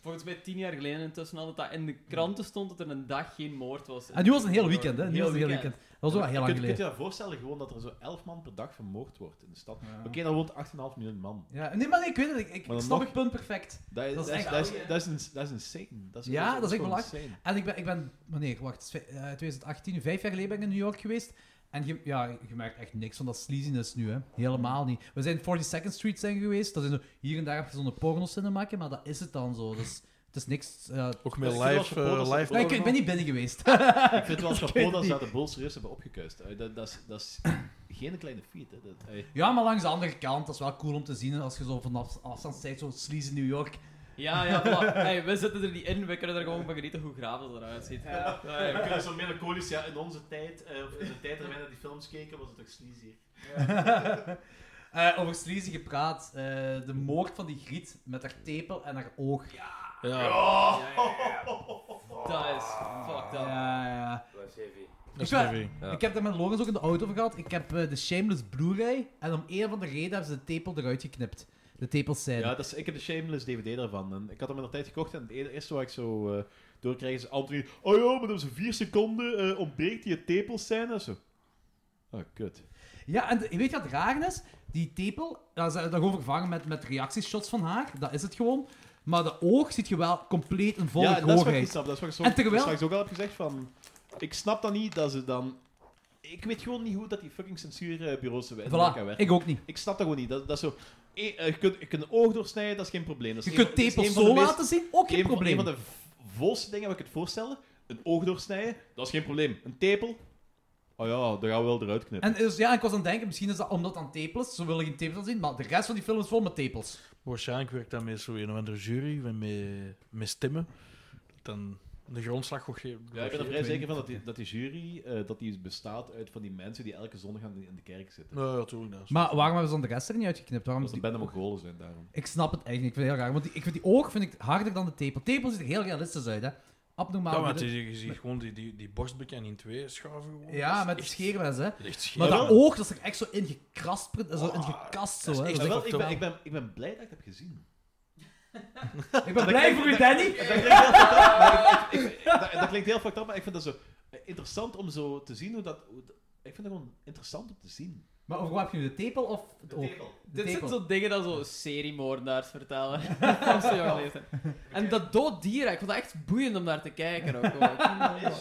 Speaker 3: volgens mij tien jaar geleden intussen al, dat dat in de kranten stond dat er een dag geen moord was.
Speaker 6: En Ah, nu was het een heel weekend, hè? Nu
Speaker 3: Heel
Speaker 6: was het een heel
Speaker 3: weekend.
Speaker 6: weekend. Dat was ook wel heel lang
Speaker 5: Kun je
Speaker 6: geleden.
Speaker 5: je dat voorstellen, gewoon dat er zo elf man per dag vermoord wordt in de stad? Oké, dan woont 8,5 miljoen man.
Speaker 6: Ja, nee, maar nee, ik weet het. Ik, ik
Speaker 5: Maar dan
Speaker 6: snap
Speaker 5: nog-
Speaker 6: het punt perfect.
Speaker 5: Dat is,
Speaker 6: Dat
Speaker 5: dat
Speaker 6: is
Speaker 5: is,
Speaker 6: echt
Speaker 5: dat
Speaker 3: oude,
Speaker 5: is,
Speaker 3: hè?
Speaker 5: dat is, ins- dat is insane. Dat is,
Speaker 6: Ja, dat is echt
Speaker 5: gewoon
Speaker 6: belachelijk.
Speaker 5: insane.
Speaker 6: En ik ben, ik ben wanneer, wacht, het is vij- eh, 2018, vijf jaar geleden ben ik in New York geweest. En je, ja, je merkt echt niks van dat sleaziness nu, hè. Helemaal niet. We zijn 42nd Street zijn geweest. Dat is zo, hier en daar heb je zo'n porno-cinemaatje, maar dat is het dan zo. Dus het is niks... eh,
Speaker 9: Ook met
Speaker 5: Dat is
Speaker 9: live...
Speaker 5: wel
Speaker 9: eh,
Speaker 5: verboden,
Speaker 9: live
Speaker 5: dat
Speaker 6: nee, ik, ik ben niet binnen geweest.
Speaker 5: Ik vind het wel
Speaker 6: weet
Speaker 5: chapeau dat ze
Speaker 6: het
Speaker 5: dat de boel serieus hebben opgekuist. Eh, Dat, dat, is, dat is geen kleine feat. Hè. Dat, eh,
Speaker 6: ja, maar langs de andere kant, dat is wel cool om te zien. Als je zo vanaf afstand zegt, zo sleazy New York.
Speaker 3: Ja, ja, voilà. hey, we zitten er niet in, we kunnen er gewoon van genieten hoe graaf dat eruit ziet. Ja.
Speaker 5: we kunnen zo melancholisch, ja, in onze tijd, eh, of in de tijd dat wij naar die films keken, was het ook sleazy.
Speaker 6: Eh, over sleazy gepraat. eh, de moord van die griet met haar tepel en haar oog.
Speaker 9: Ja,
Speaker 3: Dat is, fuck dat.
Speaker 6: Ja, ja.
Speaker 12: Dat is heavy.
Speaker 9: dat is
Speaker 6: Ik ben-
Speaker 9: heavy.
Speaker 7: Ja.
Speaker 6: Ik heb daar met Logans ook in de auto over gehad. Ik heb eh, de Shameless Blu-ray. En om een van de reden hebben ze de tepel eruit geknipt. De tepels zijn.
Speaker 5: Ja, dat is, ik heb de Shameless DVD daarvan. En ik had hem in de tijd gekocht en het e- eerste waar ik zo eh doorkreeg is Anthony. Oh ja, maar dat is vier seconden eh, ontbreekt die tepels zijn en zo. Oh, kut.
Speaker 6: Ja, en de- weet je wat raar is? Die tepel, ja, ze hebben dat gewoon vervangen met, met reactieshots van haar. Dat is het gewoon. Maar de oog ziet je wel compleet een volle
Speaker 5: ja, dat is wat ik niet
Speaker 6: gehoorheid.
Speaker 5: snap. Dat is wat ik zo,
Speaker 6: En terwijl-
Speaker 5: straks ook al heb gezegd van... Ik snap dat niet dat ze dan... Ik weet gewoon niet hoe dat die fucking censuurbureaus zo werken.
Speaker 6: Voilà, ik ook niet.
Speaker 5: Ik snap dat gewoon niet. Dat, dat is zo... eh, eh, je, kunt, je kunt een oog doorsnijden, dat is geen probleem. Dat is
Speaker 6: Je
Speaker 5: een
Speaker 6: kunt
Speaker 5: van- dat is
Speaker 6: tepels
Speaker 5: een van de
Speaker 6: zo
Speaker 5: meest-
Speaker 6: laten zien, ook geen
Speaker 5: een van-
Speaker 6: probleem.
Speaker 5: Een van de v- volste dingen wat ik het voorstellen. Een oog doorsnijden, dat is geen probleem. Een tepel, oh ja, dat gaan we wel eruit knippen.
Speaker 6: En dus, ja, ik was aan het denken, misschien is dat omdat het aan tepels is. Ze willen geen tepels laten zien, maar de rest van die film is vol met tepels.
Speaker 9: Waarschijnlijk werkt dat met zo een of andere jury, met- met, met stemmen. Dan de grondslag wordt ge-
Speaker 5: ja, ik ben er
Speaker 9: wordt
Speaker 5: vrij
Speaker 9: ge-
Speaker 5: zeker van dat die, dat die jury eh, dat die bestaat uit van die mensen die elke zondag aan de- in de kerk zitten.
Speaker 9: Nou, ja, tuurlijk. Dat is-
Speaker 6: Maar waarom hebben ze dan de rest er niet uitgeknipt? Waarom
Speaker 5: Dat
Speaker 6: is
Speaker 5: ze
Speaker 6: die
Speaker 5: bijna Mongolen zijn daarom.
Speaker 6: Ik snap het eigenlijk. Ik vind het heel raar. Want die, ik vind die oog vind ik harder dan de tepel. Tepel ziet er heel realistisch uit, hè. Abnormaal.
Speaker 9: ja, maar het
Speaker 6: midden-
Speaker 9: is, je ziet gewoon die, die, die borstbekend in twee schaven. Gewoon.
Speaker 6: ja,
Speaker 9: Dat
Speaker 6: met
Speaker 9: is
Speaker 6: die
Speaker 9: echt-
Speaker 6: scheermes, hè.
Speaker 9: dat is echt
Speaker 6: Maar
Speaker 9: scheer.
Speaker 6: dat oog, dat is er echt zo in gekrast, zo in gekast, zo,
Speaker 9: Ah, dat is
Speaker 6: hè.
Speaker 9: echt
Speaker 5: Maar wel, ik,
Speaker 9: October.
Speaker 5: ben, ik, ben, ik ben blij dat ik het heb gezien.
Speaker 6: Dus Ik ben blij voor u, Danny.
Speaker 5: Dat klinkt heel fucked up, maar ik- ik- ik- dat- dat klinkt heel fucked up, maar ik vind dat zo eh, interessant om zo te zien hoe dat... hoe dat- ik vind dat gewoon interessant om te zien.
Speaker 6: Maar over wat heb je nu, de tepel of het oog? De
Speaker 3: Dit zijn
Speaker 6: tepel.
Speaker 3: zo'n dingen dat zo seriemoordenaars vertellen. Van zo jong leeftijd. En dat dood dier, ik vond dat echt boeiend om naar te kijken ook. gewoon.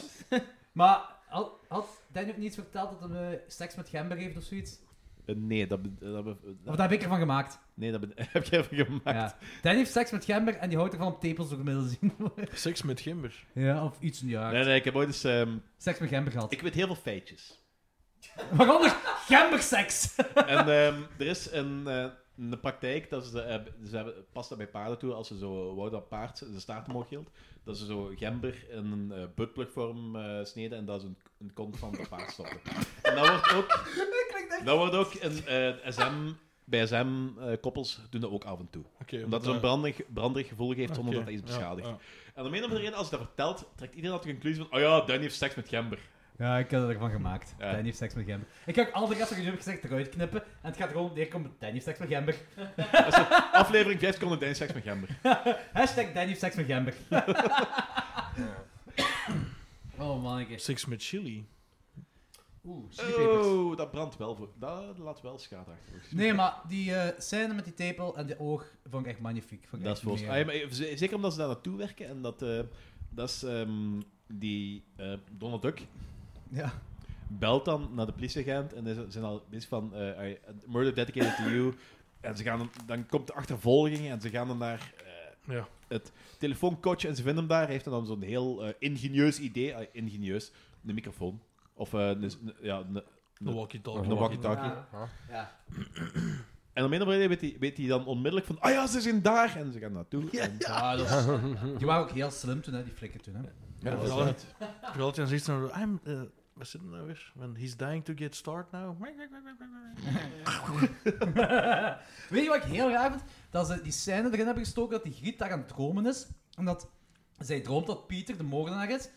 Speaker 6: Maar had, had Danny ook niets verteld dat hij eh, seks met gember heeft of zoiets?
Speaker 5: Eh, nee, dat... be- dat, be-
Speaker 6: Of daar heb ik ervan gemaakt.
Speaker 5: Nee, dat ben- heb ik even gemaakt.
Speaker 6: Ja. Danny heeft seks met gember en die houdt ervan om tepels door middel te zien.
Speaker 9: Seks met gember.
Speaker 6: ja, of iets in die aard.
Speaker 5: Nee, nee, ik heb ooit eens... ehm,
Speaker 6: Seks met gember gehad.
Speaker 5: ik weet heel veel feitjes.
Speaker 6: Waaronder gemberseks.
Speaker 5: en ehm, er is een, eh, een praktijk, dat ze, eh, ze hebben, past dat bij paarden toe, als ze zo wouden dat paard de staart omhoog hield, dat ze zo gember in een eh buttplugvorm eh, sneden en dat ze een, een kont van het paard stopten. en dat wordt ook... Dat wordt ook in eh, SM... Bij SM-koppels doen dat ook af en toe.
Speaker 9: Oké,
Speaker 5: Omdat het zo'n brandig, brandig gevoel geeft zonder
Speaker 9: oké,
Speaker 5: dat dat iets
Speaker 9: ja,
Speaker 5: beschadigt.
Speaker 9: ja.
Speaker 5: En om een of andere reden, als je dat vertelt, trekt iedereen altijd de conclusie van oh ja, Danny heeft seks met gember.
Speaker 6: Ja, ik heb ervan gemaakt.
Speaker 5: Ja.
Speaker 6: Danny heeft seks met gember. Ik ga ook al de rest van jullie gezegd eruit knippen. En het gaat er gewoon neerkomen. Danny heeft seks met gember.
Speaker 5: Aflevering 5 seconden Danny seks met gember.
Speaker 6: Hashtag Danny heeft seks met gember. oh mannetjes.
Speaker 9: Seks met chili.
Speaker 6: Oeh, chili peppers.
Speaker 5: Oh, dat brandt wel. Voor, dat laat wel schade achter. volgens mij.
Speaker 6: Nee, maar die eh scène met die tepel en die oog vond ik echt magnifiek. Vond ik echt
Speaker 5: Dat is volgens
Speaker 6: mega.
Speaker 5: ah, ja, maar eh, z- Zeker omdat ze daar naartoe werken en dat... eh, dat is ehm, die eh, Donald Duck
Speaker 6: Ja.
Speaker 5: belt dan naar de politieagent en ze zijn al bezig van eh, I- murder dedicated to you. En ze gaan, dan- dan komt de achtervolging en ze gaan dan naar eh,
Speaker 9: Ja.
Speaker 5: het telefoonkotje en ze vinden hem daar. Hij heeft dan zo'n heel eh, ingenieus idee. Ah, ingenieus. Een microfoon. Of eh, een, een- ja, een,
Speaker 9: De walkie-talkie.
Speaker 5: een walkie-talkie.
Speaker 6: Ja. Ja.
Speaker 5: En om een of andere reden weet hij, weet hij dan onmiddellijk van, ah ja, ze zijn daar! En ze gaan naartoe. En-
Speaker 6: Ah, dat is- die waren ook heel slim toen, hè, die flikken toen. Hè.
Speaker 5: Ja,
Speaker 9: dat
Speaker 5: dat
Speaker 9: is
Speaker 5: is
Speaker 9: waar.
Speaker 5: het.
Speaker 9: Terwijl het dan zoiets van, I'm, eh, wat zit er nou weer? When he's dying to get started now.
Speaker 6: Weet je wat ik heel raar vind? Dat ze die scène erin hebben gestoken dat die Griet daar aan het dromen is. Omdat zij droomt dat Pieter de moordenaar is.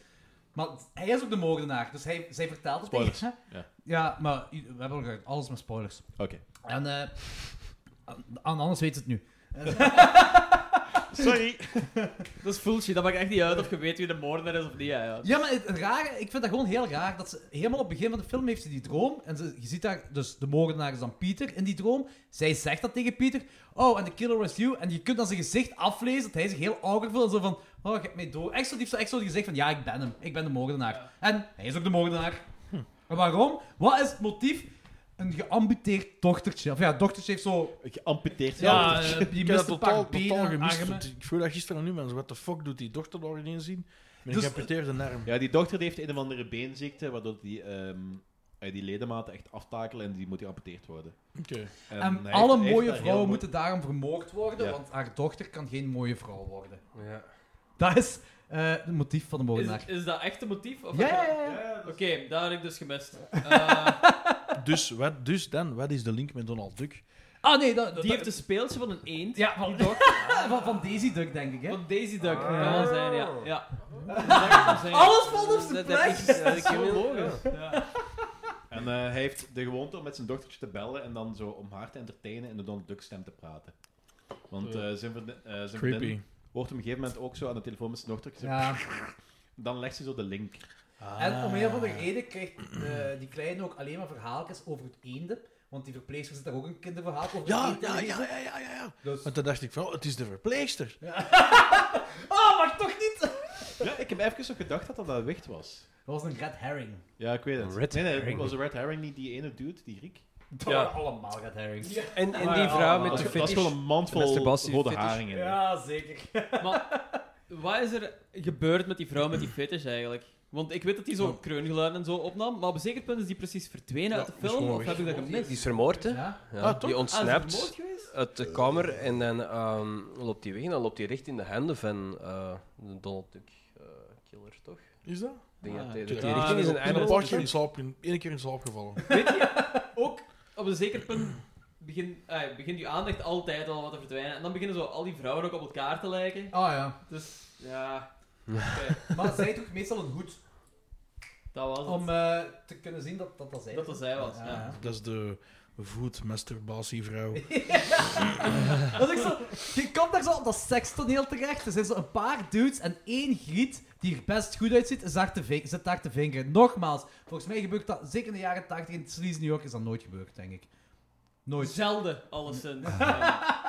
Speaker 6: Maar hij is ook de moordenaar, dus hij, zij vertelt het
Speaker 5: Spoilers,
Speaker 6: tegen-
Speaker 5: ja.
Speaker 6: ja, maar i- we hebben al alles met spoilers.
Speaker 5: Oké.
Speaker 6: En eh, an- an- anders weet ze het nu.
Speaker 5: Sorry!
Speaker 3: Dat is bullshit, dat maakt echt niet uit of je weet wie de moordenaar is of niet. hè, ja.
Speaker 6: Ja, maar het, het rare, ik vind dat gewoon heel raar. Dat ze helemaal op het begin van de film heeft ze die droom. En ze, je ziet daar, dus de moordenaar is dan Pieter in die droom. Zij zegt dat tegen Pieter. Oh, en de killer was you. En je kunt dan zijn gezicht aflezen dat hij zich heel ouder voelt. En zo van, oh, je hebt mij dood. Echt zo, die heeft zo echt zo het gezicht van, ja, ik ben hem. Ik ben de moordenaar. En hij is ook de moordenaar.
Speaker 9: Hm.
Speaker 6: En waarom? Wat is het motief? Een geamputeerd dochtertje. Of ja, het dochtertje heeft zo...
Speaker 5: Geamputeerd.
Speaker 6: Ja,
Speaker 5: Ja,
Speaker 9: Ik
Speaker 6: eh, die
Speaker 9: heb
Speaker 6: mist
Speaker 9: dat
Speaker 6: een
Speaker 9: totaal,
Speaker 6: paar
Speaker 9: totaal
Speaker 6: benen,
Speaker 9: gemist.
Speaker 6: armen.
Speaker 9: want Ik voel dat gisteren nu, mensen. Wat de fuck doet die dochter daar ineens zien? Met
Speaker 6: Dus-
Speaker 9: een geamputeerde arm.
Speaker 5: ja, die dochter die heeft een of andere beenziekte, waardoor die, ehm, eh, die ledematen echt aftakelen en die moet geamputeerd worden.
Speaker 9: Oké.
Speaker 5: hij
Speaker 6: En
Speaker 5: heeft-
Speaker 6: alle
Speaker 5: hij heeft
Speaker 6: mooie
Speaker 5: daar heel
Speaker 6: vrouwen
Speaker 5: mooi-
Speaker 6: moeten daarom vermoord worden,
Speaker 5: Ja.
Speaker 6: want haar dochter kan geen mooie vrouw worden.
Speaker 7: Ja.
Speaker 6: Dat is eh, het motief van de moordenaar.
Speaker 3: Is, is dat echt een motief? Of
Speaker 6: Ja, ja, ja, ja.
Speaker 3: Oké, dat heb ik dus gemist. Eh,
Speaker 9: Dus, wat, dus dan, wat is de link met Donald Duck?
Speaker 6: Ah nee, dat, dat-
Speaker 3: die heeft een speeltje van een eend.
Speaker 6: Ja, van, van, van Daisy Duck, denk ik. Hè?
Speaker 3: Van Daisy Duck. Dat kan zijn, ja. ja.
Speaker 6: Alles valt op zijn
Speaker 7: Dat, dat
Speaker 6: plek!
Speaker 7: is, dat is heel logisch.
Speaker 5: En eh, hij heeft de gewoonte om met zijn dochtertje te bellen en dan zo om haar te entertainen en de Donald Duck stem te praten. Want eh, zijn, vriendin, eh, zijn
Speaker 9: Creepy.
Speaker 5: vriendin wordt op een gegeven moment ook zo aan de telefoon met zijn dochtertje.
Speaker 6: Ja.
Speaker 5: Dan legt ze zo de link.
Speaker 6: En om een of
Speaker 9: Ah.
Speaker 6: andere reden krijgt eh, die kleine ook alleen maar verhaaltjes over het eenden. Want die verpleegster zit daar ook een kinderverhaal over.
Speaker 9: Ja,
Speaker 6: het eenden
Speaker 9: ja,
Speaker 6: in.
Speaker 9: ja, ja, ja, ja. ja.
Speaker 6: Dus-
Speaker 9: Want dan dacht ik van, oh, het is de verpleegster.
Speaker 6: Ah, maar toch niet! Dat
Speaker 5: Ja, ik heb even zo gedacht dat dat dat wicht was.
Speaker 6: was een red herring.
Speaker 5: Ja, ik weet het.
Speaker 7: Red
Speaker 5: nee, nee,
Speaker 7: herring.
Speaker 5: was de Red Herring niet die ene dude, die Griek?
Speaker 6: Dat
Speaker 7: Ja.
Speaker 6: waren allemaal red herrings. Ja,
Speaker 7: En, en
Speaker 6: Maar
Speaker 7: die
Speaker 6: ja,
Speaker 7: vrouw
Speaker 6: allemaal.
Speaker 7: met de
Speaker 5: Dat is, dat is wel
Speaker 7: fetish.
Speaker 5: een mand vol
Speaker 7: Masturbatie
Speaker 5: rode
Speaker 7: fetish.
Speaker 5: haringen.
Speaker 6: zeker.
Speaker 3: Maar wat is er gebeurd met die vrouw met die fetish eigenlijk? Want ik weet dat die zo'n kreungeluiden en zo opnam, maar op een zeker punt is die precies verdwenen uit de film, of heb ik dat
Speaker 7: Die
Speaker 3: gemist?
Speaker 7: is vermoord, hè?
Speaker 6: Ja.
Speaker 7: Ja,
Speaker 9: Ah, toch?
Speaker 7: die
Speaker 3: Ah, is die vermoord
Speaker 7: ontsnapt
Speaker 3: geweest?
Speaker 7: uit de kamer en dan ehm, loopt hij weg en dan loopt hij recht in de handen van eh, de Donald Duck eh, killer, toch?
Speaker 9: Is dat?
Speaker 7: Ik denk dat
Speaker 3: Ah,
Speaker 7: hij
Speaker 9: tuurlijk.
Speaker 7: dat hij richting is een
Speaker 9: Ik ben een
Speaker 7: einde
Speaker 9: paar keer in slaap, in, één keer in slaap gevallen.
Speaker 3: Weet je, ook op een zeker punt begin, eh, begint je aandacht altijd al wat te verdwijnen. En dan beginnen zo al die vrouwen ook op elkaar te lijken.
Speaker 6: Ah ja.
Speaker 3: Dus ja,
Speaker 6: Maar zij droeg meestal een hoed
Speaker 3: dat was het.
Speaker 6: om eh, te kunnen zien dat dat, dat zij
Speaker 3: Dat dat zij was, ja.
Speaker 9: Dat is de voetmasturbatievrouw.
Speaker 6: Dat is ook zo, je komt daar zo op dat sekstoneel terecht. Er zijn zo een paar dudes en één griet die er best goed uitziet, is daar te vin- zit daar te vingeren. Nogmaals, volgens mij gebeurt dat zeker in de jaren 80 in Sleaze New York is dat nooit gebeurd, denk ik. Nooit.
Speaker 3: Zelden, alleszins. Ja.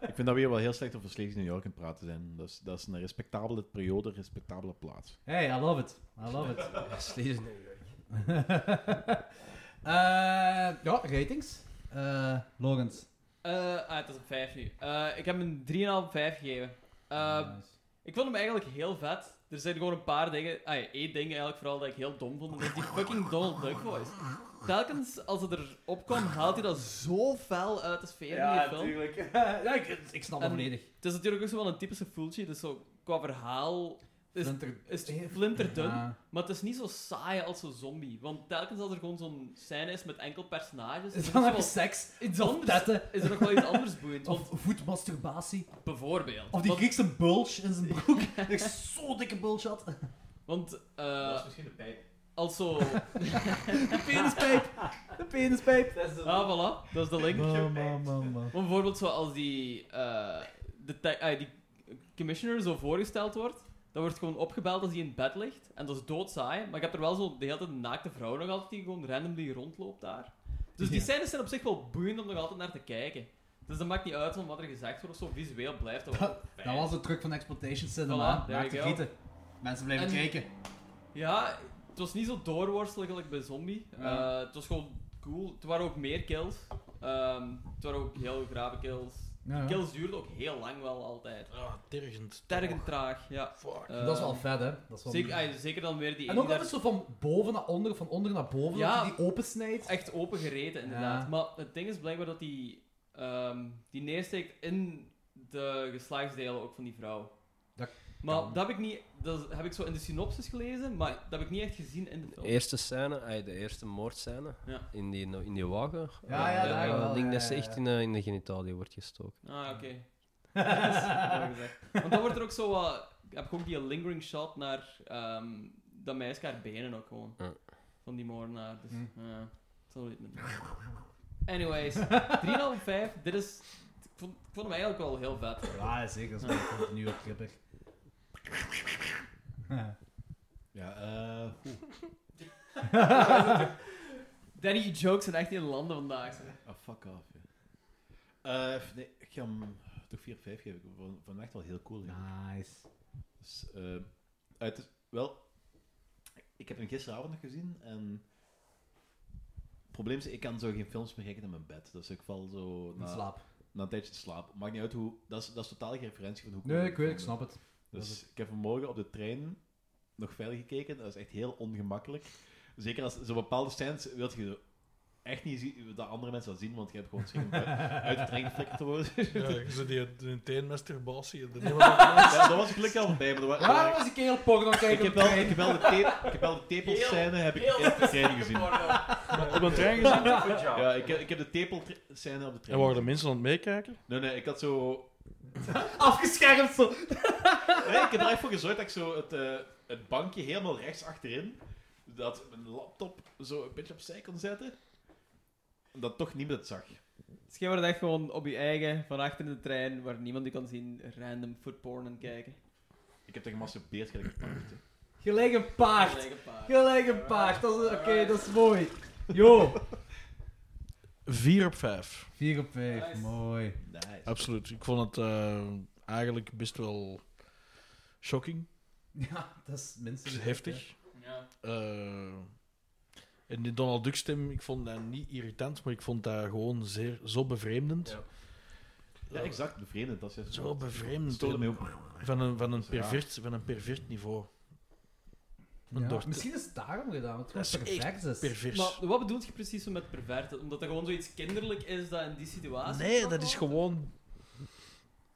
Speaker 5: Ik vind dat we hier wel heel slecht over slechts New York aan het praten zijn. Dat is, dat is een respectabele periode, respectabele plaats.
Speaker 6: Hey, I love it. I love it.
Speaker 7: Sleaze.
Speaker 6: Eh, ja, ratings. Eh Logans.
Speaker 3: Eh, ah, het is een 5 nu. Eh, ik heb hem een 3,5 5 gegeven. Eh,
Speaker 6: Nice.
Speaker 3: Ik vond hem eigenlijk heel vet. Er zijn gewoon een paar dingen, ah, ja, één ding eigenlijk vooral dat ik heel dom vond. en Dat is die fucking Donald Duck voice. Telkens als het erop kwam, haalt hij dat zo fel uit de sfeer in die film.
Speaker 6: ja, ik, ik snap het
Speaker 3: En-
Speaker 6: volledig.
Speaker 3: Het is natuurlijk ook zo wel een typische fooltje, dus zo qua verhaal is,
Speaker 6: Flinter-
Speaker 3: is het flinterdun.
Speaker 6: Ja.
Speaker 3: Maar het is niet zo saai als zo'n zombie. Want telkens als er gewoon zo'n scène is met enkel personages,
Speaker 6: Is
Speaker 3: is,
Speaker 6: dan
Speaker 3: er,
Speaker 6: heb je
Speaker 3: nog wel-
Speaker 6: seks?
Speaker 3: iets
Speaker 6: Of
Speaker 3: anders,
Speaker 6: petten?
Speaker 3: is er nog wel iets anders boeiend. Want
Speaker 6: Of voetmasturbatie?
Speaker 3: bijvoorbeeld.
Speaker 6: Of die
Speaker 3: want,
Speaker 6: Griekse bulge in zijn broek. Echt zo'n dikke bulge had.
Speaker 3: want eh,
Speaker 5: misschien de pijp.
Speaker 3: als zo.
Speaker 6: De penispijp. De penispijp.
Speaker 3: ah, voilà, dat is de link.
Speaker 6: Man, man, man, man.
Speaker 3: Maar eh, bijvoorbeeld zoals die, eh, de te- ah, die commissioner zo voorgesteld wordt. Dat wordt gewoon opgebeld als hij in bed ligt. En dat is doodzaai. Maar ik heb er wel zo de hele tijd een naakte vrouw nog altijd die gewoon randomly rondloopt daar. Dus die scènes zijn op zich wel boeiend om nog altijd naar te kijken. Dus dat maakt niet uit van wat er gezegd wordt of zo. Visueel blijft dat wel fijn.
Speaker 6: Dat was de truc van Exploitation
Speaker 3: Voilà,
Speaker 6: Cinema.
Speaker 3: there
Speaker 6: Daar te
Speaker 3: you go.
Speaker 6: gieten. Mensen blijven
Speaker 3: En-
Speaker 6: kijken.
Speaker 3: Ja, het was niet zo doorworstelig gelijk bij Zombie.
Speaker 6: Ja.
Speaker 3: Eh, het was gewoon cool. Er waren ook meer kills. Ehm het waren ook heel grave kills.
Speaker 6: Ja, ja.
Speaker 3: Kills duurden ook heel lang wel altijd.
Speaker 9: Ah, tergend.
Speaker 3: Tergend traag, ja.
Speaker 9: Fuck.
Speaker 3: Ehm,
Speaker 6: dat is wel vet, hè? Dat is wel
Speaker 3: Zeker, ah, zeker dan weer die
Speaker 6: En
Speaker 3: ene
Speaker 6: ook
Speaker 3: daar-
Speaker 6: altijd zo van boven naar onder, van onder naar boven,
Speaker 3: Ja.
Speaker 6: dat je die opensnijdt.
Speaker 3: echt open gereden, inderdaad.
Speaker 6: Ja.
Speaker 3: Maar het ding is blijkbaar dat die, ehm, die neersteekt in de geslachtsdelen ook van die vrouw.
Speaker 6: Dat
Speaker 3: maar
Speaker 6: kan.
Speaker 3: dat heb ik niet, dat heb ik zo in de synopsis gelezen, maar dat heb ik niet echt gezien in de film.
Speaker 7: eerste scène, ey, de eerste moordscène
Speaker 3: Ja.
Speaker 7: in, die, in die wagen.
Speaker 6: Ja, ja,
Speaker 7: Eh,
Speaker 6: daar wel,
Speaker 7: Ik denk
Speaker 6: ja,
Speaker 7: dat ze
Speaker 6: ja,
Speaker 7: echt
Speaker 6: ja.
Speaker 7: in, eh, in de genitalie wordt gestoken.
Speaker 3: Ah, oké. Dat is mooi gezegd. Want dan wordt er ook zo wat... Ik heb ook die lingering shot naar ehm, dat meisje haar benen ook gewoon.
Speaker 7: Ja.
Speaker 3: Van die moordenaar. Dus,
Speaker 6: Hmm.
Speaker 3: ja, het zal niet meer. Anyways, 3,5, 5. Dit is... Ik vond, ik vond hem eigenlijk wel heel vet.
Speaker 6: Ja, zeker. Dat is wel continu op kippig.
Speaker 5: Ja, eh, goed.
Speaker 3: Danny, je jokes zijn echt in de landen vandaag. zeg.
Speaker 5: Ah, fuck off. Ja. Eh, nee, ik ga hem toch 4 of 5 geven. Ik vond- vond hem echt wel heel cool. ja.
Speaker 6: Nice.
Speaker 5: Dus, eh, het is, wel, ik heb hem gisteravond nog gezien en het probleem is, ik kan zo geen films meer kijken in mijn bed. Dus ik val zo
Speaker 6: In
Speaker 5: na,
Speaker 6: slaap.
Speaker 5: na een tijdje te slapen. Maakt niet uit hoe, dat is, dat is totaal geen referentie van hoe
Speaker 6: Nee,
Speaker 5: cool
Speaker 6: ik weet, ik
Speaker 5: film
Speaker 6: snap het.
Speaker 5: is.
Speaker 6: Dat
Speaker 5: Dus ik heb vanmorgen op de trein nog verder gekeken. Dat is echt heel ongemakkelijk. Zeker als zo'n bepaalde scènes wilt je zo echt niet zien, dat andere mensen dat zien, want je hebt gewoon schrik om uit uit de trein geflikkerd te worden.
Speaker 9: Ja, ze die, die teenmasturbatie. dat nemen we-
Speaker 5: ja, dat was gelukkig al voorbij, maar er waren- er waren
Speaker 6: Waarom was ik heel porno kijken?
Speaker 5: ik heb, wel, ik, heb wel de tape, ik heb wel de tepelscène heb ik in de trein gezien.
Speaker 9: Op een trein gezien.
Speaker 5: Ja, ik heb, ik heb de tepelscène op de
Speaker 9: En waren
Speaker 5: trein
Speaker 9: de
Speaker 5: gezien.
Speaker 9: mensen aan het meekijken?
Speaker 5: Nee, nee, ik had zo...
Speaker 6: Afgeschermd zo.
Speaker 5: Nee, ik heb er echt voor gezorgd dat ik zo het, eh, het bankje helemaal rechts achterin, dat mijn laptop zo een beetje opzij kon zetten, dat toch niemand het zag.
Speaker 3: Misschien Dus wordt het echt gewoon op je eigen, van achter in de trein, waar niemand je kan zien, random food porn aan het kijken.
Speaker 5: Ik heb er gemasturbeerd gelijk gepakt. hè.
Speaker 6: Gelijk een paard.
Speaker 3: Gelijk een paar.
Speaker 6: Gelijk een paard. Dat is- Oké, dat is mooi. Yo.
Speaker 9: 4 op 5.
Speaker 6: 4 op 5.
Speaker 3: Nice.
Speaker 6: Mooi.
Speaker 5: Nice.
Speaker 9: Absoluut. Ik vond het eh, eigenlijk best wel shocking.
Speaker 6: Ja, dat is minstens.
Speaker 9: Heftig.
Speaker 3: Ja.
Speaker 9: Eh, en die Donald Duck stem, ik vond dat niet irritant, maar ik vond dat gewoon zeer, zo bevreemdend.
Speaker 7: Ja.
Speaker 5: Ja, exact. Bevreemdend. Dat is
Speaker 9: Zo bevreemdend.
Speaker 5: Stoorde mij op.
Speaker 9: Van een, van, een
Speaker 5: raar.
Speaker 9: pervert, van een pervert niveau. Een
Speaker 6: Ja,
Speaker 9: dorst-
Speaker 6: Misschien is het daarom gedaan, want het
Speaker 9: Dat
Speaker 6: was
Speaker 9: is echt
Speaker 6: perfect. dus. is.
Speaker 9: Pervers.
Speaker 3: Maar wat bedoelt je precies zo met pervert? Omdat dat gewoon zoiets kinderlijk is dat in die situatie.
Speaker 9: nee, dat is gewoon...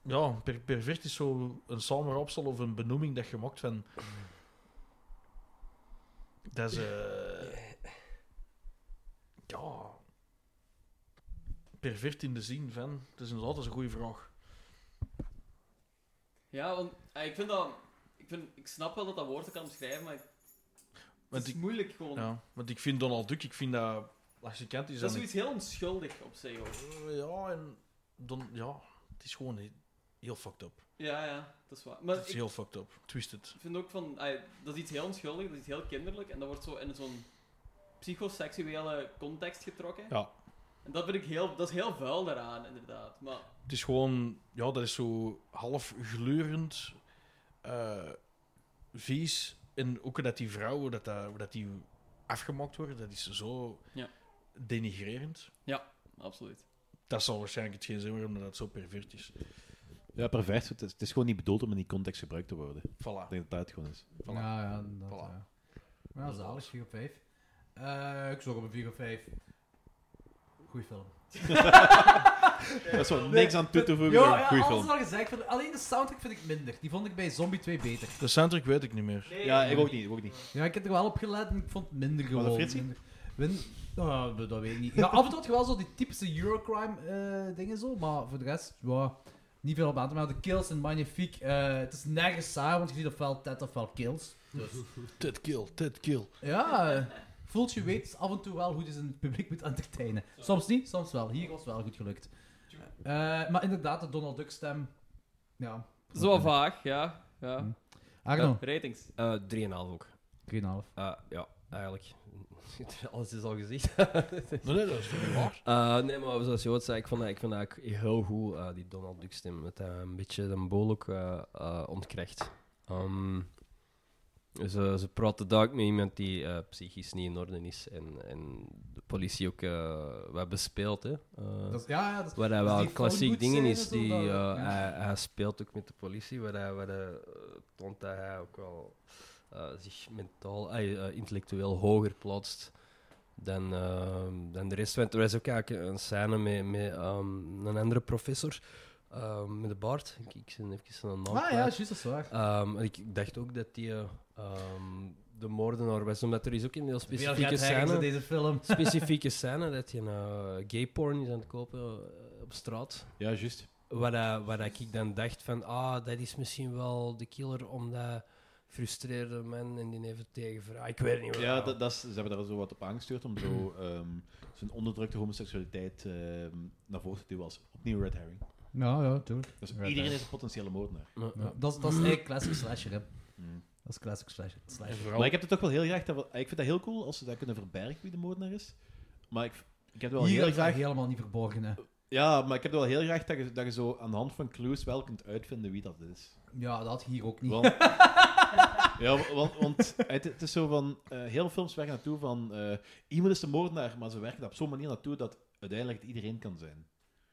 Speaker 9: Ja, per, pervert is zo een samenraapsel of een benoeming dat je maakt van... Dat is... eh, Ja... Pervert in de zin van... Het is inderdaad dat is een goede vraag.
Speaker 3: Ja, want eh, ik vind dat. Ik, vind, ik snap wel dat dat woord kan omschrijven, maar het
Speaker 9: Want
Speaker 3: is
Speaker 9: ik,
Speaker 3: moeilijk gewoon.
Speaker 9: ja, want ik vind Donald Duck, ik vind dat... Als je kent, is
Speaker 3: Dat is
Speaker 9: dat...
Speaker 3: zoiets heel onschuldig op zich ook.
Speaker 9: een- Ja, en... Dan, ja, het is gewoon heel, heel fucked up.
Speaker 3: Ja, ja, dat is waar. Maar
Speaker 9: Het is
Speaker 3: ik
Speaker 9: heel fucked up. Twisted.
Speaker 3: vind ook van. eh, dat is iets heel onschuldig, dat is iets heel kinderlijk en dat wordt zo in zo'n psychoseksuele context getrokken.
Speaker 9: Ja.
Speaker 3: En dat vind ik heel. Dat is heel vuil daaraan, inderdaad. Maar
Speaker 9: Het is gewoon, ja, dat is zo half gleurend, eh, vies. En ook dat die vrouwen, dat, dat, hoe dat die afgemaakt worden, dat is zo
Speaker 3: Ja.
Speaker 9: denigrerend.
Speaker 3: absoluut.
Speaker 9: Dat zal waarschijnlijk hetgeen zijn waarom dat zo pervert is.
Speaker 5: Ja, perfect. Het is, het is gewoon niet bedoeld om in die context gebruikt te worden. Ik
Speaker 9: Voilà.
Speaker 5: denk dat dat het gewoon is.
Speaker 9: Voilà.
Speaker 6: Ja, ja, dat,
Speaker 9: Voilà.
Speaker 6: ja. Maar ja, zalig, 4 op 5. ik zorg op een 4 op 5. Goeie film.
Speaker 5: Dat is wel niks aan toe te voegen.
Speaker 6: Ja,
Speaker 5: maar
Speaker 6: ja,
Speaker 5: goeie
Speaker 6: alles
Speaker 5: film.
Speaker 6: is al gezegd. Van, alleen de soundtrack vind ik minder. Die vond ik bij Zombie 2 beter.
Speaker 9: De soundtrack weet ik niet meer.
Speaker 5: Ja, ik ook niet. Ik ook niet.
Speaker 6: Ja, ik heb er wel op gelet en ik vond het minder
Speaker 5: de
Speaker 6: gewoon.
Speaker 5: Fritsie?
Speaker 6: Minder. Win, Ah, dat weet ik niet. Ja, af en toe had je wel zo die typische Eurocrime eh, dingen zo, maar voor de rest, ja, niet veel op aan te maken. De kills zijn magnifiek. Eh, het is nergens saai, want je ziet ofwel Ted ofwel kills.
Speaker 9: Ted Kill, Ted Kill.
Speaker 6: Ja, eh, voelt je weet af en toe wel hoe je zijn publiek moet entertainen. Soms niet, soms wel. Hier was wel goed gelukt. Eh, maar inderdaad, de Donald Duck stem. Ja.
Speaker 3: Zo vaag, ja. ja.
Speaker 6: Hm. Arno,
Speaker 3: Ratings.
Speaker 7: Eh 3,5 ook.
Speaker 6: 3,5.
Speaker 7: Eh, ja, eigenlijk. Alles is al gezegd.
Speaker 9: Nee, nee, dat is niet waar.
Speaker 7: Eh, nee, maar zoals je ooit zei, ik vond dat, ik vond dat ook heel goed, eh, die Donald Duck stem. Met eh, een beetje de bol ook eh, eh, ontkrecht. Ehm, ze, ze praten daar ook met iemand die eh, psychisch niet in orde is. En, en de politie ook eh wat bespeelt. Hè. Eh,
Speaker 6: Dat is, ja, ja, dat is-
Speaker 7: Waar hij
Speaker 6: dat
Speaker 7: wel
Speaker 6: Dus die
Speaker 7: klassiek dingen is,
Speaker 6: phonebooth-scène
Speaker 7: die,
Speaker 6: zo, dat-
Speaker 7: eh,
Speaker 6: ja.
Speaker 7: hij, hij speelt ook met de politie, waar hij, waar hij eh, toont dat hij ook wel eh, zich mentaal, eh, eh, intellectueel hoger plaatst dan, ehm, dan de rest. Want er is ook eigenlijk een scène met, met ehm, een andere professor, ehm, met de baard. Ik, ik zit even zijn naam
Speaker 6: Ah ja,
Speaker 7: kwijt.
Speaker 6: juist, dat is waar.
Speaker 7: Ehm, ik ik dacht ook dat die eh, ehm, de moordenaar was, omdat er is ook een heel
Speaker 6: Veel
Speaker 7: specifieke
Speaker 6: gaat hackers in
Speaker 7: scène
Speaker 6: deze film.
Speaker 7: specifieke scène dat je een eh, gay porn is aan het kopen eh, op straat.
Speaker 5: Ja, juist.
Speaker 7: Waar, dat- waar dat ik dan dacht van, ah, dat is misschien wel de killer omdat frustreerde man en die heeft het tegenvraag. Ik weet niet
Speaker 5: Ja,
Speaker 7: waarom.
Speaker 5: dat, dat is, ze hebben daar zo wat op aangestuurd om zo ehm, zijn onderdrukte homoseksualiteit ehm, naar voren te duwen als opnieuw Red Herring.
Speaker 6: Ja, ja, tuurlijk.
Speaker 5: Dus
Speaker 6: Red
Speaker 5: iedereen
Speaker 6: Herring.
Speaker 5: is een potentiële moordenaar.
Speaker 7: Maar-
Speaker 6: Ja, dat, is- dat is eigenlijk classic slasher, hè.
Speaker 5: Mm.
Speaker 6: Dat is classic slasher.
Speaker 9: En
Speaker 6: slasher.
Speaker 9: vooral,
Speaker 5: Maar ik heb het toch wel heel graag... Dat, we- ik vind dat heel cool als ze dat kunnen verbergen wie de moordenaar is. Maar ik, ik heb wel
Speaker 6: Hier
Speaker 5: heel
Speaker 6: is dat
Speaker 5: graag...
Speaker 6: helemaal niet verborgen, hè.
Speaker 5: Ja, maar ik heb wel heel graag dat je, dat je zo aan de hand van clues wel kunt uitvinden wie dat is.
Speaker 6: Ja, dat had je hier ook niet.
Speaker 5: Want, ja, want, want het, het is zo van... eh, heel veel films werken naartoe van... eh, iemand is de moordenaar, maar ze werken dat op zo'n manier naartoe dat uiteindelijk het iedereen kan zijn.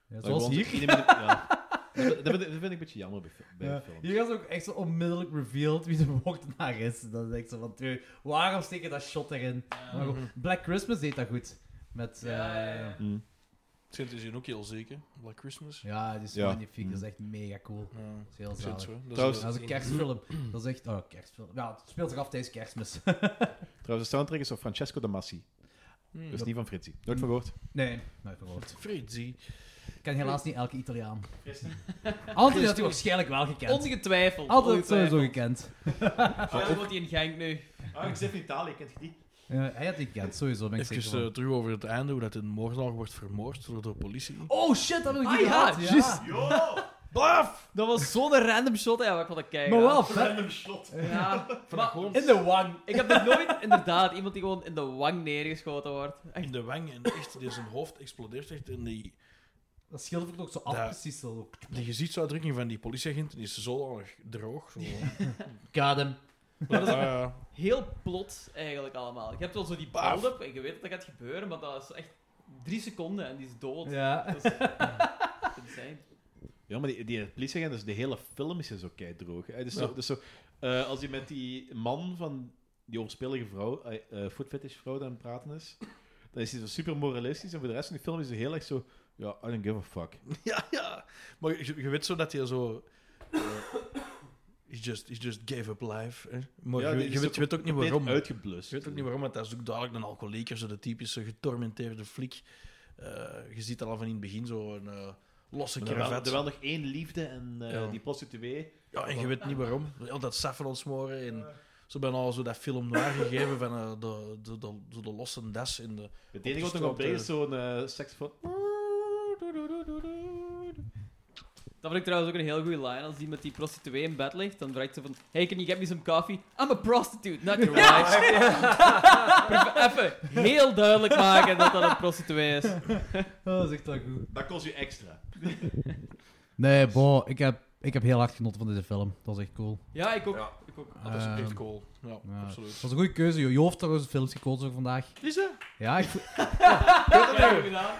Speaker 6: Ja, zoals
Speaker 5: Dat je
Speaker 6: hier.
Speaker 5: gewoon zo iedereen met- ja. Dat, vind- dat vind ik een beetje jammer bij, fi- bij
Speaker 6: Ja,
Speaker 5: films.
Speaker 6: hier is ook echt zo onmiddellijk revealed wie de moordenaar is. Dat is echt zo van, "Dude, waarom steek je dat shot erin? Maar goed, Black Christmas deed dat goed. Met, eh,
Speaker 13: Ja, ja, ja.
Speaker 6: ja,
Speaker 5: Hm.
Speaker 9: ik vind het is hier ook heel zeker. Black Christmas.
Speaker 6: die is
Speaker 5: Ja.
Speaker 6: magnifiek. Dat is echt mega cool.
Speaker 9: Ja,
Speaker 6: Dat is heel
Speaker 9: ik vind het
Speaker 6: zalig.
Speaker 9: zo. Dat is
Speaker 5: Trouwens-
Speaker 9: wel-
Speaker 6: Dat is een kerstfilm. Dat is echt... Oh, kerstfilm. Ja, het speelt zich af tijdens kerstmis.
Speaker 5: Trouwens, de soundtrack is van Francesco de Massi.
Speaker 9: Hmm.
Speaker 5: Dus niet van Fritzi. Nooit van gehoord.
Speaker 6: nee, nooit gehoord.
Speaker 9: Fritzi.
Speaker 6: Ik ken helaas niet elke Italiaan. Anthony had die waarschijnlijk wel gekend.
Speaker 3: Ongetwijfeld.
Speaker 6: Altijd
Speaker 3: ongetwijfeld.
Speaker 6: sowieso gekend.
Speaker 3: Waarom wordt hij in Genk nu?
Speaker 5: Ah, ik zit in Italië, kent je die?
Speaker 6: Eh, hij had die gekend, sowieso. Ben ik
Speaker 9: Even
Speaker 6: zeker van.
Speaker 9: eh, terug over het einde, hoe dat een moordenaar wordt vermoord door de politie.
Speaker 6: Oh shit, dat wil ik niet
Speaker 3: Ah, ja,
Speaker 6: gehad,
Speaker 3: juist.
Speaker 9: Blaf!
Speaker 3: Dat was zo'n random shot, ja, maar ik vond dat kijken.
Speaker 6: Maar wel vet.
Speaker 3: Ja, maar
Speaker 6: In de wang.
Speaker 3: ik heb nog nooit, inderdaad, iemand die gewoon in de wang neergeschoten wordt. Echt.
Speaker 9: In de wang en echt, die zijn hoofd explodeert echt. En die,
Speaker 6: Dat schildert ook zo af,
Speaker 9: Ja.
Speaker 6: precies zo.
Speaker 9: die gezichtsuitdrukking van die politieagent die is zodanig droog. Zo.
Speaker 6: Got him.
Speaker 9: Ja, ja.
Speaker 3: Heel plot eigenlijk allemaal. Je hebt wel zo die
Speaker 9: Paf.
Speaker 3: build-up en je weet dat dat gaat gebeuren, maar dat is echt drie seconden en die is dood.
Speaker 6: Ja.
Speaker 3: Dat is insane.
Speaker 5: Ja, maar die, die politieagent, dus de hele film is zo keidroog. Hè? Dus, zo, dus zo, eh, als je met die man van die overspelige vrouw, eh eh, food fetish vrouw, dan aan het praten is, dan is hij zo super moralistisch. En voor de rest van die film is hij heel erg zo, ja, I don't give a fuck.
Speaker 9: Ja, ja. Maar je, je weet zo dat hij zo... eh, he, just, he just gave up life. Hè? Maar
Speaker 5: Ja,
Speaker 9: je,
Speaker 5: die
Speaker 9: je
Speaker 5: is
Speaker 9: weet, je weet ook niet
Speaker 5: compleet
Speaker 9: waarom. Je
Speaker 5: Uitgeblust.
Speaker 9: weet ook niet waarom, want dat is ook duidelijk een alcoholieker, zo de typische getormenteerde flik. Eh, je ziet dat al van in het begin, zo een eh, losse
Speaker 5: Maar er wel-
Speaker 9: cravat.
Speaker 5: er wel nog één liefde en eh,
Speaker 9: Ja.
Speaker 5: die prostituee.
Speaker 9: Ja, en je weet niet waarom. Al dat saffron smoren en zo bijna zo dat film noir gegeven van eh, de, de, de, de, de losse das in de...
Speaker 5: Het enige wat nog
Speaker 9: straat,
Speaker 5: ontbreekt
Speaker 9: eh.
Speaker 5: is zo'n eh saxofoon.
Speaker 3: Dat vond ik trouwens ook een heel goede line. Als die met die prostituee in bed ligt, dan vraagt ze van... Hey, can you get me some coffee? I'm a prostitute, not your wife. Even heel duidelijk maken dat dat een prostituee is.
Speaker 6: Oh, dat is echt wel goed.
Speaker 5: Dat kost je extra.
Speaker 6: Nee, bo, ik heb, ik heb heel hard genoten van deze film. Dat was echt cool.
Speaker 3: Ja, ik ook.
Speaker 9: Ja.
Speaker 3: Ik ook.
Speaker 9: Dat is echt
Speaker 6: Ehm,
Speaker 9: cool. Ja,
Speaker 6: ja. Dat
Speaker 9: absoluut.
Speaker 6: was een goede keuze, joh. Je hoofd trouwens films gekozen ook vandaag.
Speaker 9: Is dat?
Speaker 6: Ja, ik voel...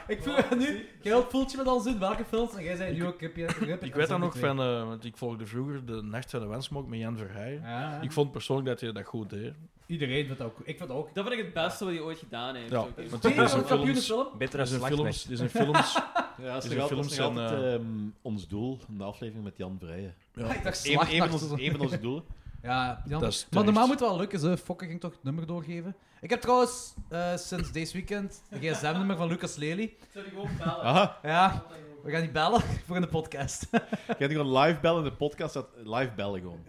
Speaker 6: ik voel me nu... Jij voelt je me dan zo in welke films? En jij zei nu ook... Heb je, heb je-
Speaker 9: Ik weet dat
Speaker 6: zijn
Speaker 9: nog
Speaker 6: die twee.
Speaker 9: van, eh, want ik volgde vroeger de Nacht van de Wensmok met Jan Verheijen.
Speaker 6: Ja,
Speaker 9: Ik vond persoonlijk dat hij dat goed deed.
Speaker 6: iedereen vindt dat ook... Ik vind dat ook...
Speaker 3: Dat vind ik het beste wat hij ooit gedaan heeft.
Speaker 9: Ja,
Speaker 3: ook.
Speaker 9: want
Speaker 6: Twee
Speaker 9: dit is
Speaker 6: een
Speaker 9: een films.
Speaker 6: film?
Speaker 9: Dit
Speaker 7: Beter als
Speaker 9: zijn
Speaker 7: een films.
Speaker 9: films. Dit zijn films.
Speaker 5: Ja, dat
Speaker 9: Is een
Speaker 5: is nog altijd,
Speaker 9: film eh,
Speaker 5: dat is nog
Speaker 9: zijn,
Speaker 5: altijd, ehm, ons doel, de aflevering met Jan Vrijen.
Speaker 9: Ja.
Speaker 6: Ik dacht
Speaker 5: Even, even,
Speaker 6: slachtnacht.
Speaker 5: ons, even onze doelen.
Speaker 6: Ja, Jan.
Speaker 9: Dat is
Speaker 6: Maar
Speaker 9: terecht.
Speaker 6: normaal moet het wel lukken, ze. Fokker ging toch het nummer doorgeven. Ik heb trouwens eh, sinds deze weekend het gsm-nummer van Lucas Lely.
Speaker 13: Zou die gewoon bellen?
Speaker 5: Aha,
Speaker 6: Ja, we gaan die bellen voor in de podcast.
Speaker 5: je hebt gewoon live bellen in de podcast. Dat, live bellen gewoon.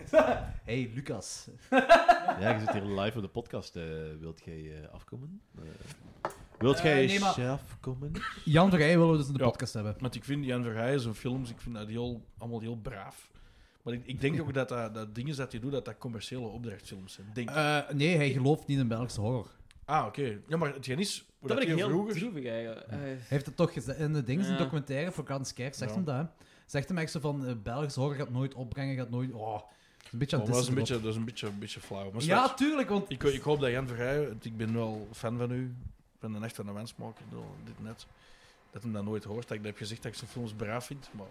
Speaker 6: Hey, Lucas.
Speaker 5: Ja, je zit hier live op de podcast. eh, wilt jij eh, afkomen? Eh, wilt jij
Speaker 6: Eh, nee, maar-
Speaker 5: zelf komen?
Speaker 6: Jan Verheij willen we dus in de
Speaker 9: Ja.
Speaker 6: podcast hebben.
Speaker 9: Want ik vind Jan Verheijen zijn films, ik vind dat heel, allemaal heel braaf. Maar ik, ik denk ook dat, dat dat dingen dat hij doet, dat dat commerciële opdrachtfilms zijn. Denk.
Speaker 6: Eh, nee, hij gelooft niet in Belgische horror.
Speaker 9: ah, oké. Ja, maar het is... hoe
Speaker 12: Dat vind ik
Speaker 9: hier
Speaker 12: heel
Speaker 9: vroeger-
Speaker 12: droevig eigenlijk. Eh,
Speaker 6: Hij heeft het toch gezegd in de ding, zijn
Speaker 12: Ja.
Speaker 6: documentaire voor Kans Kerk, zegt
Speaker 9: Ja.
Speaker 6: hem dat. hè. Zegt hem echt zo van, eh, Belgische horror gaat nooit opbrengen, gaat nooit... Oh, het is een beetje aan
Speaker 9: Oh, maar
Speaker 6: het
Speaker 9: dat is een
Speaker 6: dissen
Speaker 9: beetje, dat is een beetje, een beetje flauw. Maar
Speaker 6: erop.
Speaker 9: straks-
Speaker 6: Ja, tuurlijk, want...
Speaker 9: ik, ik hoop dat Jan Verheij, want ik ben wel fan van u, ik ben een echte wensmaker, dit net, dat hem dat nooit hoort. Dat ik dat heb gezegd dat ik zijn films braaf vind, maar...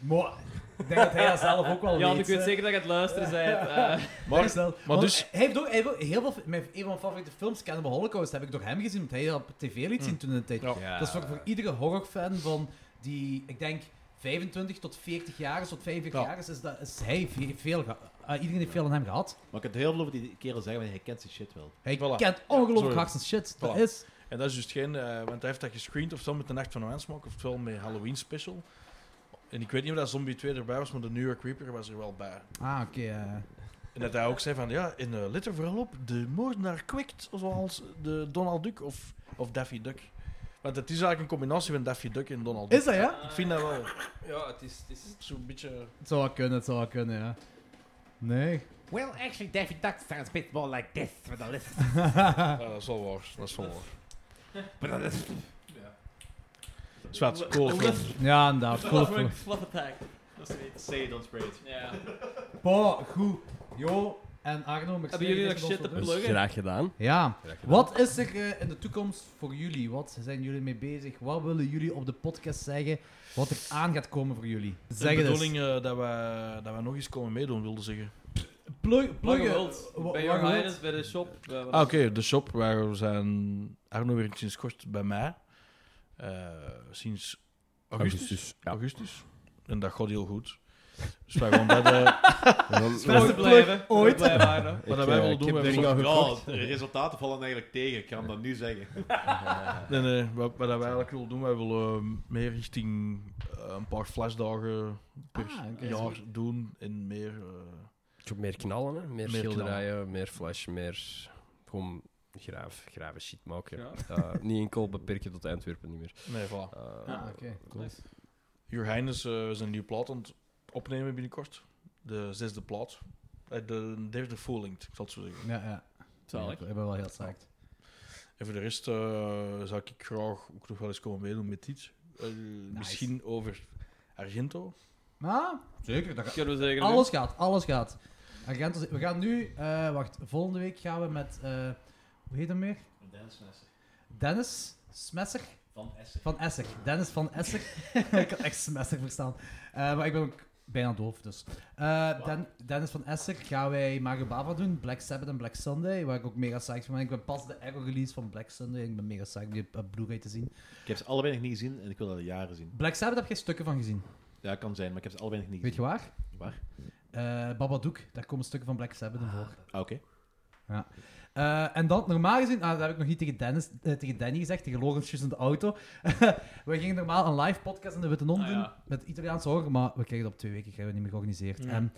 Speaker 6: Mwah. ik denk dat hij dat zelf ook wel
Speaker 12: ja, want
Speaker 6: weet.
Speaker 12: ik weet
Speaker 6: hè.
Speaker 12: zeker dat je aan het luisteren bent. eh.
Speaker 9: Maar-
Speaker 6: Echt wel.
Speaker 9: maar
Speaker 6: Want
Speaker 9: dus-
Speaker 6: Hij heeft ook, hij heeft ook heel veel... Mijn, een van mijn favoriete films, Cannibal Holocaust, heb ik door hem gezien, want hij dat op tv liet zien toen in de tijd.
Speaker 9: Mm. Ja.
Speaker 6: Dat is voor, voor iedere horrorfan van die, ik denk, 25 tot 40 jaar, is, tot 45
Speaker 9: Ja.
Speaker 6: jaar is, is, dat, is hij ve- veel... ge- eh, iedereen heeft veel aan hem gehad.
Speaker 8: Maar ik heb heel veel over die kerel zeggen, want hij kent zijn shit wel.
Speaker 6: Hij
Speaker 9: Voilà.
Speaker 6: kent ongelooflijk
Speaker 9: Sorry.
Speaker 6: hard zijn shit. Dat
Speaker 9: Voilà.
Speaker 6: is...
Speaker 9: En dat is dus geen, eh, want hij heeft dat gescreend, ofwel met de Nacht van de Wensmaker, ofwel met Halloween Special. En ik weet niet of dat Zombie 2 erbij was, maar de New York Reaper was er wel bij.
Speaker 6: Ah, oké. eh.
Speaker 9: En dat hij ook zei van, ja, en eh, let er vooral op, de moordenaar kwikt, zoals de Donald Duck of, of Daffy Duck. Want het is eigenlijk een combinatie van Daffy Duck en Donald Duck.
Speaker 6: Is dat, ja?
Speaker 9: Ik vind dat wel
Speaker 7: Ja, het is, het is
Speaker 9: zo'n beetje...
Speaker 6: Het zou wel kunnen, het zou wel kunnen, ja. Nee.
Speaker 5: Well, actually, David Duck sounds a bit more like this, but a little...
Speaker 9: Ja, dat is wel waar. Dat is wel waar.
Speaker 5: But a little...
Speaker 9: Zwart, cool.
Speaker 12: Hoe dat-
Speaker 6: Ja, inderdaad. Ah, Cool
Speaker 12: Fluff
Speaker 6: film.
Speaker 12: fluff attack. Dat is zoiets.
Speaker 8: Say it, don't spray it.
Speaker 12: Ja.
Speaker 6: Bah, goed. Jo en Arno, merci.
Speaker 12: Hebben jullie
Speaker 6: dat
Speaker 12: nog
Speaker 6: je ons
Speaker 12: shit te
Speaker 6: wilt doen.
Speaker 12: pluggen?
Speaker 7: Dus graag gedaan.
Speaker 6: Ja.
Speaker 7: Graag gedaan.
Speaker 6: Wat is er eh, in de toekomst voor jullie? Wat zijn jullie mee bezig? Wat willen jullie op de podcast zeggen? Wat er aan gaat komen voor jullie? Zeg
Speaker 9: de
Speaker 6: het
Speaker 9: bedoeling
Speaker 6: eens.
Speaker 9: eh, dat, we, dat we nog eens komen meedoen, wilde zeggen.
Speaker 12: Pluggen.
Speaker 6: Plug, pluggen. Wa-
Speaker 12: Bij
Speaker 6: waar
Speaker 12: Your
Speaker 6: je wilt.
Speaker 12: Highness, bij de shop. eh, wat-
Speaker 9: Ah, oké. de shop waar we zijn... Arno werkt sinds kort bij mij. Eh, sinds augustus. Augustus, En dat gaat heel goed. Dus wij gaan dat... eh,
Speaker 12: Beste blijven.
Speaker 6: ooit.
Speaker 12: Blijven, Arno.
Speaker 9: wat dat wij willen doen... wij willen-
Speaker 5: Ja, de resultaten vallen eigenlijk tegen, ik kan dat nu zeggen.
Speaker 9: Nee, nee. Wat, wat dat wij eigenlijk willen doen, wij willen eh, meer richting eh, een paar flashdagen per
Speaker 6: Ah, oké.
Speaker 9: jaar doen. En meer... eh,
Speaker 7: Meer knallen, hè? meer,
Speaker 9: Meer
Speaker 7: schilderijen, meer flash, meer gewoon graaf, grave shit maken.
Speaker 12: Ja.
Speaker 7: Eh, niet enkel beperken tot Antwerpen, niet meer.
Speaker 9: nee, voilà.
Speaker 7: Eh,
Speaker 6: Ah, oké.
Speaker 12: Nice.
Speaker 9: Your Highness eh, is een nieuwe plaat aan het opnemen binnenkort. De zesde plaat. Eh, de derde full length, ik zal het zo zeggen.
Speaker 6: Ja, ja.
Speaker 12: Zalig.
Speaker 6: Ik ben wel heel saai.
Speaker 9: En voor de rest eh, zou ik graag ook nog wel eens komen meedoen met iets. Eh, Misschien over Argento.
Speaker 6: Maar, zeker. Dat,
Speaker 12: Kunnen we zeggen.
Speaker 6: Alles gaat, alles gaat. Argento, we gaan nu, eh, wacht, volgende week gaan we met, eh, hoe heet hem meer? Dennis Smesser.
Speaker 8: Van Essen.
Speaker 6: Van Esser. Dennis van Esser. ik had echt Smesser verstaan. Eh, maar ik ben ook bijna doof, dus. Eh, Den- Dennis van Esser gaan wij Mario Bava doen, Black Sabbath en Black Sunday, waar ik ook mega psyched van ben. Ik ben pas de error release van Black Sunday en ik ben mega psyched om die op Blu-ray te zien.
Speaker 8: Ik heb ze allebei nog niet gezien en ik wil dat al jaren zien.
Speaker 6: Black Sabbath heb jij stukken van gezien.
Speaker 8: Ja, kan zijn, maar ik heb ze allebei nog niet
Speaker 6: Weet je
Speaker 8: gezien.
Speaker 6: waar?
Speaker 8: Waar?
Speaker 6: Eh, Babadook, daar komen stukken van Black Sabbath in voor.
Speaker 8: Ah, oké.
Speaker 6: Eh, en dan, normaal gezien, ah, dat heb ik nog niet tegen, Dennis, eh, tegen Danny gezegd, tegen Lorentjes in de auto. we gingen normaal een live podcast in de Witte Non
Speaker 12: Ah,
Speaker 6: doen,
Speaker 12: ja.
Speaker 6: met Italiaans horen, maar we kregen dat op twee weken krijgen we niet meer georganiseerd. En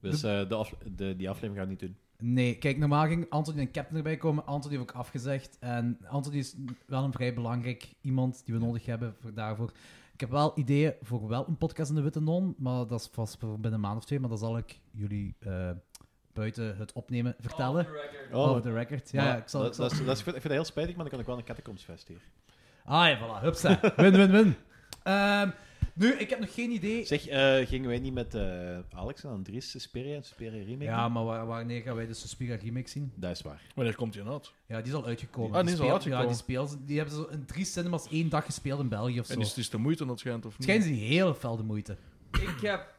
Speaker 8: Dus eh, de afle- de, die aflevering gaan we niet doen.
Speaker 6: nee, kijk, normaal ging Anthony en Captain erbij komen. Anthony heeft ook afgezegd. En Anthony is wel een vrij belangrijk iemand die we nodig hebben voor, daarvoor. Ik heb wel ideeën voor wel een podcast in de Witte Non, maar dat is vast voor binnen een maand of twee. Maar dat zal ik jullie eh, buiten het opnemen vertellen.
Speaker 12: Oh.
Speaker 6: Over the record. Ja, ja, ik zal...
Speaker 8: Oh, dat,
Speaker 6: ik zal-
Speaker 8: dat is, dat is- ik vind ik vind dat heel spijtig, maar dan kan ik wel een catacombsfest hier.
Speaker 6: Ah ja, voilà, hupsa. Win, win, win. Ehm, nu, ik heb nog geen idee.
Speaker 8: Zeg, eh, gingen wij niet met eh, Alex en Andries Suspiria en Suspiria Remake?
Speaker 6: Ja,
Speaker 8: doen?
Speaker 6: maar wa- wanneer gaan wij de Suspiria remake zien?
Speaker 8: Dat is waar.
Speaker 9: Wanneer komt die uit?
Speaker 6: Ja, die is al uitgekomen.
Speaker 9: Ah, die is al
Speaker 6: speel-
Speaker 9: uitgekomen.
Speaker 6: Ja, die, speel, die hebben ze in drie cinemas één dag gespeeld in België of zo.
Speaker 9: En is het is de moeite dat schijnt of
Speaker 6: Het
Speaker 9: niet?
Speaker 6: schijnt ze heel fel de moeite.
Speaker 12: Ik heb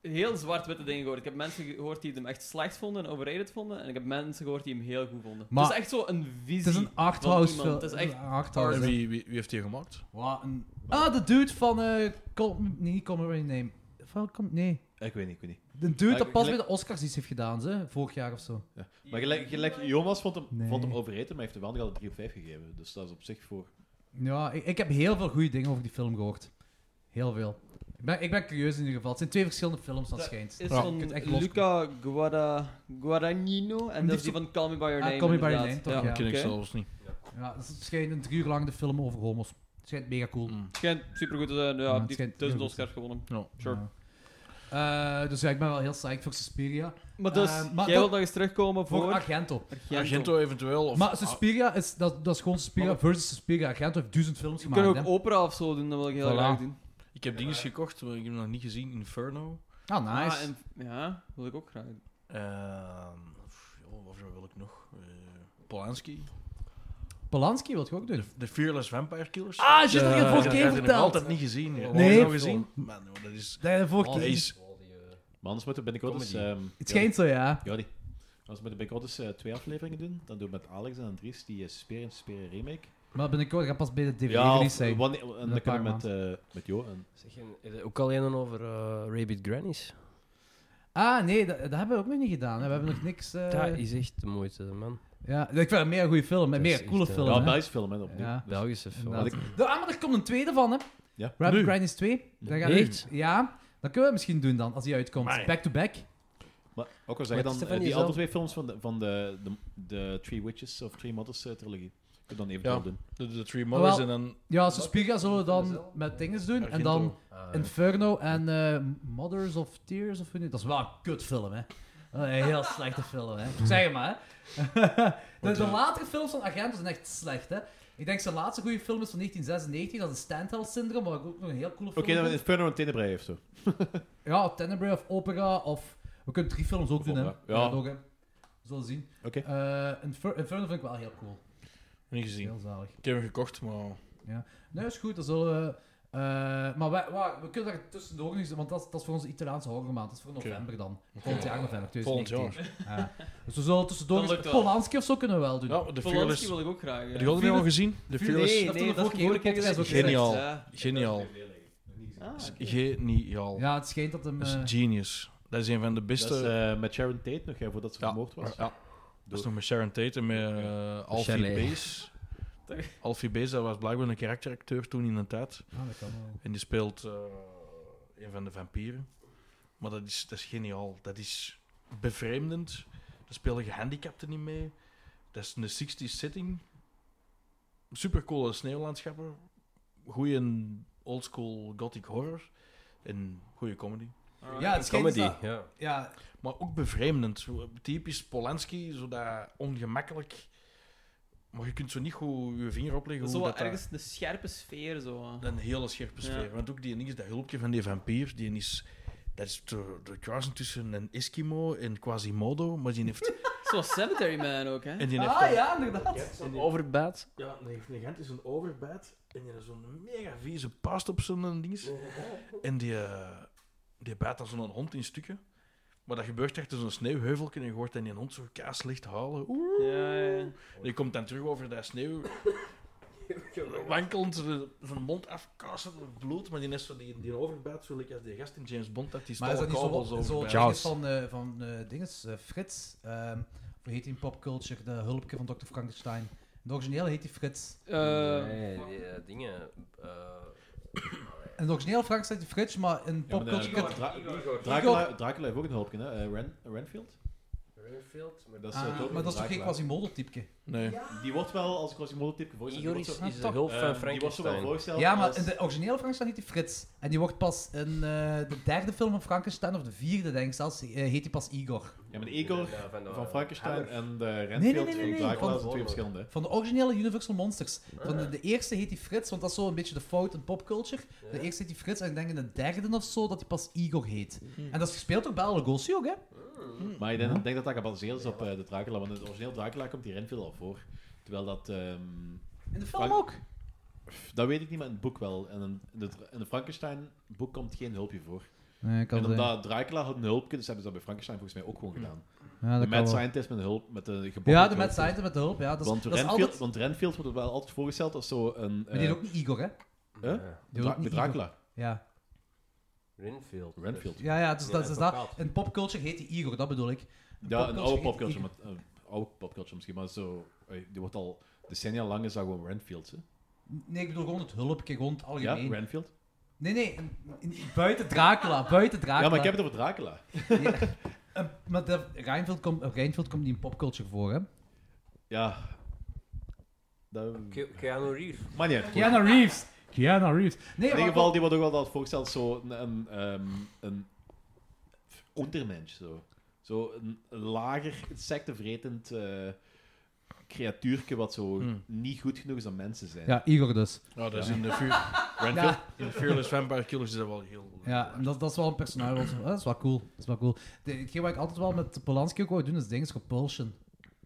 Speaker 12: heel zwart-witte dingen gehoord. Ik heb mensen gehoord die hem echt slecht vonden en overrated vonden. En ik heb mensen gehoord die hem heel goed vonden.
Speaker 6: Maar-
Speaker 12: het is echt zo een visie.
Speaker 6: Het is een arthouse
Speaker 12: van
Speaker 6: film.
Speaker 12: iemand. Het is echt...
Speaker 6: een
Speaker 9: En
Speaker 6: arthouse.
Speaker 9: wie, wie, wie heeft die gemaakt?
Speaker 6: Wat een- Ah, de dude van... eh Call... Nee, niet Call Me By Your Name. Van Call- Nee.
Speaker 8: Ik weet niet, ik weet niet.
Speaker 6: De dude
Speaker 8: Maar
Speaker 6: dat pas bij
Speaker 8: gelijk-
Speaker 6: de Oscars iets heeft gedaan, ze, vorig jaar of zo.
Speaker 8: Ja. Maar gelijk, gelijk Jonas vond hem,
Speaker 6: Nee.
Speaker 8: vond hem overrated, maar hij heeft hem wel nog al 3 op 5 gegeven. Dus dat is op zich voor...
Speaker 6: Ja, ik, ik heb heel veel goede dingen over die film gehoord. Heel veel. Ik ben, ik ben curieus in ieder geval. Het zijn twee verschillende films, dat
Speaker 12: Dat
Speaker 6: schijnt.
Speaker 12: is
Speaker 6: Je kunt
Speaker 12: van
Speaker 6: echt los-
Speaker 12: Luca Guada... Guadagnino. En dat is die van Call Me By Your
Speaker 6: Ah,
Speaker 12: Name.
Speaker 6: Call Me By
Speaker 12: inderdaad.
Speaker 6: Your Name, toch,
Speaker 12: Ja.
Speaker 9: Dat
Speaker 6: ja.
Speaker 9: ken ik
Speaker 12: oké.
Speaker 9: zelfs niet.
Speaker 6: Ja, dus het schijnt een drie uur lang de film over homo's. Het schijnt mega cool.
Speaker 9: Mm.
Speaker 12: Schijnt supergoed te zijn. Ja,
Speaker 6: Ja, het
Speaker 12: die
Speaker 6: schijnt
Speaker 12: heeft duizend
Speaker 6: heel goed te
Speaker 12: Oscars gewonnen.
Speaker 9: Ja.
Speaker 12: Sure.
Speaker 6: Ja. Eh, dus ja, ik ben wel heel psyched voor Suspiria.
Speaker 12: Maar dus,
Speaker 6: Eh, maar
Speaker 12: jij
Speaker 6: toch-
Speaker 12: wilt nog eens terugkomen voor...
Speaker 6: Voor Argento.
Speaker 12: Argento.
Speaker 9: Argento eventueel. Of
Speaker 6: maar Suspiria is, dat, dat is gewoon Suspiria
Speaker 12: Maar-
Speaker 6: versus Suspiria. Argento heeft duizend
Speaker 12: Je
Speaker 6: films gemaakt.
Speaker 12: kunt ook
Speaker 6: hè.
Speaker 12: opera of zo doen, dat wil ik heel
Speaker 6: Voilà.
Speaker 12: graag doen.
Speaker 9: ik heb dingen gekocht, maar ik heb hem nog niet gezien. Inferno.
Speaker 6: Ah, nice.
Speaker 12: Ah, en, ja, wil ik ook graag doen.
Speaker 9: Ehm, pff, joh, wat wil ik nog? Eh, Polanski.
Speaker 6: Polanski wil ik ook
Speaker 9: De,
Speaker 6: doen.
Speaker 9: de Fearless Vampire Killers.
Speaker 6: Ah, juist dat je het vorige
Speaker 9: Ik
Speaker 6: keer
Speaker 9: heb hem
Speaker 6: verteld.
Speaker 9: altijd niet gezien. Heb
Speaker 6: Nee.
Speaker 9: je hem gezien? Man, joh, dat is... Ah,
Speaker 6: Dat je de
Speaker 7: Oh,
Speaker 6: vorige
Speaker 9: dat
Speaker 6: keer...
Speaker 9: is-
Speaker 7: eh,
Speaker 5: Maar anders moeten we binnenkort eens... ehm,
Speaker 6: Het schijnt zo, ja.
Speaker 5: Ja, die. Als we binnenkort eens eh, twee afleveringen doen, dan doen we met Alex en Andries die is Speer en Speer remake.
Speaker 6: Maar binnenkort gaat pas bij de
Speaker 5: Ja,
Speaker 6: DVD-release
Speaker 5: of
Speaker 6: zijn.
Speaker 5: wanneer- en
Speaker 6: een
Speaker 5: dan
Speaker 6: paar
Speaker 5: kunnen we met, eh, met Jo. En,
Speaker 7: Zeg, en is het ook al een over eh Rabbit Grannies.
Speaker 6: Ah, nee, dat, dat hebben we ook nog niet gedaan. Hè. We hebben nog niks... eh,
Speaker 7: Dat is echt de moeite, man.
Speaker 6: ja. Ik vind het meer een goede film. en
Speaker 7: Dat is
Speaker 6: Meer een coole
Speaker 7: echt, eh,
Speaker 6: film,
Speaker 5: ja,
Speaker 6: hè.
Speaker 5: Belgisch film, hè, opnieuw.
Speaker 6: Ja.
Speaker 7: Dus Belgische film.
Speaker 6: Inderdaad. De- ah, maar er komt een tweede van, hè.
Speaker 5: Ja.
Speaker 6: Rabbit
Speaker 9: Nu.
Speaker 6: Grindies 2. Daar gaan we-
Speaker 7: Echt?
Speaker 6: Ja. Dat kunnen we misschien doen dan, als die uitkomt.
Speaker 9: Maar-
Speaker 6: Back-to-back.
Speaker 5: Maar ook al
Speaker 7: Maar het
Speaker 5: zeg je dan,
Speaker 7: is
Speaker 5: eh,
Speaker 7: van
Speaker 5: die
Speaker 7: jezelf.
Speaker 5: andere twee films van de, van de, de, de Three Witches of Three Mothers eh, trilogie. Ik heb dan eventueel
Speaker 9: Ja.
Speaker 5: doen.
Speaker 9: De, de Three Mothers
Speaker 6: Wel,
Speaker 9: en dan...
Speaker 6: Ja, Suspiria zullen we dan met dinges doen. En
Speaker 9: Argento.
Speaker 6: dan Inferno en eh, Mothers of Tears of hoe niet. Dat is wel een kutfilm, hè. Dat is Een heel slechte film, hè. Ik Zeg het maar, hè. De, de latere films van Argento zijn echt slecht, hè. Ik denk zijn laatste goede film is van 1996, dat is Standheld Syndrome, wat ik ook nog een heel coole
Speaker 5: Oké,
Speaker 6: film
Speaker 5: dan
Speaker 6: vind.
Speaker 5: Inferno en Tenebrae of zo.
Speaker 6: Ja, of Tenebrae of Opera, of... We kunnen drie films ook
Speaker 5: Of
Speaker 6: doen, hè.
Speaker 5: Opera, ja.
Speaker 6: dat ook, hè. We zullen zien.
Speaker 5: Oké.
Speaker 6: Eh, Infer- Inferno vind ik wel heel cool.
Speaker 9: Niet gezien.
Speaker 6: Heel zalig.
Speaker 9: Ik heb hem gekocht, maar...
Speaker 6: Nee, is goed. Dan zullen we... eh, maar wij, wij- we kunnen daar tussendoor nog eens... Want dat, is- dat is voor onze Italiaanse horrormaand. Dat is voor november dan. Volgend jaar november,
Speaker 9: Volgend
Speaker 6: 2019.
Speaker 9: jaar.
Speaker 6: Ja. Dus we zullen tussendoor
Speaker 3: Dat
Speaker 6: eens...
Speaker 3: lukt wel.
Speaker 6: Polanski of zo kunnen we wel doen.
Speaker 9: Ja, de
Speaker 12: Polanski
Speaker 9: Fearless...
Speaker 12: wil ik ook graag. ja.
Speaker 9: Heb je die al gezien? De Fearless...
Speaker 12: Nee,
Speaker 6: Dat
Speaker 12: nee,
Speaker 6: hebben we
Speaker 12: dat
Speaker 6: vorige
Speaker 12: is de vorige
Speaker 6: keer
Speaker 12: keer
Speaker 6: gezegd,
Speaker 12: gezegd.
Speaker 9: Geniaal.
Speaker 12: Ja.
Speaker 9: Geniaal.
Speaker 12: Ah, oké.
Speaker 9: Geniaal.
Speaker 6: Ja, het schijnt dat hem...
Speaker 9: Dat is
Speaker 6: eh,
Speaker 9: genius. Dat is een van de
Speaker 5: Dat is
Speaker 9: beste...
Speaker 5: eh, met Sharon Tate nog, hè, voordat ze
Speaker 9: Ja.
Speaker 5: vermoord was.
Speaker 9: Ja. Dat is nog met Sharon Tate en met eh, Alfie
Speaker 7: Shelley.
Speaker 9: Bees. Alfie Bees, dat was blijkbaar een karakteracteur toen in de tijd.
Speaker 6: ah, dat kan wel.
Speaker 9: En die speelt eh, een van de vampieren. Maar dat is, dat is geniaal. Dat is bevreemdend. Daar spelen gehandicapten niet mee. Dat is een 60s setting. Supercoole sneeuwlandschappen. Goeie oldschool gothic horror. En goede comedy.
Speaker 6: Ja, het schijnt dus
Speaker 7: Comedy,
Speaker 6: dat...
Speaker 7: ja.
Speaker 6: Ja,
Speaker 9: Maar ook bevreemdend. Zo Typisch Polanski, zo dat ongemakkelijk. Maar je kunt zo niet goed je vinger opleggen.
Speaker 12: Zo
Speaker 9: Hoe
Speaker 12: wat
Speaker 9: dat, dat-
Speaker 12: ergens een scherpe sfeer, zo.
Speaker 9: dat een hele scherpe sfeer.
Speaker 12: Ja.
Speaker 9: Want ook die is dat hulpje van die vampier, die is... Dat is de, de kruising tussen een Eskimo en Quasimodo, maar die heeft...
Speaker 12: Zoals Cemetery Man ook, hè.
Speaker 9: en die heeft
Speaker 6: ah, ja, inderdaad.
Speaker 9: een,
Speaker 7: Overbaat.
Speaker 9: ja, die heeft een gigantisch een overbijt en die heeft zo'n mega vieze past op zijn dings. En die, eh, die bijt dan zo'n hond in stukken. Maar dat gebeurt achter zo'n sneeuwheuvelje en je hoort dan die hond zo kaas licht halen. Oeh.
Speaker 12: Ja, ja.
Speaker 9: Die komt dan terug over dat sneeuw. Wankelend, zo- zijn mond afkaasend met bloed, maar die is zo die, die overbijt, zo lekker als die gast in James Bond, dat die
Speaker 6: Maar is dat
Speaker 9: stalle
Speaker 6: niet
Speaker 9: kabels
Speaker 6: zo, zo
Speaker 9: overbijt.
Speaker 6: dinges van, eh van eh, dinges, eh, Frits? ehm hoe heet die in popculture? De hulpje van Dr. Frankenstein. De originele heet die Frits.
Speaker 12: Eh,
Speaker 7: nee, die, eh, dingen. eh,
Speaker 6: In de originele Frankenstein heet die Frits, maar in
Speaker 5: Ja, maar, eh,
Speaker 6: popculture...
Speaker 3: Igor,
Speaker 5: Dra- Dra-
Speaker 3: Igor.
Speaker 5: Dracula, Dracula heeft ook een hulpje, hè? eh, Ren, Renfield.
Speaker 7: Renfield, maar
Speaker 5: Dat is, eh,
Speaker 6: Ah,
Speaker 5: het hulpje
Speaker 6: maar dat is
Speaker 5: van
Speaker 6: toch geen
Speaker 5: Dracula.
Speaker 6: Quasimodo-typje?
Speaker 9: Nee.
Speaker 5: Die wordt wel als Quasimodo-type voorgesteld.
Speaker 7: Igor
Speaker 5: Die
Speaker 7: is,
Speaker 5: wordt zo-
Speaker 7: is de hulp van
Speaker 5: eh, Die wordt zo wel
Speaker 7: Frankenstein.
Speaker 5: voorgesteld
Speaker 6: Ja, maar
Speaker 5: als-
Speaker 6: in de originele Frankenstein heet hij Frits. En die wordt pas in eh, de derde film van Frankenstein, of de vierde denk ik zelfs, eh, heet hij pas Igor.
Speaker 5: Ja, maar de Igor
Speaker 7: Ja, van eh, de-
Speaker 5: van Frankenstein
Speaker 7: Hammer.
Speaker 5: en de
Speaker 6: nee,
Speaker 5: Renfield
Speaker 6: nee, nee, nee.
Speaker 5: van Dracula
Speaker 6: Van-
Speaker 5: zijn twee verschillende. hè.
Speaker 6: Van de originele Universal Monsters. Van de, de eerste heet hij Frits, want dat is zo een beetje de fout in popculture. De eerste heet hij Frits en ik denk in de derde of zo dat hij pas Igor heet. En dat is gespeeld door Bela Lugosi ook, hè?
Speaker 5: Maar ik denk, ik denk dat dat gebaseerd is op eh, de Dracula, want in het origineel Dracula komt die Renfield al voor. Terwijl dat... ehm,
Speaker 6: In de film
Speaker 5: Frank-
Speaker 6: ook.
Speaker 5: pff, dat weet ik niet, maar in het boek wel. En in de, in de Frankenstein-boek komt geen hulpje voor.
Speaker 6: Nee,
Speaker 5: En omdat Dracula had een hulpje, dus hebben ze dat bij Frankenstein volgens mij ook
Speaker 6: Hm.
Speaker 5: gewoon gedaan.
Speaker 6: Ja, dat
Speaker 5: de Mad
Speaker 6: kan wel.
Speaker 5: Scientist met de hulp, met de gebonden
Speaker 6: Ja, de
Speaker 5: hulp.
Speaker 6: Mad Scientist met de hulp. Ja, dat is,
Speaker 5: Want
Speaker 6: dat is
Speaker 5: Renfield,
Speaker 6: altijd...
Speaker 5: want Renfield wordt wel altijd voorgesteld als zo een...
Speaker 6: Maar die heet ook niet Igor, hè?
Speaker 5: Huh?
Speaker 6: Die heet ook niet Igor.
Speaker 5: Dracula.
Speaker 6: Ja,
Speaker 7: Renfield.
Speaker 5: Renfield.
Speaker 6: ja, ja dus
Speaker 7: Ja,
Speaker 6: dat, is dat.
Speaker 7: advocaat.
Speaker 6: In popculture heet hij Igor, dat bedoel ik.
Speaker 5: Ja, een oude
Speaker 6: popculture
Speaker 5: popculture. Met, eh, oude popculture misschien, maar zo... eh, Die wordt al decennia lang is dat gewoon Renfield, hè?
Speaker 6: Nee, ik bedoel gewoon het hulpje, gewoon het
Speaker 5: Ja,
Speaker 6: algemeen.
Speaker 5: Renfield.
Speaker 6: nee, nee, in- in- in- buiten Dracula, buiten Dracula.
Speaker 5: Ja, maar ik heb het over Dracula.
Speaker 6: Eh, maar de, Reinfeldt komt Reinfeldt komt niet in popculture voor, hè?
Speaker 5: Ja. Dat...
Speaker 7: Ke- Keanu Reeves.
Speaker 5: Maar niet uit. goed.
Speaker 6: Keanu Reeves! Keanu Reeves. Nee,
Speaker 5: In
Speaker 6: maar...
Speaker 5: ieder geval, die wordt ook wel dat voorgesteld zo een, een, ehm, een Untermensch. Zo, zo een lager, insectenvretend eh creatuurke wat zo
Speaker 9: Hmm.
Speaker 5: niet goed genoeg is om mensen zijn.
Speaker 6: Ja, Igor dus.
Speaker 9: Ja, dat is in de vuur... Renfield-
Speaker 6: Ja.
Speaker 9: in de Fearless Vampire Killers is dat wel heel...
Speaker 6: Ja, en dat, dat is wel een personage. wat- hè, Dat is wel cool. Dat is wel cool. De, hetgeen wat ik altijd wel met Polanski ook wou doen, is dingen Repulsion.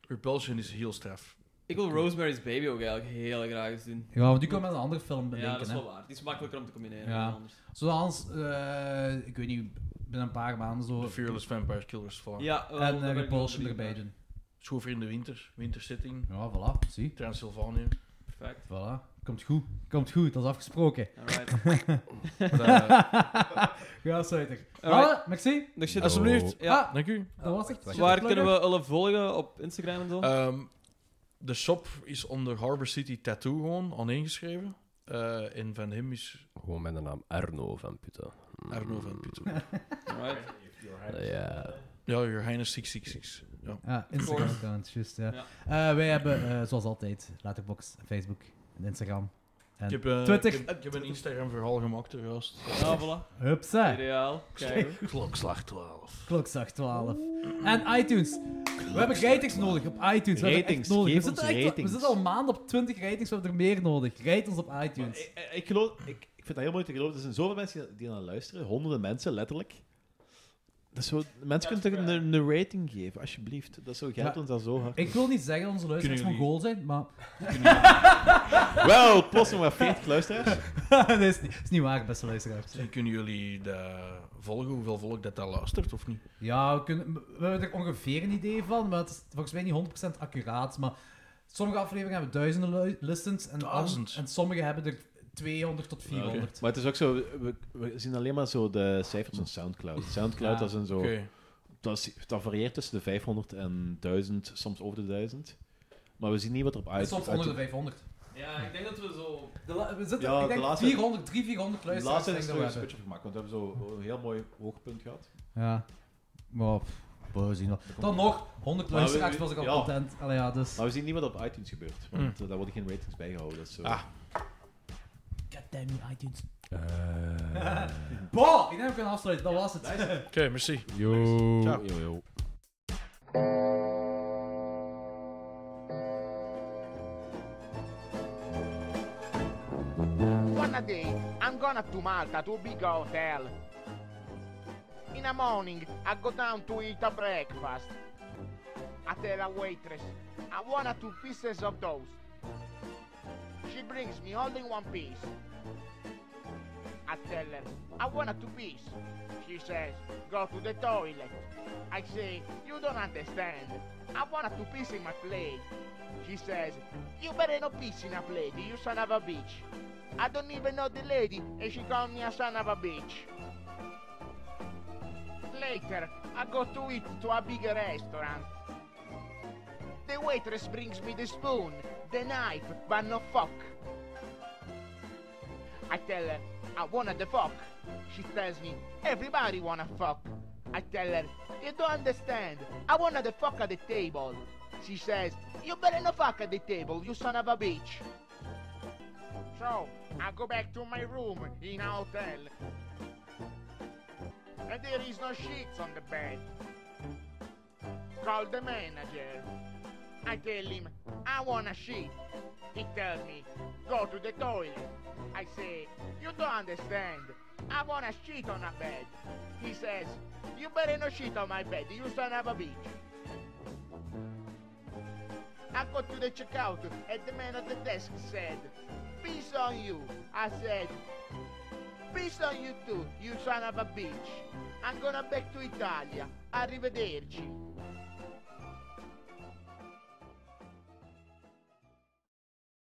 Speaker 9: Repulsion is heel straf.
Speaker 12: Ik wil Rosemary's Baby ook eigenlijk heel graag eens doen.
Speaker 6: Ja, want die kan met een andere film bedenken.
Speaker 12: Ja, dat is
Speaker 6: hè.
Speaker 12: wel waar. Die is makkelijker om te combineren
Speaker 6: Ja.
Speaker 12: dan anders.
Speaker 6: Zoals, eh, ik weet niet, binnen een paar maanden zo.
Speaker 9: De Fearless Vampire Killers van.
Speaker 12: Ja, wel,
Speaker 6: En
Speaker 12: daar
Speaker 6: eh,
Speaker 12: ben Oh, ik
Speaker 6: Repulsion
Speaker 12: wel
Speaker 6: erbij
Speaker 12: benieuwd
Speaker 6: doen.
Speaker 9: Schoon voor in de winter. Winterzitting.
Speaker 6: Ja, voilà, zie.
Speaker 9: Transylvanië.
Speaker 12: naar. Perfect.
Speaker 6: Voilà. Komt goed. Komt goed, dat is afgesproken.
Speaker 12: Alright.
Speaker 9: Dat-
Speaker 6: Ja, zeker.
Speaker 12: Eh. Alright.
Speaker 6: Voilà, merci.
Speaker 12: Nog shit.
Speaker 9: Alsjeblieft.
Speaker 12: Ja.
Speaker 6: Ah,
Speaker 9: Oh.
Speaker 6: Eh.
Speaker 9: Dank u.
Speaker 6: dat was het.
Speaker 7: wacht,
Speaker 12: Waar kunnen we alle volgen op Instagram en zo?
Speaker 9: Ehm, de shop is onder Harbor City Tattoo gewoon aaneengeschreven. Eh, en van hem is
Speaker 7: Gewoon met de naam Arno van Putten. Mm.
Speaker 9: Arno van Putten.
Speaker 12: Alright.
Speaker 7: Ja.
Speaker 9: Ja, Your Highness 666. Ja.
Speaker 6: Ja, Instagram-account, Ah, juist. Ja.
Speaker 3: Ja.
Speaker 6: Eh, wij hebben, eh, zoals altijd, Letterboxd, Facebook en Instagram. En
Speaker 9: Ik heb, eh,
Speaker 6: Twitter.
Speaker 9: Ik heb, ik heb een Instagram-verhaal gemaakt, er juist.
Speaker 12: Ja, voilà.
Speaker 6: Hupsa.
Speaker 12: Ideaal. Kijk.
Speaker 9: Klokslag 12.
Speaker 6: Klokslag 12. En iTunes. We hebben ratings nodig op iTunes. We hebben echt
Speaker 5: Ratings,
Speaker 6: nodig.
Speaker 5: geef
Speaker 6: we, zitten
Speaker 5: ons
Speaker 6: echt-
Speaker 5: ratings.
Speaker 6: we zitten al maanden op 20 ratings, we hebben er meer nodig. Rate ons op
Speaker 5: Maar
Speaker 6: iTunes.
Speaker 5: Ik, ik- ik geloof, ik, ik vind dat heel mooi te geloven. Er zijn zoveel mensen die naar luisteren, honderden mensen letterlijk. Dat is zo, mensen kunnen toch een, een rating geven, alsjeblieft. Dat zou geld
Speaker 6: Ja.
Speaker 5: ons dat zo hard.
Speaker 6: Ik wil niet zeggen dat onze luisteraars
Speaker 9: Kunnen
Speaker 6: Mongool zijn, maar
Speaker 5: Wel, plots nog maar 40 luisteraars.
Speaker 6: dat is niet, is niet waar, beste luisteraars.
Speaker 9: En kunnen jullie dat volgen, hoeveel volk dat daar luistert of niet?
Speaker 6: Ja, we, kunnen, we hebben er ongeveer een idee van, maar het is volgens mij niet 100% accuraat. Maar sommige afleveringen hebben duizenden lu- listens en,
Speaker 9: Duizend.
Speaker 6: en sommige hebben er 200 tot 400.
Speaker 5: Maar het is ook zo, we, we zien alleen maar zo de cijfers van Soundcloud. Soundcloud
Speaker 6: Ja.
Speaker 5: dat is een zo,
Speaker 9: Oké.
Speaker 5: dat, is- dat varieert tussen de 500 en 1000, soms over de 1000. Maar we zien niet wat er op
Speaker 6: En
Speaker 5: uit.
Speaker 6: Soms
Speaker 5: uit-
Speaker 6: onder de 500.
Speaker 3: Ja, ik denk dat we zo...
Speaker 6: De la- we zitten,
Speaker 5: Ja,
Speaker 6: ik
Speaker 5: de
Speaker 6: denk,
Speaker 5: laatste-
Speaker 6: 400, 300, 400
Speaker 5: de laatste
Speaker 6: luisteraars.
Speaker 5: is
Speaker 6: denk
Speaker 5: er een
Speaker 6: ik dat we
Speaker 5: switch op gemaakt, want we hebben zo een heel mooi hoogpunt gehad.
Speaker 6: hebben. Ja, maar pff, we zien wel. Dan nog, 100
Speaker 5: Maar we-
Speaker 6: luisteraars was ik al
Speaker 5: ja.
Speaker 6: content. Allee, ja, dus...
Speaker 5: Maar we zien niet wat op iTunes gebeurt, want eh, daar worden geen ratings bijgehouden. Dat is zo.
Speaker 9: Ah.
Speaker 6: Goddamn iTunes. Boah, ik denk dat we kunnen afsluiten, dat was het.
Speaker 9: Oké, merci.
Speaker 7: Yo.
Speaker 9: Ciao.
Speaker 7: Yo, yo.
Speaker 14: One a day, I'm gonna to Malta to big hotel. In the morning, I go down to eat a breakfast. I tell a waitress, I want a two pieces of toast. She brings me only one piece. I tell her, I want a two piece. She says, go to the toilet. I say, you don't understand. I want a two piece in my plate. She says, you better not piss in a plate, you son of a bitch. I don't even know the lady, and she called me a son of a bitch. Later, I go to eat to a big restaurant. The waitress brings me the spoon, the knife, but no fork. I tell her, I wanna the fuck. She tells me, everybody wanna fuck. I tell her, you don't understand. I wanna the fuck at the table. She says, you better not fuck at the table, you son of a bitch. So I go back to my room in a hotel. And there is no sheets on the bed. Call the manager. I tell him, I want a sheet. He tells me, go to the toilet. I say, you don't understand. I want a sheet on a bed. He says, you better not shit on my bed, you son of a bitch. I go to the checkout and the man at the desk said, Peace on you. I said, Peace on you too, you son of a bitch. I'm gonna back to Italia. Arrivederci.